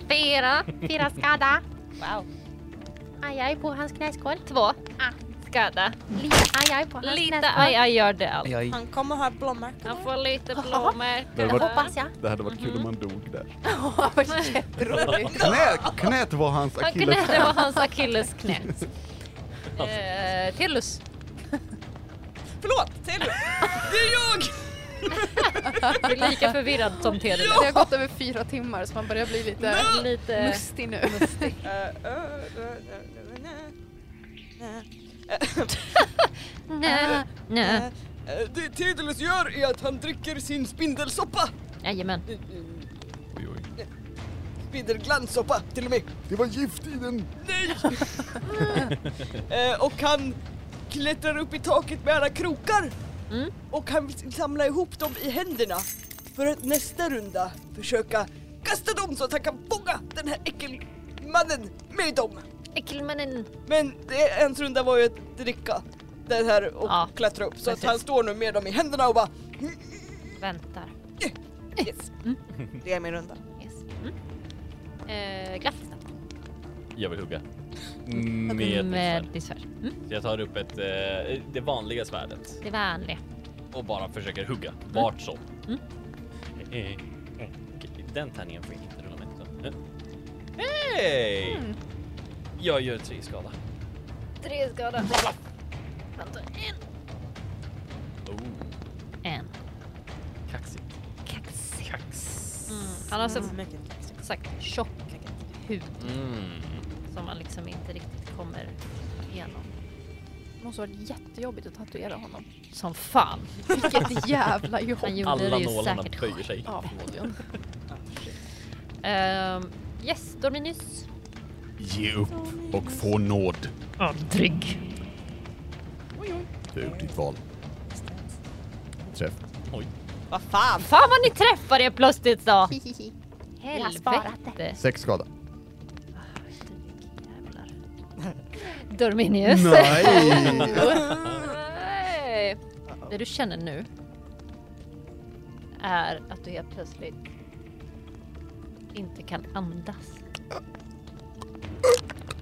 B: Fyra.
G: Fyra skada.
B: Wow.
G: Aj, aj på hans knäskål. Ah.
B: Två. Skada.
G: Lite aj, aj på hans
B: Lite
G: knäskål.
B: aj, aj gör det allt.
C: Han kommer ha blommärken.
B: Han får lite blommor.
E: Det
G: Jag hoppas [LAUGHS] jag.
E: Det hade varit kul om han dog där.
C: Roligt.
E: Knät, knät var hans
B: Han
E: akilles...
B: knä, det var hans akillesknä.
A: [LAUGHS]
B: eh, Tellus.
C: Förlåt, Taylor! Det är jag!
B: Du är lika förvirrad som Tellus.
G: Det har gått över fyra timmar så man börjar bli lite
B: Lite...
G: mustig nu.
C: Eh, eh, eh, eh, eh,
B: Nä, nä.
C: eh, eh, Det Tidulus gör är att han dricker sin spindelsoppa!
B: Jajamän.
C: Eh, eh, Spindelglanssoppa till och med.
E: Det var gift i den!
C: Nej! [LAUGHS] Eh, och han klättrar upp i taket med alla krokar.
B: Mm.
C: Och han vill samla ihop dem i händerna för att nästa runda försöka kasta dem så att han kan fånga den här äckelmannen med dem.
B: Äckelmannen.
C: Men det, ens runda var ju att dricka den här och
B: Ja,
C: klättra upp. Så att
B: precis.
C: han står nu med dem i händerna och bara
B: Väntar.
C: yes. Det är min runda.
B: Yes. Mm. Eh, Glaffis då? Mm,
A: Jag vill hugga. Med ett svärd.
B: ditt svärd. Mm.
A: Så jag tar upp ett, eh, det vanliga svärdet
B: Det vanliga.
A: och bara försöker hugga vart som.
B: Mm.
A: Eh, okej, Den tärningen får jag inte rulla med. så. Eh. Hej!
B: Mm.
A: Jag gör tre skada.
B: Tre skada. Vänta, en.
A: Oh,
B: En.
A: kaxigt.
B: Kaxig. Mm. Han har så sagt tjock hud
A: Mm.
B: som man liksom inte riktigt kommer igenom.
G: Det måste ha varit jättejobbigt att tatuera honom.
B: Som fan.
G: Vilket [LAUGHS] jävla jobb.
B: Han gjorde
A: Alla
B: det ju
A: nålarna
B: säkert
A: böjer sig.
G: Ja, förmodligen.
B: Ehm, yes, Dorminus.
E: Ge upp och få nåd.
B: Aldrig.
E: Du har gjort ditt val. Träff.
C: Vad fan!
B: Fan vad ni träffar er plötsligt då!
G: Hihihi. Jag har sparat det.
B: Helvete.
E: Sex skada.
B: Jävlar.
G: Eh,
B: Dorminius.
E: Nej!
B: Nej. Det du känner nu är att du helt plötsligt inte kan andas.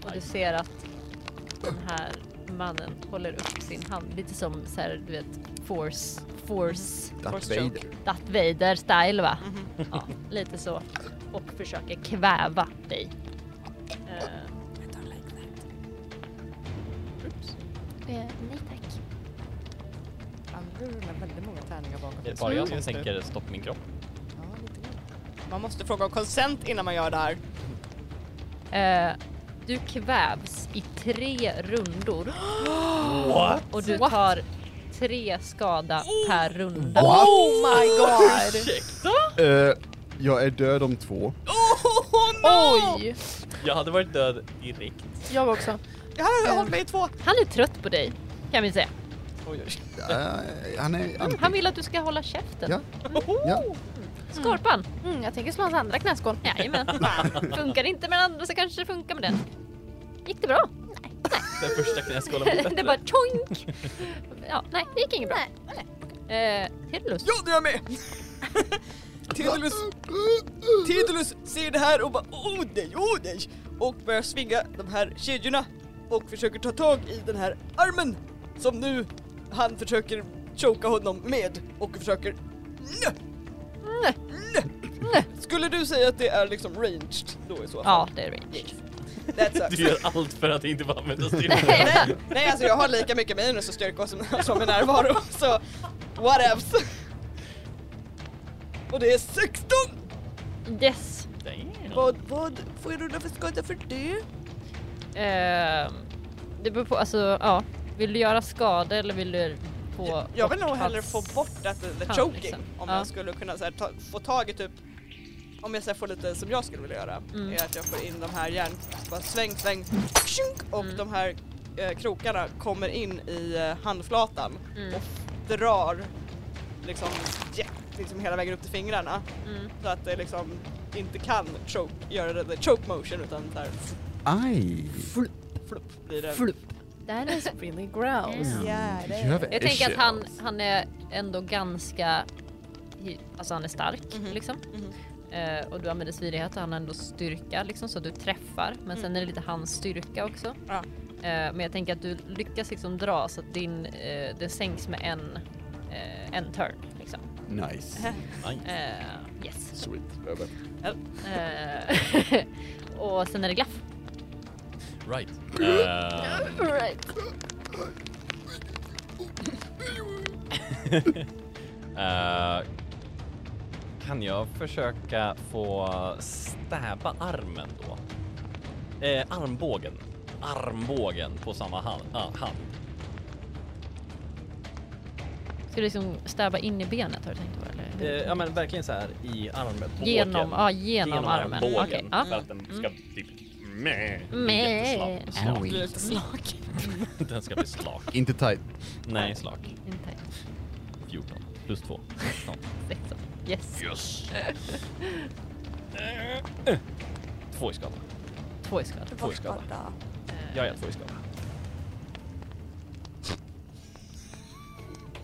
B: Och du ser att den här mannen håller upp sin hand lite som så här, du vet force, force
E: Darth Vader.
B: Darth Vader style va? Ja, lite så. Och försöker kväva dig. Eh,
G: Eh, nej tack.
C: Andra rullar väldigt många tärningar bakom.
A: Är det
B: Mm.
A: bara jag som
C: Just det.
A: tänker stopp min kropp?
C: Ja, lite grann. Man måste fråga om consent innan man gör det här.
B: Eh, du kvävs i tre rundor. Och du tar tre skada per runda.
C: Oh my
F: [LAUGHS]
C: god!
E: Eh, jag är död om två.
C: Oh no!
G: Oj!
A: Jag hade varit död direkt.
G: Jag också.
C: Jag hade hållit mig i två.
B: Han är trött på dig, kan vi säga.
T: Oj, oj.
E: Ja, han är
B: Mm, han vill att du ska hålla käften.
E: Ja. Ja.
B: Skorpan!
G: Mm, jag tänker slå hans andra knäskål.
B: Jajamän. funkar inte med den andra så kanske det funkar med den. Gick det bra?
T: Den första knäskålen
B: [LAUGHS]
T: var
B: det
T: bättre.
B: bara tjoink! Ja, nej, det gick inget bra. Eh, Hedlus.
C: Ja, nu är jag med! Tidulus, Tidulus ser det här och bara oh nej, oh nej! Och börjar svinga de här kedjorna och försöker ta tag i den här armen som nu han försöker choka honom med och försöker... Nö! Nö! Skulle du säga att det är liksom ranged då i så fall?
B: Ja, det är range.
C: That sucks.
T: Du gör allt för att inte få
B: [LAUGHS]
T: använda styrkan.
C: nej, nej alltså jag har lika mycket minus och styrka som, som är närvaro [LAUGHS] så whatevs. Och det är 16!
B: Yes.
C: Vad, vad får jag rulla för skada för det?
B: Eh, det beror på, alltså ja. Vill du göra skada eller vill du få
C: jag vill
B: bort
C: nog hellre
B: hans-
C: få bort att det, the
B: hand,
C: choking
B: liksom.
C: om
B: Ja.
C: jag skulle kunna så här, ta, få tag i typ om jag så här, får lite som jag skulle vilja göra
B: Mm.
C: är att jag får in de här järn... Bara sväng, sväng tjunk, och
B: Mm.
C: de här eh, krokarna kommer in i eh, handflatan
B: Mm.
C: och drar liksom, ja, liksom hela vägen upp till fingrarna
B: Mm.
C: så att det liksom inte kan choke, göra det, det choke motion utan så här
E: Aj!
C: flupp blir det.
G: That is really gross.
E: Mm.
C: Ja, det är-
E: Gör vi-
B: Jag tänker att han, han är ändå ganska... Alltså han är stark
C: Mhm.
B: liksom.
C: Mhm.
F: Mm. [LAUGHS]
B: Eh, och du använder smidighet och han har ändå styrka liksom så du träffar. Men sen är det lite hans styrka också.
C: Mhm. Ja.
B: Eh, men jag tänker att du lyckas liksom dra så att din, eh, det sänks med en, eh, en turn. Liksom.
E: Nice.
B: Eh, yes.
E: Sweet. Jag vet.
B: Eh, [LAUGHS] och sen är det glaff.
U: Right.
B: Mm.
U: Eh,
G: Right.
A: Eh, kan jag försöka få stäba armen då? Eh, armbågen. Armbågen på samma hand. ah, hand.
B: Ska du liksom stäba in i benet har du tänkt på eller?
A: Eh,
B: hur?
A: ja men verkligen så här i armen.
B: genom, ja, genom, armen.
A: Bågen,
B: Okej, ja. Mm.
A: För att den ska typ... Meh,
B: Meh.
A: jätteslak-
E: Ow.
A: slak.
C: blir lite slak.
A: Den ska bli slak.
E: Inte tight.
A: Nej, slak.
B: Inte.
A: 14 plus Eh, 2.
B: Sexton. Yes.
U: yes.
A: Två i skada.
B: Två i skada.
A: Två i skada. Ja, ja, två i skada.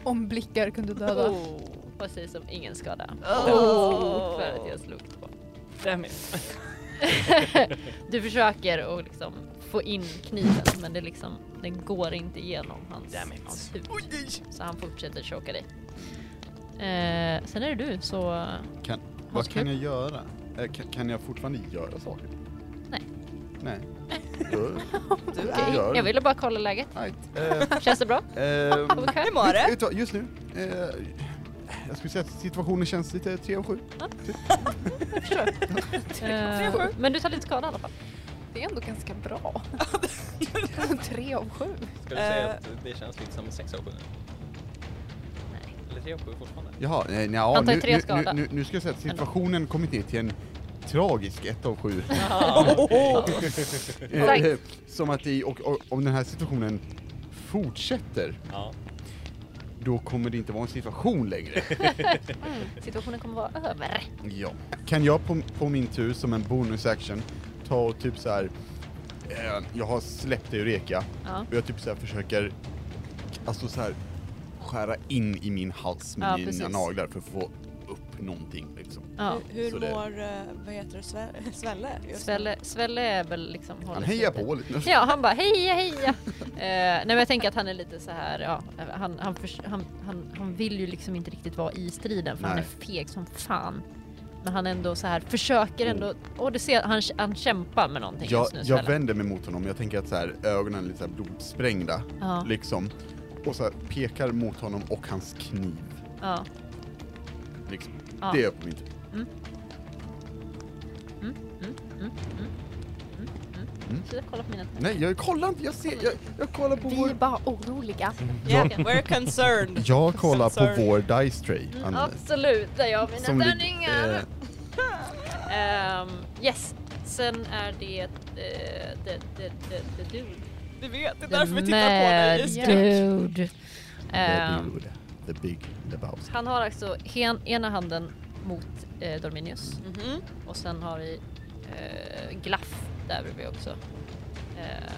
G: Om blickar kunde döda.
B: Precis som ingen skada.
C: Oh.
B: [LAUGHS] För att jag slog två.
A: Damn it.
B: Du försöker att liksom få in kniven men det liksom, den går inte igenom hans,
A: Damn it.
B: hans hud.
C: Oj, nej.
B: Så han fortsätter choka dig. Eh, sen är det du så...
E: Kan,
B: Vad
E: vad
B: ska
E: kan
B: du-
E: jag göra? Eh, Kan, kan jag fortfarande göra saker?
B: Nej. [LAUGHS]
E: Nej. Då-
B: Okej,
E: gör.
B: jag ville bara kolla läget.
E: Right. Eh,
B: Känns det bra? [LAUGHS]
E: ehm,
B: Hur
C: mår du?
E: vet du vad, Just nu, eh, jag skulle säga att situationen känns lite 3 av 7.
B: Eh, men du tar lite skada i alla fall.
G: Det är ändå ganska bra. Tre av sju.
A: Ska du säga att det känns lite som 6 av 7?
B: Nej.
A: Eller 3 av 7 fortfarande?
E: Jaha, nej, nja,
B: Han tar
E: nu,
B: tre
E: nu,
B: skada.
E: Nu, nu, nu ska jag säga att situationen kommit ner till en tragisk 1 av 7. [LAUGHS]
B: Tack.
E: Som att i, och, och om den här situationen fortsätter,
A: Ja.
E: då kommer det inte vara en situation längre.
B: Situationen kommer vara över.
E: Ja. Kan jag på, på min tur som en bonusaction ta och typ så här. Eh, jag har släppt Eureka
B: Ja.
E: och jag typ så här försöker alltså så här skära in i min hals med
B: Ja,
E: mina
B: precis.
E: naglar för att få upp någonting liksom.
B: Ja.
C: Hur
E: Så det-
C: mår, eh, vad heter det,
F: [LAUGHS]
C: Sve- Svelle? just nu?
B: Svelle, Svelle är väl liksom...
E: Han
B: håller sig
E: hejar
B: lite-
E: på lite.
B: Ja, han bara heja heja. Eh, nej men jag tänker att han är lite så här, ja, han, han, förs- han, han, han vill ju liksom inte riktigt vara i striden för han
E: Nej.
B: är feg som fan. Men han ändå så här försöker ändå, och du ser han, han kämpar med någonting
E: Jag,
B: just nu.
E: jag
B: Svelle.
E: vänder mig mot honom, jag tänker att så här, ögonen är lite så här blodsprängda
B: Ja.
E: liksom. Och så här, pekar mot honom och hans kniv.
B: ja.
E: Liksom.
B: Ja.
E: Det är jag på min tur.
B: Så jag kollar på mina
E: Nej, jag kollar inte, jag ser, jag, jag kollar på
G: Vi
E: vår...
G: är bara oroliga.
C: Yeah, we're concerned.
E: Jag kollar
C: Sorry.
E: på vår Dice Tray,
B: Mm,
E: Anne.
B: Absolut, där jag har mina
E: Som lig-
B: tärningar.
E: eh,
B: Ehm, yes, sen är det, eh, det, det, det, det du.
C: Vi vet, det är därför vi tittar på dig. i skräck.
B: dude. Ehm,
E: The dude, the big Lebowski.
B: han har alltså hen, ena handen mot eh, Dorminius
F: Mhm.
B: och sen har vi eh, Glaff där bredvid också. Eh,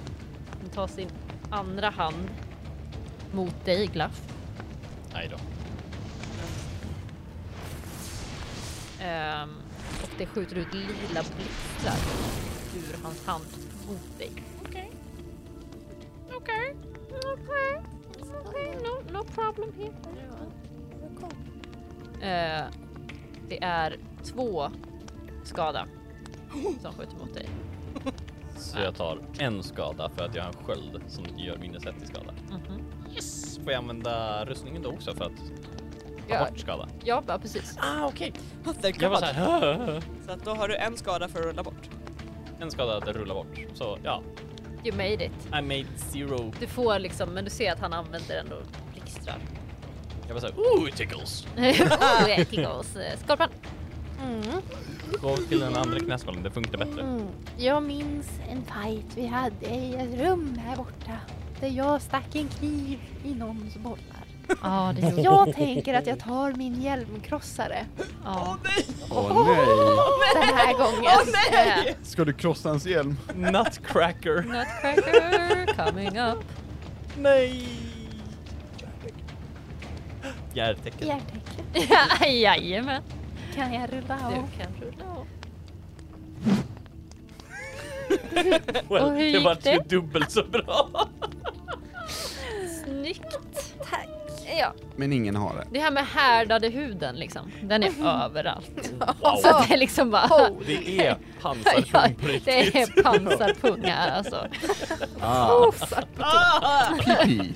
B: han tar sin andra hand mot dig Glaff.
A: Nej då.
B: Ehm, och det skjuter ut lila blixtar ur hans hand mot dig. Okej. Okej. Okej. No, no problem here. Eh, det är två skada som skjuter mot dig.
K: Så jag tar en skada för att jag har en sköld som gör minus ett i skada.
B: Mhm.
K: Yes! Får jag använda rustningen då också för att ta
B: Ja.
K: bort skada?
B: Ja, ja, precis.
K: Ah okej.
F: Thank
K: Jag var
F: God.
K: så här.
F: Så att då har du en skada för att rulla bort.
K: En skada att rulla bort. Så ja,
B: You made it.
K: I made zero.
B: Du får liksom, men du ser att han använder ändå blixtrar. [LAUGHS]
K: Jag var så här.
A: Ooh, it tickles!
B: oh, eh, tickles. Eh, Skorpan.
K: Gå till den andra knäskålen, det funkar bättre.
G: Mm. Jag minns en fight vi hade i ett rum här borta. Där jag stack en kniv i någons bollar.
B: Ja, det gjorde
G: Jag tänker att jag tar min hjälmkrossare
B: Ja.
E: Åh nej!
G: den här gången.
B: Eh,
E: [LAUGHS] Ska du krossa hans hjälm?
K: Nutcracker.
B: Nutcracker coming up.
K: Nej! Järtecken.
G: Hjärtecken.
B: Ja, [LAUGHS] Jajamän.
G: Kan jag rulla av?
B: Du kan rulla av.
K: Well,
B: Och hur
K: det
B: gick
K: vart ju
B: det?
K: dubbelt så bra.
B: Snyggt. Tack. Ja,
L: Men ingen har det.
B: det här med härdade huden liksom. Den är överallt. [LAUGHS]
K: Wow.
B: Så att det är liksom bara...
K: Det är
B: [LAUGHS] Ja,
K: pansarpung på
B: det
K: riktigt. [LAUGHS]
B: är pansarpung här alltså.
E: Ah,
L: [LAUGHS]
E: pipi.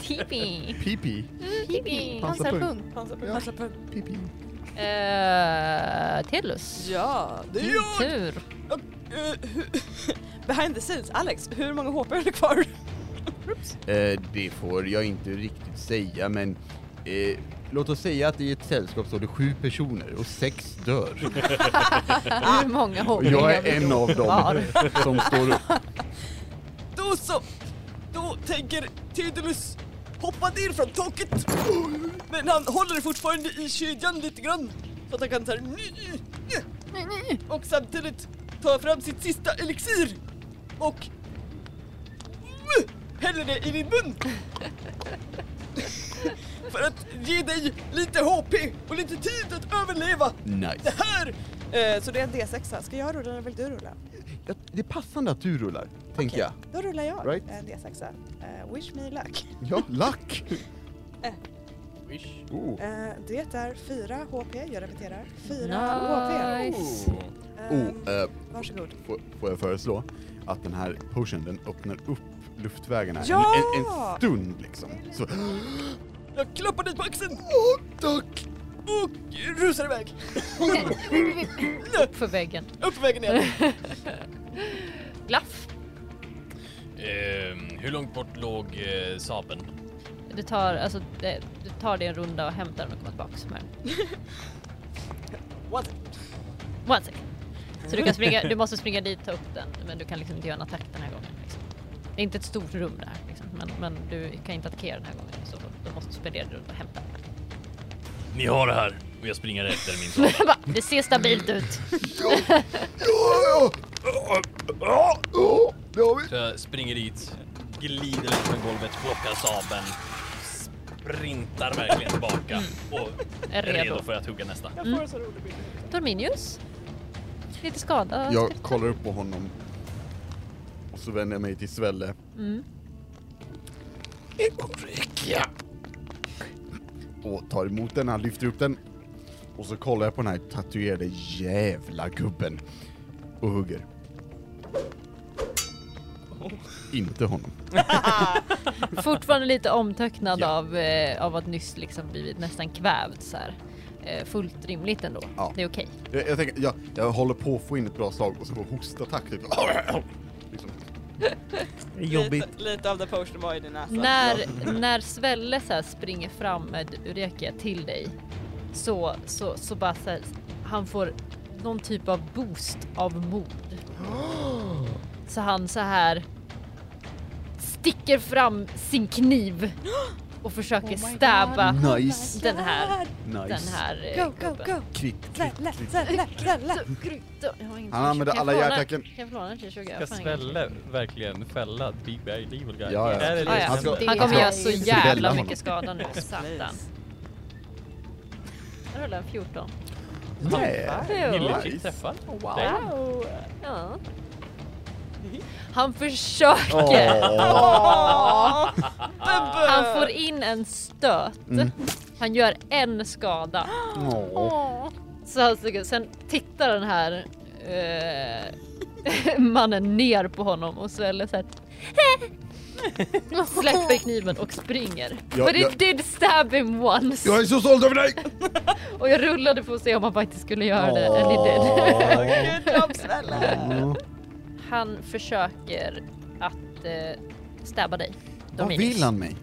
B: Tipi.
E: Pipi.
B: Tipi.
E: Pansarpung.
F: Ja.
E: Pipi.
B: Eh, Tellus.
F: ja, det är
B: Din
F: jag!
B: tur.
F: Eh, hu- [LAUGHS] Behind the scenes, Alex, hur många HP är det kvar?
L: Eh, det får jag inte riktigt säga, men eh, låt oss säga att i ett sällskap står det sju personer och sex dör.
B: Hur många
L: Och
B: hoppningar
L: jag är en av dem som står upp.
F: Då så! Då tänker Tidulus hoppa ner från taket. Men han håller fortfarande i kedjan lite grann. Så att han kan såhär... Och samtidigt ta fram sitt sista elixir. Och... Häller det i din mun. För att ge dig lite HP och lite tid att överleva det
L: Nice.
F: här. Eh, Så det är en D6. Ska jag rulla eller vill du rulla?
L: Ja, Det är passande att du rullar, tänker jag.
F: Då rullar jag
E: Right.
F: en D6. Eh, wish me luck.
E: Ja, lack! Oh.
F: Eh, det är 4 HP, jag repeterar. 4 HP.
B: Nice.
F: Eh,
E: Oh, eh,
F: varsågod.
E: får, får jag föreslå att den här potion, den öppnar upp luftvägarna en-
F: Ja!
E: en, en stund liksom. Så,
F: Jag klappar dig på axeln
E: åh, tack!
F: och rusar iväg.
B: För väggen.
F: Upp på vägen igen.
B: Glaff.
A: Ehm, hur långt bort låg eh, sabeln?
B: Du tar, alltså, det, du tar dig en runda och hämtar den och kommer tillbaka. Som här.
F: What?
B: One second. Så du, kan springa, du måste springa dit och ta upp den, men du kan liksom inte göra en attack den här gången. Liksom. Det är inte ett stort rum där, liksom, men, men du kan inte attackera den här gången. Så du måste spendera en runda och hämta den. [LAUGHS]
A: Ni har det här! Och jag springer efter min sabel.
B: Bara, Det ser stabilt ut.
E: Ja, ja, ja, ja, det har vi.
A: Så jag springer dit, glider lite från golvet, plockar sabeln, sprintar verkligen tillbaka
B: [LAUGHS]
A: och
B: Är
A: är redo,
B: redo.
A: för att hugga nästa.
B: Torminius. Lite skada.
E: Jag kollar upp på honom. Och så vänder jag mig till Svelle.
B: Mm.
E: Eureka! Och tar emot den, han lyfter upp den. Och så kollar jag på den här tatuerade jävla gubben. Och hugger. Oh. Inte honom.
B: Fortfarande lite omtöcknad
E: Ja.
B: av, eh, av att nyss liksom blivit nästan kvävd så här. Eh, fullt rimligt ändå.
E: Ja.
B: Det är okej.
E: Jag, jag tänker, jag, jag håller på att få in ett bra slag och så får jag hostattack typ.
B: [LAUGHS]
E: Liksom.
F: Lite, lite av the potion var i din näsa.
B: När, [LAUGHS] när Svelle så här springer fram med Eureka till dig så, så, så bara så här, han får någon typ av
E: [GASPS]
B: boost av mod. Så han så här sticker fram sin kniv och
F: Oh
B: försöker stäba
E: Nice.
B: den här, den
E: Nice.
B: här eh,
F: Go, go,
B: gubben.
F: go!
E: Kvick.
F: Slälla, slälla, slälla!
B: Så, grymt. Jag har inget
E: Han använder
B: Kan jag
E: alla
B: få låna-
E: hjärtecken.
B: Kan jag få låna en 20?
K: Ska Svälle verkligen fälla Big Bad Evil Guy?
E: Ja, ja.
K: Är det det Alltså,
B: Ah,
K: som
B: ja.
K: händer?
E: Han ska-
B: Han kommer
E: Jag
B: göra
E: tror-
B: så
E: Isabella
B: jävla
E: Alltså, honom.
B: mycket skada nu, satan. Jag rullade en 14.
E: Nej.
K: Gillechick
E: Nice.
K: träffar. Damn.
B: Wow! Ja. Han försöker!
E: Åh.
B: Han får in en stöt.
E: Mm.
B: Han gör en skada.
E: Åh.
B: Så han sticker- sen tittar den här eh, [LAUGHS] mannen ner på honom och sväller
E: [LAUGHS]
B: såhär. Släpper kniven och springer.
E: Jag-
B: But it
E: jag-
B: did stab him once.
E: Jag är så stolt över dig!
B: Och jag rullade för att se om han faktiskt skulle göra det. And he did.
E: Åh.
F: Good job, Svälla!
B: Han försöker att eh, stabba dig.
E: Vad
B: Dominus.
E: vill han mig?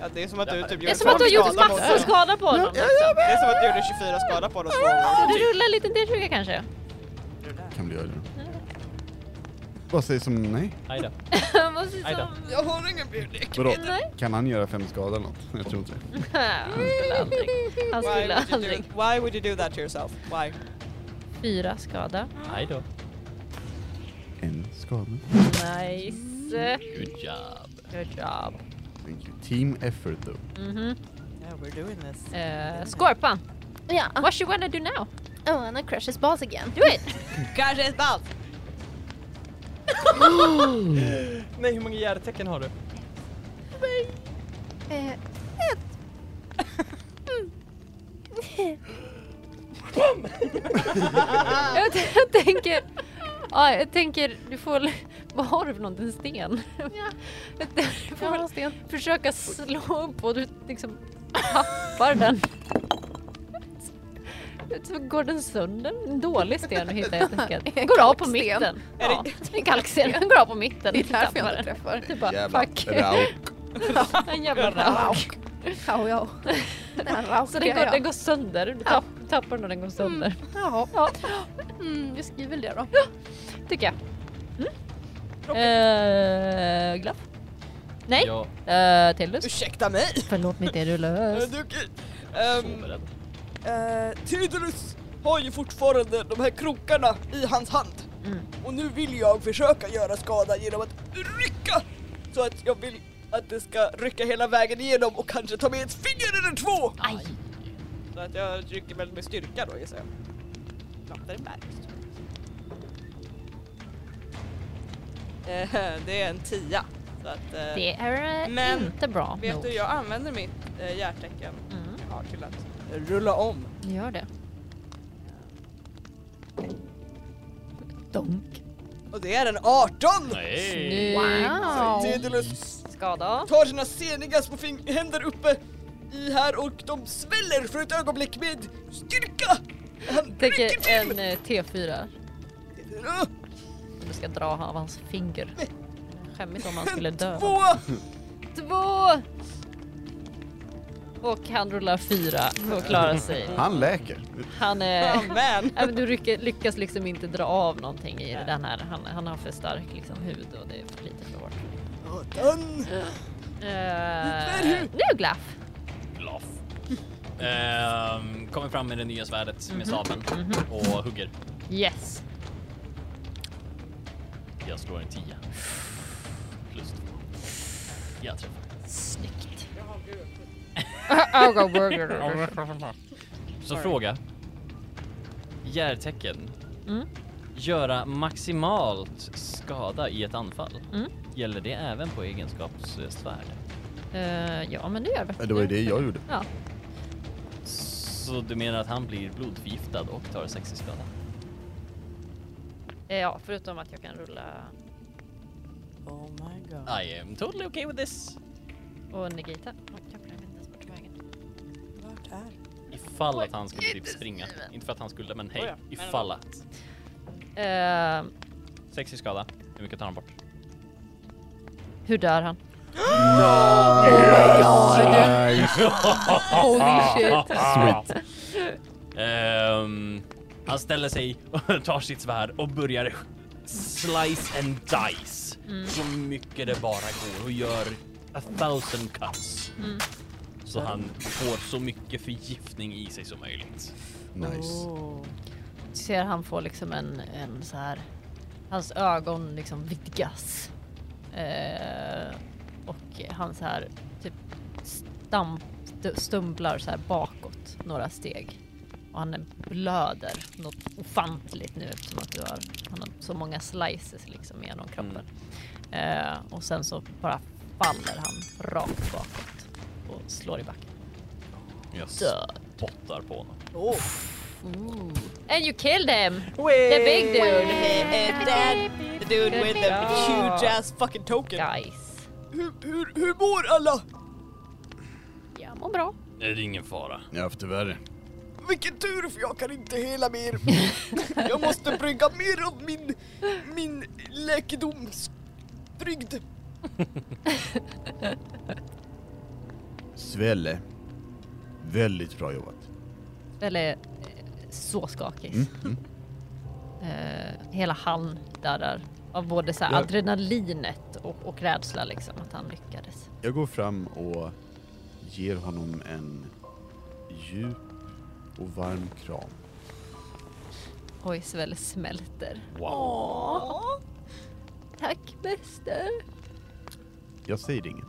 F: Ja, det är som att du typ
B: Det är
F: gjorde
B: som att du har gjort
F: skada på
B: massor
F: honom.
B: skada på honom. Liksom.
F: Det är som att du gjorde 24 skada på honom.
B: Ska du rulla en liten D20 kanske?
E: Kan vi göra det? Vad sägs om nej?
K: Aj då.
B: Han måste ju
K: Aj då.
B: som...
F: Jag har ingen bjudning.
E: Vadå?
B: Nej.
E: Kan han göra fem skada eller något? Jag tror inte det.
B: Han skulle aldrig. Han skulle
F: Why would, you
B: aldrig.
F: do, why would you do that to yourself? Why?
B: Fyra skada.
K: Aj då.
E: En skada.
B: Nice.
K: Good job.
B: Good job.
E: Thank you. Team effort though.
B: Mhm.
F: Yeah, we're doing this.
B: Eh, Skorpan,
G: Ja,
E: Ah.
G: ah, oh,
B: what you wanna do now?
G: I wanna crush his balls again.
B: Do it!
F: Kanske ett balt!
K: Nej, hur många hjärtecken har du?
G: Eh, ett.
B: [LAUGHS]
G: Mm.
B: Jag, t- jag tänker... Ja, jag tänker, du får... väl- Vad har du för någonting? En sten? Ja. Du får väl försöka slå upp och du liksom tappar den. Så går den sönder. En dålig sten du hittar helt enkelt. Går av på
G: Kalksten.
B: mitten. Ja, en kalksten. Den går av på mitten.
G: Det är därför jag inte
B: Tappar den.
G: träffar.
B: Typ bara,
E: Jävla
B: fuck.
E: rauk.
B: En jävla rauk. [LAUGHS]
G: How yo. Typ Den här
B: Så den går,
G: raukar
B: den
G: jag.
B: går sönder. Du tapp, tappar den och den går sönder.
G: Jaha.
B: Ja,
G: Mm, vi skriver det då.
B: tycker jag. Mm. Eh, glapp? Nej?
K: Jag
B: Eh, Tillus?
F: Ursäkta mig!
B: Förlåt mitt är Eh, du [LAUGHS]
F: Jag är
B: löst.
F: druckit.
K: är
F: Ehm,
K: så beredd.
F: Eh, Tidulus har ju fortfarande de här krokarna i hans hand.
B: Mm.
F: Och nu vill jag försöka göra skada genom att rycka! Så att jag vill att det ska rycka hela vägen igenom och kanske ta med ett finger eller två!
B: Aj!
F: Så att jag rycker väl med styrka då gissar jag. Knappt där det märks. Eh, [LAUGHS] Det är en tia. Så att, eh,
B: Det är eh,
F: Men,
B: inte bra
F: vet
B: nog.
F: du, jag använder mitt eh, hjärtecken
B: Mm,
F: jag har till att rulla om.
B: gör det. Donk.
F: Och det är en 18!
A: Nej.
B: Wow!
F: Tidulus
B: Skada.
F: tar sina seniga små fing- händer uppe i här och de sväller för ett ögonblick med styrka! Han rycker
B: Tänker en
F: till!
B: eh, T4
F: Ah,
B: som du ska dra av hans finger. Skämmigt om han skulle dö.
F: Två!
B: Två! Och han rullar fyra för att klara sig.
E: Han läker.
B: [LAUGHS] Han är... [LAUGHS]
F: Amen!
B: Nej, men du rycker- lyckas liksom inte dra av någonting i den här. Han, han har för stark liksom, hud och det är för lite för hårt.
F: Åttan!
B: Eh, nu Glaff!
A: Laff. Ehm, kommer fram med det nya svärdet med sabeln och hugger.
B: [LAUGHS] Yes!
A: Jag slår en 10. Plus 2. Jag träffar.
B: Snyggt.
K: Så fråga. Järtecken.
B: Mm.
K: Göra maximalt skada i ett anfall.
B: Mm.
K: Gäller det även på egenskapssvärd?
B: Eh, ja men det gör vi.
E: Det var ju det jag gjorde.
B: Ja.
K: Så du menar att han blir blodförgiftad och tar 60 skada?
B: Eh, ja, förutom att jag kan rulla
F: Oh my god.
K: I am totally okay with this.
B: och negita. Åh, jävlar, jag vet inte ens vart jag tog vägen.
F: Vart är
K: Ifall att han skulle typ springa. Inte för att han skulle, men
F: Oj,
K: hej.
F: ja.
K: Ifall att.
B: Eh,
K: 60 skada. Hur mycket tar han bort?
B: hur dör han?
E: Nice. Ah,
B: Holy shit!
E: Sweet.
A: Ehm, [LAUGHS] han ställer sig, och tar sitt svärd och börjar slice and dice. så mycket det bara går och gör a thousand cuts. Så han får så mycket förgiftning i sig som möjligt.
E: Nice.
B: Oh. Ser han får liksom en, en så här... Hans ögon liksom vidgas. Eh, och han så här typ stamp, st- stumblar så här bakåt några steg. Och han blöder något ofantligt nu eftersom att du har, han har så många slices liksom genom kroppen. Eh, och sen så bara faller han rakt bakåt och slår i backen.
A: Jag
B: Död.
A: spottar på honom.
B: And you killed him! The big dude!
C: And that dude with the huge ass fucking token.
B: Guys.
C: Hur, hur, hur mår alla?
G: Jag mår bra.
A: Nej, det är ingen fara.
E: Jag har haft det värre.
C: Vilken tur för jag kan inte hela mer. Jag måste brygga mer av min, min läkedomsbrygd.
E: Svelle. Väldigt bra jobbat.
B: Eller eh, så skakig.
E: Mm,
B: [LAUGHS] Eh, hela han där, där av både så här
E: Ja.
B: adrenalinet och, och rädsla liksom att han lyckades.
E: Jag går fram och ger honom en djup och varm kram.
B: Oj, Svel smälter.
E: Wow.
B: Tack bäste.
E: Jag säger inget.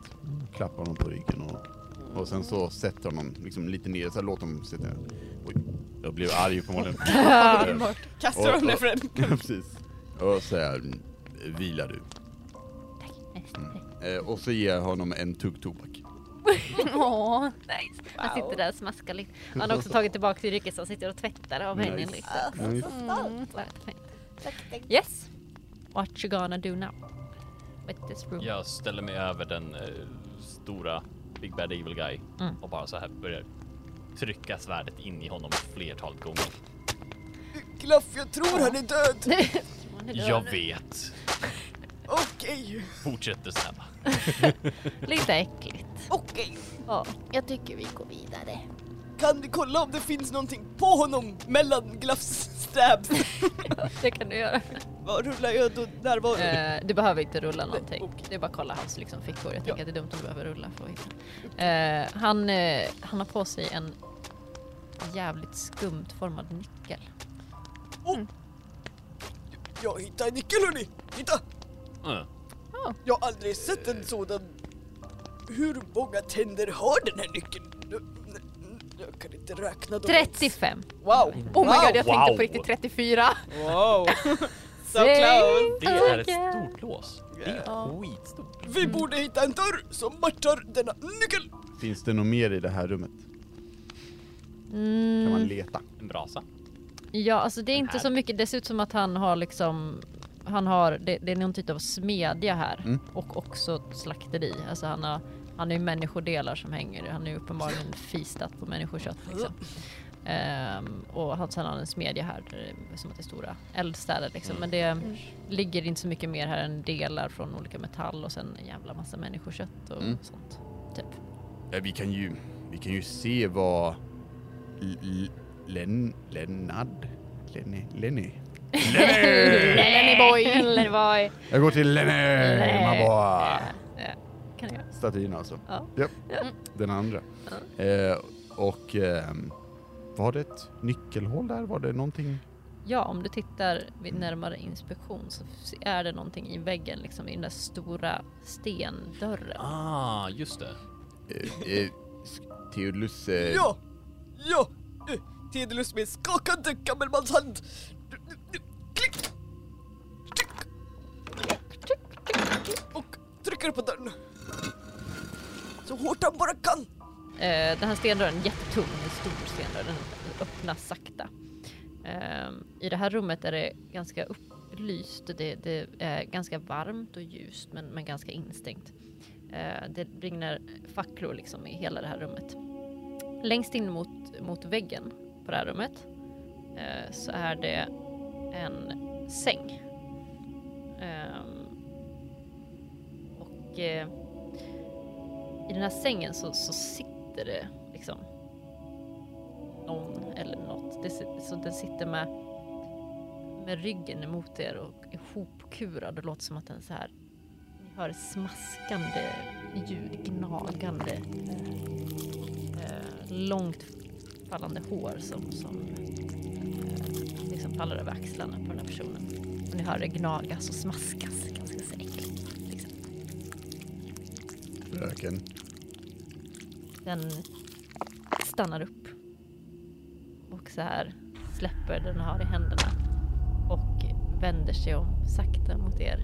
E: Klappar honom på ryggen och, och sen så sätter honom liksom lite ner, så här, låt honom sitta ner. Oj, jag blev arg på honom.
C: Kastar honom för en
E: [LAUGHS] Ja, precis. Och så här, vila du. Eh, och så ger jag honom en tugg tobak. Mm.
B: Åh, nice. Han sitter där och smaskar lite. Han har också tagit tillbaka till rycket så han sitter och tvättar av henne
E: Nice.
B: lite. Mm, perfekt. Yes. What you gonna do now? With this room?
A: Jag ställer mig över den eh, stora Big Bad Evil Guy
B: Mm.
A: och bara så här börjar trycka svärdet in i honom flertalet gånger.
C: glaff, jag tror han är död.
A: Jag vet.
C: Okej,
S: [LAUGHS]
A: Fortsätter snabba.
B: [LAUGHS] Lite äckligt.
C: okej.
B: Ja.
G: Jag tycker vi går vidare.
C: Kan vi kolla om det finns någonting på honom mellan glaffs stabs?
B: Det kan du göra.
C: Vad rullar jag då närvaro?
B: Eh, du behöver inte rulla någonting.
C: Okej.
B: Det är bara att kolla hans liksom, fickor. Jag tänker att det är dumt om du behöver rulla för att hitta. Eh, han, eh, han har på sig en jävligt skumt formad nyckel.
C: Jag hittade en nyckel hörni! Titta!
A: Mm.
C: Jag har aldrig sett en sådan. Hur många tänder har den här nyckeln? Nu- nu- Jag kan inte räkna dem.
B: 35.
C: Wow!
G: Oh my god, jag
A: Wow.
G: tänkte på riktigt 34.
C: Wow! so
B: Säg.
C: close!
A: Det
S: Oh
A: är ett stort lås. Det är skitstort.
C: Vi borde hitta en dörr som matchar denna nyckel!
E: Finns det något mer i det här rummet?
B: Mm.
E: Kan man leta?
A: En brasa.
B: Ja, alltså det är inte så mycket. Det ser ut som att han har liksom han har, det, det är någon typ av smedja här och också ett slakteri. Alltså han har, han är ju människodelar som hänger. Han är ju uppenbarligen fistat på människokött liksom. Ehm, och han, sen har han en smedja här där det är som att det är stora eldstäder liksom. Men det ligger inte så mycket mer här än delar från olika metall och sen en jävla massa människokött och sånt. Typ.
E: Ja, vi kan ju, vi kan ju se vad L- L- Len, Lennard, Lenny, Lenny.
B: Lenny [LAUGHS] boy! Lenny boy!
E: Jag går till Lenny,
B: Lenny.
E: my boy.
B: Ja, kan jag göra.
E: Statyn alltså.
B: Ja.
E: Ja. Den andra. Eh, och ehm, var det ett nyckelhål där? Var det någonting?
B: Ja, om du tittar vid närmare inspektion så är det någonting i väggen, liksom i den där stora stendörren.
A: Ah, just det.
E: Eh, eh, sk- Theodulus, eh,
C: Ja! Ja! Eh, Tedelus med skakande gammelmans hand! Nu- nu- nu. Klick! Tryck! Och trycker på dörren. Så hårt han bara kan.
B: Eh, den här stendörren är jättetung, en stor stendörr, den öppnas sakta. Ehm, I det här rummet är det ganska upplyst, det, det är ganska varmt och ljust men, men ganska instängt. Eh, det brinner facklor liksom i hela det här rummet. Längst in mot, mot väggen på det här rummet eh, så är det en säng. Ehm, och eh, i den här sängen så, så sitter det liksom någon eller något. Det, si- så den sitter med, med ryggen emot er och är hopkurad. Det låter som att den så här hör smaskande ljud, gnagande, eh, långt fallande hår som, som eh, liksom faller över axlarna på den här personen. Och ni hör det gnagas och smaskas ganska så äckligt. Liksom.
E: Röken.
B: Den stannar upp och så här släpper den har i händerna och vänder sig om sakta mot er.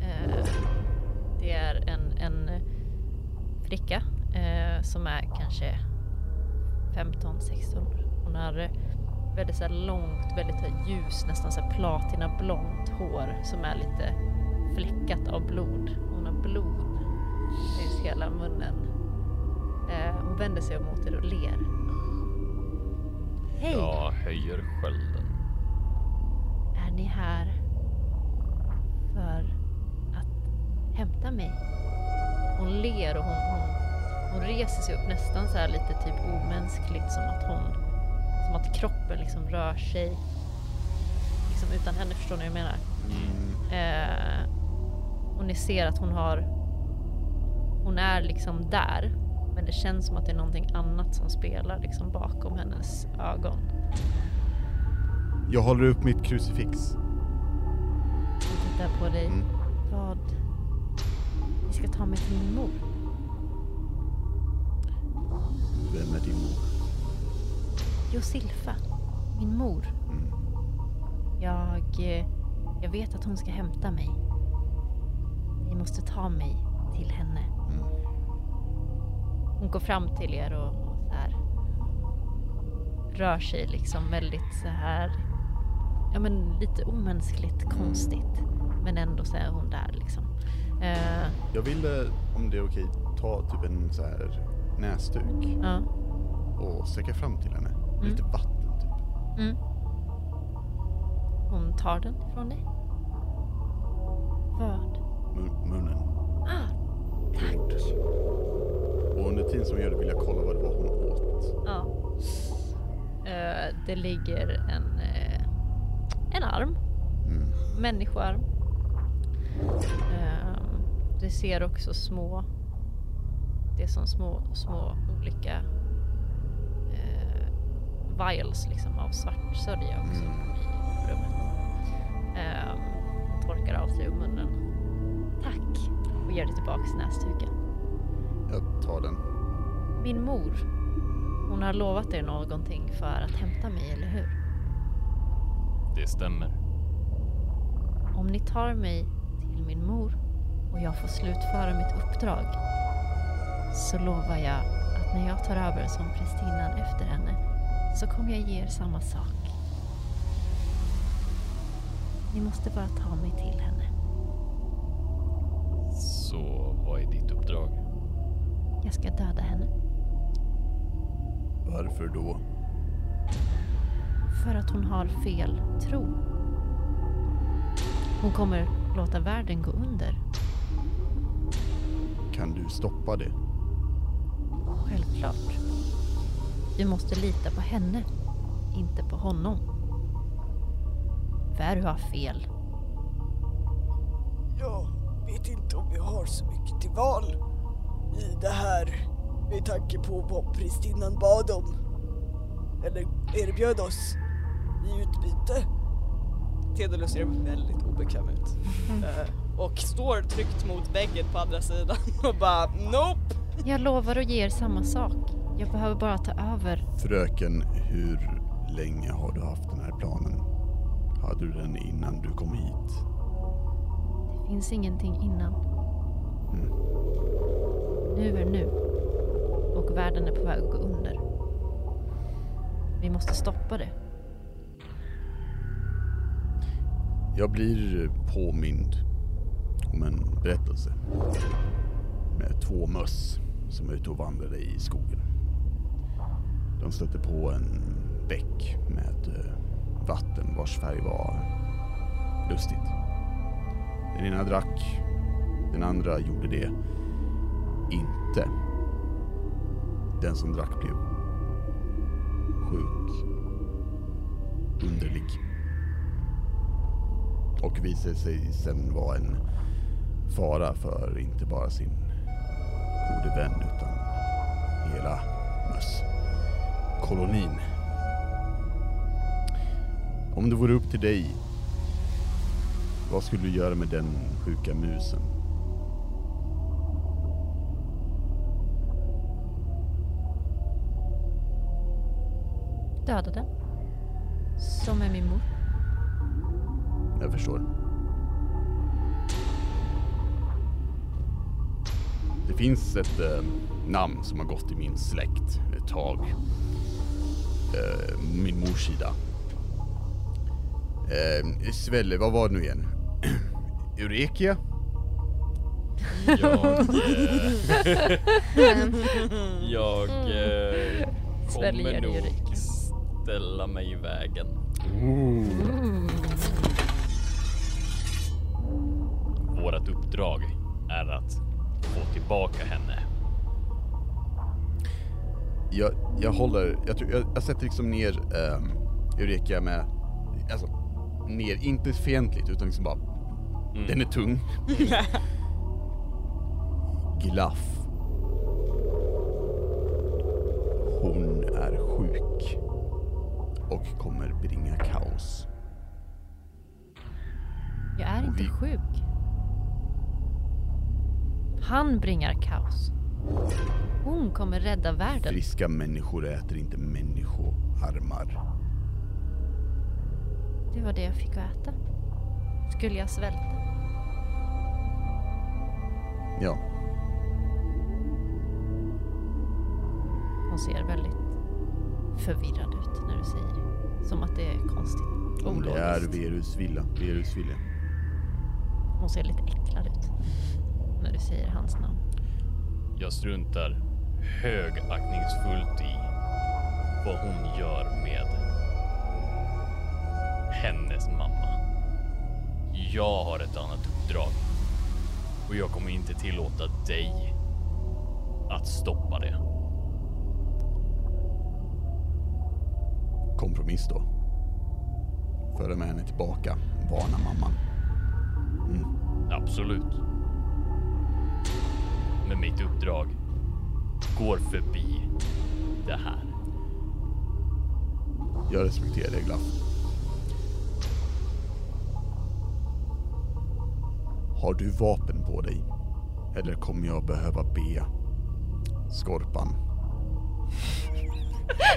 B: Eh, Det är en, en flicka eh, som är kanske 15-16. Hon har eh, väldigt så här långt, väldigt så här ljus, nästan så här platinablont hår som är lite fläckat av blod. Hon har blod längs hela munnen. Eh, Hon vänder sig om mot er och ler. Hej!
A: Jag höjer skölden.
B: Är ni här för att hämta mig? Hon ler och hon, hon, hon reser sig upp nästan så här lite typ omänskligt som att hon som att kroppen liksom rör sig liksom utan henne, förstår ni vad jag menar? Eh, och ni ser att hon har hon är liksom där men det känns som att det är någonting annat som spelar liksom bakom hennes ögon.
E: Jag håller upp mitt krucifix.
B: och tittar på dig.
E: Mm.
B: Vad? Ni ska ta mig till min mor.
E: Vem är din mor?
B: Josilfa, min mor.
E: Mm.
B: Jag, eh, jag vet att hon ska hämta mig. Ni måste ta mig till henne.
E: Mm.
B: Hon går fram till er och, och så här, rör sig liksom väldigt så här, ja men lite omänskligt konstigt.
E: Mm.
B: Men ändå så är hon där liksom. Eh,
E: Jag ville, om det är okej, ta typ en så här näsduk
B: ja.
E: och sträcka fram till henne. Lite vatten typ.
B: Mm. Hon tar den ifrån dig. Vad?
E: Mun- munnen.
B: Ah,
E: Och under tiden som jag gör det vill jag kolla vad det var hon åt.
B: ja. Eh, det ligger en, eh, en arm.
E: Mm.
B: Människoarm. Ehm, du ser också små, det är som små, små olika eh, vials liksom av svart sörja också i rummet. Ehm, hon torkar av sig ur munnen. Tack! Och ger dig tillbaks näsduken.
E: Jag tar den.
B: Min mor, hon har lovat er någonting för att hämta mig, eller hur?
A: Det stämmer.
B: Om ni tar mig till min mor och jag får slutföra mitt uppdrag så lovar jag att när jag tar över som prästinnan efter henne så kommer jag ge er samma sak. Ni måste bara ta mig till henne.
A: Så vad är ditt uppdrag?
B: Jag ska döda henne
E: Varför då?
B: för att hon har fel tro. Hon kommer låta världen gå under.
E: Kan du stoppa det?
B: Självklart. Du måste lita på henne, inte på honom. Väru har fel.
C: Jag vet inte om vi har så mycket till val i det här med tanke på vad prinsessan bad om. Eller erbjöd oss i utbyte.
F: Tedelus ser väldigt obekväm ut.
B: Mm.
F: Eh, och står tryckt mot väggen på andra sidan [LAUGHS] och bara nope.
B: Jag lovar att ge er samma sak. Jag behöver bara ta över.
E: Fröken, hur länge har du haft den här planen? Hade du den innan du kom hit?
B: Det finns ingenting innan.
E: Mm.
B: Nu är nu. Och världen är på väg att gå under. Vi måste stoppa det.
E: Jag blir påmind om en berättelse. Med två möss som är ute och vandrade i skogen. De stötte på en bäck med eh, vatten vars färg var lustigt. Den ena drack, den andra gjorde det inte. Den som drack blev sjuk, underlig och visade sig sen vara en fara för inte bara sin gode vän utan hela mösskolonin. Om det vore upp till dig, vad skulle du göra med den sjuka musen?
B: Döda den. Som är min mor.
E: Jag förstår.
L: Det finns ett eh, namn som har gått i min släkt ett tag. Eh, min mors sida. Eh, Svelle, vad var det nu igen? [CLEARS THROAT] Eurekia?
S: Jag...
A: [LAUGHS]
S: Eh, jag
A: Mm.
S: eh,
B: Sväljer
S: kommer nog
B: Erik.
S: ställa mig i vägen. Vårat uppdrag är att få tillbaka henne.
E: Jag, jag håller, jag, tror- jag, jag sätter liksom ner ehm, Eureka med, alltså ner, inte fientligt utan liksom bara, den är tung. Glaff. Hon är sjuk och kommer bringa kaos.
B: Jag är inte
E: vi-
B: sjuk. Han bringar kaos. Hon kommer rädda världen.
E: Friska människor äter inte människoarmar.
B: Det var det jag fick att äta. Skulle jag svälta?
E: Ja,
B: Hon ser väldigt förvirrad ut när du säger det. Som att det är konstigt.
E: om det är
B: Ologiskt.
E: virusvilla, virusvilla.
B: Hon ser lite äcklad ut. När du säger hans namn.
A: Jag struntar högaktningsfullt i vad hon gör med hennes mamma. Jag har ett annat uppdrag och jag kommer inte tillåta dig att stoppa det.
E: kompromiss då. Föra med henne tillbaka, varna mamman.
A: Absolut. Men mitt uppdrag går förbi det här.
E: Jag respekterar dig glatt. Har du vapen på dig? Eller kommer jag behöva be Skorpan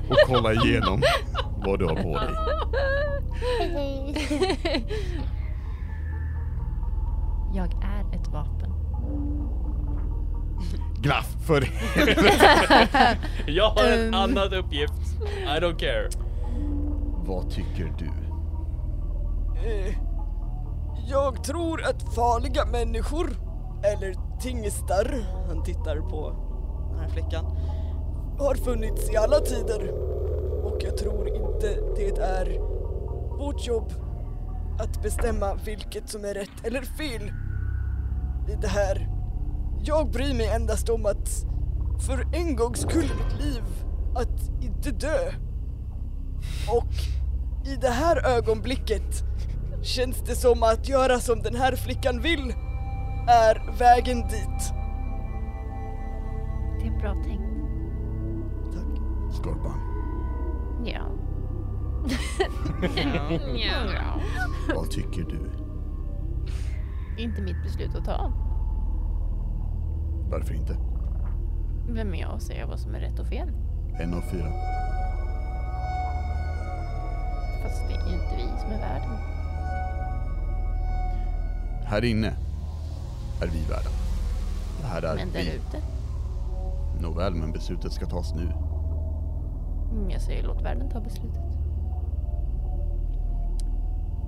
E: och kolla igenom vad du har på dig?
B: Jag är ett vapen.
E: Glaff för
S: Jag har en annan uppgift. I don't care.
E: Vad tycker du?
C: Eh, Jag tror att farliga människor, eller tingestar, han tittar på den här flickan, har funnits i alla tider. Och jag tror inte det är vårt jobb att bestämma vilket som är rätt eller fel i det här. Jag bryr mig endast om att för en gångs skull i mitt liv att inte dö. Och i det här ögonblicket känns det som att göra som den här flickan vill är vägen dit.
B: Det är bra tänkt.
E: Skorpan,
G: Ja.
E: vad tycker du?
G: Inte mitt beslut att ta.
E: Varför inte?
G: Vem är jag att säga vad som är rätt och fel?
E: En av fyra.
G: Fast det är inte vi som är världen.
E: Här inne är vi världen. Det här är
G: Men där
E: vi.
G: ute?
E: Nåväl, men beslutet ska tas nu.
G: Mm, Jag säger låt världen ta beslutet.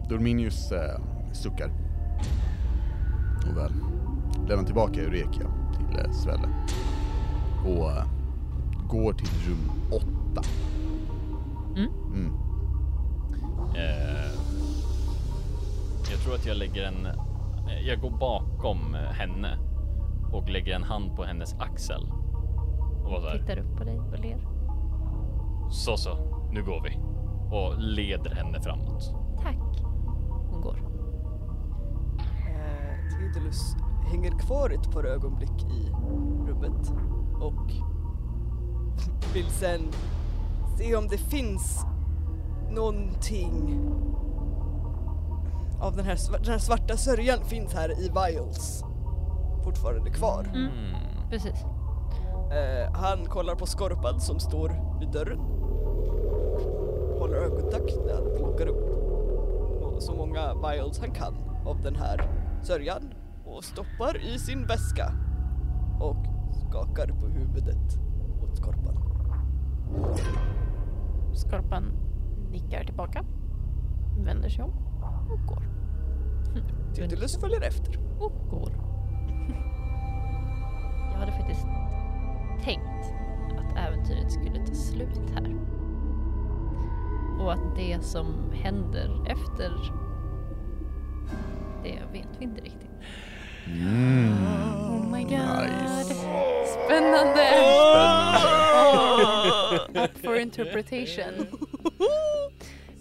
E: Dorminius eh, suckar. Nåväl. Lämnar tillbaka Eureka till eh, Svelle. Och eh, går till rum åtta.
B: Mm.
E: Mm.
S: Eh, jag tror att jag lägger en... eh, Jag går bakom eh, henne och lägger en hand på hennes axel. Och bara så här,
B: Tittar upp på dig och ler.
S: så så, nu går vi. Och leder henne framåt.
B: Tack. Hon går.
F: Eh, Tidulus
C: hänger kvar ett par ögonblick i rummet och [LAUGHS] vill sen se om det finns någonting av den här, sva- den här svarta sörjan finns här i Vials fortfarande kvar.
B: Precis.
C: Eh, han kollar på Skorpan som står vid dörren. Håller ögonkontakt när han plockar upp nå- så många vials han kan av den här sörjan och stoppar i sin väska och skakar på huvudet åt Skorpan.
G: Skorpan nickar tillbaka, vänder sig om och går.
C: Titulus följer efter.
B: Och går. [LAUGHS] Jag hade faktiskt tänkt att äventyret skulle ta slut här. Och att det som händer efter det vet vi inte riktigt.
G: Oh my god.
E: Nice.
G: Spännande! Up for interpretation.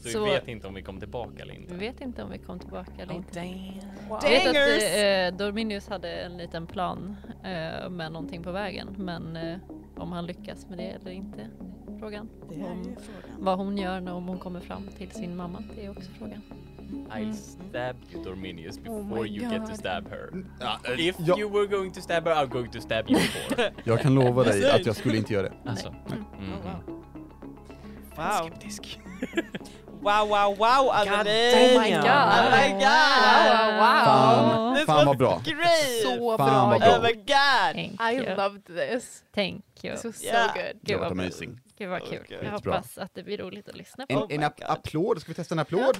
A: Så,
B: Så- Mm.
A: vi vet inte om vi kom tillbaka eller inte.
B: Vi vet inte om vi kom tillbaka eller inte.
G: Wow.
B: Jag vet
C: Dangers!
B: att eh, Dorminius hade en liten plan eh, med någonting på vägen men eh, om han lyckas med det eller inte är frågan. Om, vad hon gör när om hon kommer fram till sin mamma, det är också frågan.
A: I'll stab you Dorminius before
G: my
A: you get to
G: God.
A: stab her.
E: Ja, eh,
A: If
E: jag-
A: you were going to stab her, I'm going to stab you before.
E: Jag kan lova dig att jag skulle inte göra det.
A: alltså. Mm.
C: Wow. [LAUGHS] Wow, wow, wow Anneli!
G: Oh my god!
C: Oh my god!
G: Wow, wow, wow.
E: Fan,
C: This
E: fan
C: was
E: vad bra.
C: Great!
G: Så
E: Fan
G: bra
E: vad
C: oh
E: bra.
C: my god!
B: Thank
G: I
B: you.
G: loved this.
B: Thank you.
G: This was so
C: Yeah.
G: good.
E: Det
B: Gud
E: var
B: vad, Oh bra.
E: amazing.
B: Gud vad kul.
C: Okej.
B: Jag
E: Bra.
B: hoppas att det blir roligt att lyssna på.
E: En,
C: Oh my
E: en app-
C: God.
E: applåd, ska vi testa en applåd?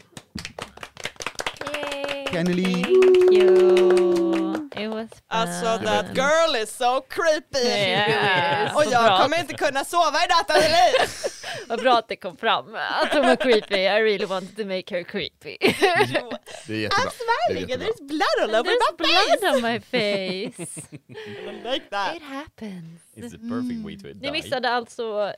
B: Yay.
E: Kennelly.
B: Thank you. It was fun.
C: Alltså that
E: verkligen.
C: girl is so creepy!
B: Eh, [LAUGHS] Yeah.
C: Och
B: Så
C: jag
B: bra.
C: kommer inte kunna sova i natt Anneli!
B: Vad bra att det kom fram att hon var creepy. I really wanted to make her creepy.
E: Det är jättebra. Det är jättebra.
C: blood all
B: There's blood on my
G: [LAUGHS]
B: face.
C: Like that!
B: It happens.
A: It's the perfect way to die.
B: Ni missade alltså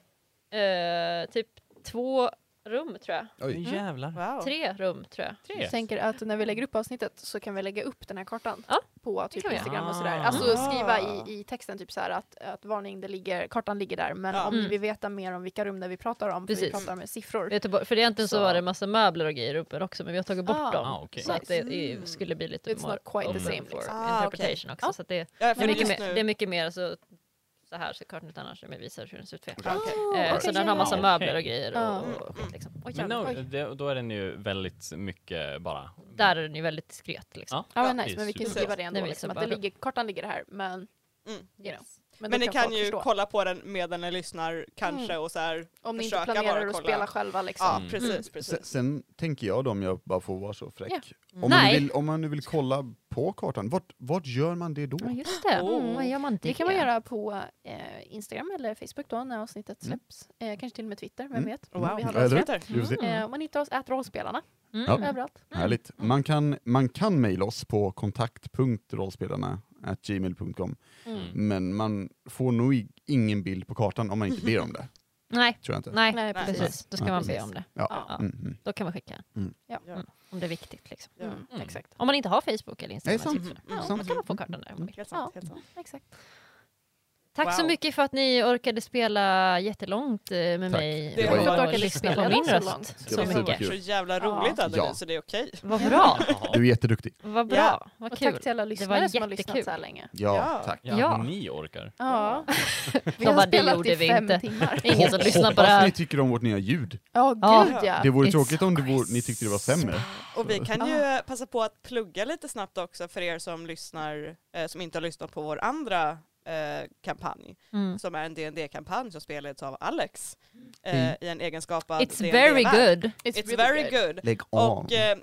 B: eh, typ två rum tror jag.
E: Oj.
A: Jävlar.
C: Wow.
B: Tre rum tror jag.
A: Tre.
G: Jag tänker att när vi lägger upp avsnittet så kan vi lägga upp den här kartan
B: Ja,
G: på
B: det
G: typ
B: kan vi
G: Instagram och sådär.
A: Ah.
G: Alltså skriva i, i texten typ så här att, att varning, det ligger, kartan ligger där. Men
C: Ja.
G: om ni
B: Mm.
G: vill veta mer om vilka rum där vi pratar om, för vi
B: Precis.
G: pratar med siffror.
B: Göteborg, för egentligen så
G: Så.
B: var det en massa möbler och grejer uppe också men vi har tagit bort
G: Ah.
B: dem.
A: Ah, okej.
B: Så att det är, skulle bli lite
G: It's not quite the
B: open
G: same,
B: for
G: liksom.
C: Ah,
B: interpretation också.
G: Ja.
B: Så att det,
C: Ja,
B: det, är
C: för
B: mycket
C: just
B: mer, det är
C: nu.
B: mycket mer så, så här såklart utan annars när vi visar hur den ser ut. för er.
C: Okej.
B: Eh, så
G: Ah, okej, Ah.
B: den
G: Mm, ja,
B: har massa
A: ja.
B: möbler och
A: Okej.
B: grejer
G: Ja.
B: och, och skit liksom. Oj,
A: Men
B: jävlar.
A: no,
G: Oj.
A: det, då är den ju väldigt mycket bara.
B: Där är den ju väldigt diskret liksom.
A: Ja.
G: Ja men
A: det
G: nice,
A: är
G: men vi kan ju
A: super.
G: skriva det ändå.
B: Nej, vi
G: liksom,
B: ser
G: att det
B: bara-
G: ligger, kartan ligger här, men
C: Mm.
G: you know.
C: Men
G: då
C: ni kan
G: folk
C: ju
G: förstå.
C: kolla på den medan ni lyssnar kanske och så
E: Mm.
C: här.
G: Om ni inte
C: försöka
G: planerar
C: bara
G: att
C: kolla.
G: spela själva liksom.
C: Ja,
A: Mm.
C: precis,
E: Sen,
C: precis.
E: sen tänker jag då, om jag bara får vara så fräck. Om, man
B: Nej.
E: vill, om man nu vill kolla på kartan, vart, vart gör man det då?
B: Ja just det, Mm,
C: Oh.
B: vad gör man det?
G: Det kan man göra på eh, Instagram eller Facebook då när avsnittet
E: Mm.
G: släpps. Eh, kanske till och med Twitter, vem
E: Mm.
G: vet?
C: Wow.
G: Vi
E: Ja,
G: har
E: eller
G: rollspel.
E: hur? Vi får se.
B: Mm.
G: Eh, man hittar oss, ät rollspelarna
B: Mm.
E: Ja.
G: överallt.
E: Härligt. Man kan, man kan mejla oss på kontakt.rollspelarna.gmail.com
G: Mm.
E: men man får nog i- ingen bild på kartan om man inte ber om det.
B: Nej,
E: Tror jag inte.
B: nej,
G: Nej,
C: Nej.
B: precis. Då ska
E: Ja,
B: man be
G: precis.
B: om det.
E: Ja.
G: Ja.
E: Mm, mm.
B: Då kan man skicka
G: Ja.
B: Mm. om det är viktigt liksom.
C: Ja.
G: Mm,
A: Mm.
G: Exakt.
B: Om man inte har Facebook eller
E: Det är
B: Instagram.
E: sant.
B: så-
C: Mm.
B: Ja,
E: Sant. Mm.
B: då kan man få kartan där om man vill.
C: Helt sant, helt sant.
G: exakt.
B: Tack så
C: Wow.
B: mycket för att ni orkade spela jättelångt eh, med
E: Tack.
B: mig.
C: Det
B: och
C: var ju-
B: orkade lyssna på min
G: så
B: röst.
G: långt.
E: Det
B: Så
E: var
B: mycket. Mm.
E: superkul.
C: Så jävla roligt
G: Ja.
C: Anneli,
E: Ja.
C: så det är okej.
B: Vad bra,
E: Du är jätteduktig.
B: vad bra,
C: Ja.
B: vad
G: Och
B: kul.
G: tack till alla
B: var
G: lyssnare som har lyssnat
B: jättekul.
G: så här länge.
E: Ja,
C: Ja.
E: tack.
A: Ja,
B: Ja.
A: ni orkar.
G: Ja.
B: [LAUGHS]
G: vi
B: De bara,
G: har
B: det
G: spelat
B: gjorde
G: i
B: vi
G: fem
B: inte.
G: timmar.
B: Ingen som lyssnar på det
E: Hoppas
B: här.
E: ni tycker om vårt nya ljud.
G: Ja,
B: Ja.
G: gud ja.
E: Det vore
B: It's
E: tråkigt om det
B: so
E: vore, ni tyckte det var sämre.
C: Och vi kan ju eh, passa på att plugga lite snabbt också för er som lyssnar, eh, som inte har lyssnat på vår andra eh, kampanj,
B: Mm.
C: som är en dd kampanj som spelades av Alex eh,
E: Mm.
C: i en egenskapad
B: It's
C: D&D
B: very
C: -värld.
B: good.
C: It's, very good.
E: Lägg av.
C: Och eh,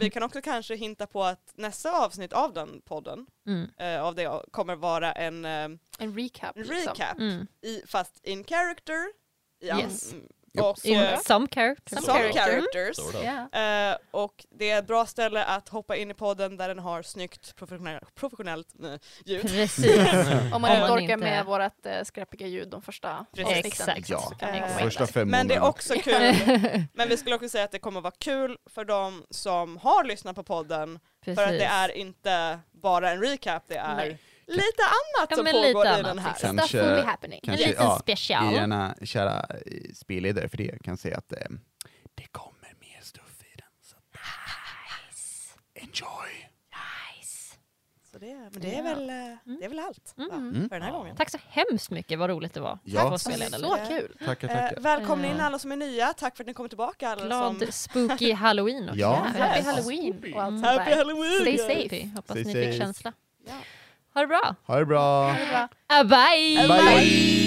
C: vi kan också kanske hinta på att nästa avsnitt av den podden,
B: Mm.
C: eh, av det kommer vara en eh,
G: En recap. Liksom.
C: recap,
B: Mm.
C: i, fast in character, i an-
B: Yes.
C: mm, Och, eh,
B: In some character.
C: some characters.
A: Står det.
G: Yeah.
C: Eh, och det är ett bra ställe att hoppa in i podden där den har snyggt professionellt, professionellt eh, ljud.
B: Precis.
G: [LAUGHS] Om
B: Om
G: man inte
B: man
G: orkar
B: inte-
G: med vårt eh, skräpiga ljud de första
C: [LAUGHS] Precis.
G: avsnitten.
B: Exakt.
E: Ja.
G: så kan ni gå
C: Eh,
G: med
E: Första
G: där.
E: fem
C: Men det är
E: månaderna.
B: Mm.
C: också kul. Men vi skulle också säga att det kommer vara kul för de som har lyssnat på podden.
B: Precis.
C: För att det är inte bara en recap, det är
G: Nej.
C: lite annat
B: Ja,
C: som
B: men
C: pågår
B: lite
C: i
B: annat,
C: den här.
B: exakt.
G: Stuff will be
E: Kanske,
G: happening.
E: kanske
B: en liten special.
E: gärna kära eh, spelledare för det kan säga att eh, det kommer mer stuff i den. Så att, Enjoy!
C: Så det, men det, är väl, eh, det är väl allt va,
B: Mm.
C: för den här gången.
B: Tack så hemskt mycket, vad roligt det var.
E: Ja.
B: Tack för att spela den.
G: Så kul.
E: Tackar,
C: Eh,
E: tackar.
C: välkomna in alla som är nya, tack för att ni kom tillbaka alla som...
B: Glad
C: [LAUGHS]
B: spooky halloween också.
E: Ja.
G: Happy halloween och allt sånt
C: Happy
G: där.
C: halloween!
G: Stay
C: guys.
G: safe.
B: Happy. Hoppas
E: Stay
B: ni
E: safe.
B: fick känsla.
C: Ja.
B: Ha det bra.
E: Ha det bra!
B: Ah, bye.
E: Bye!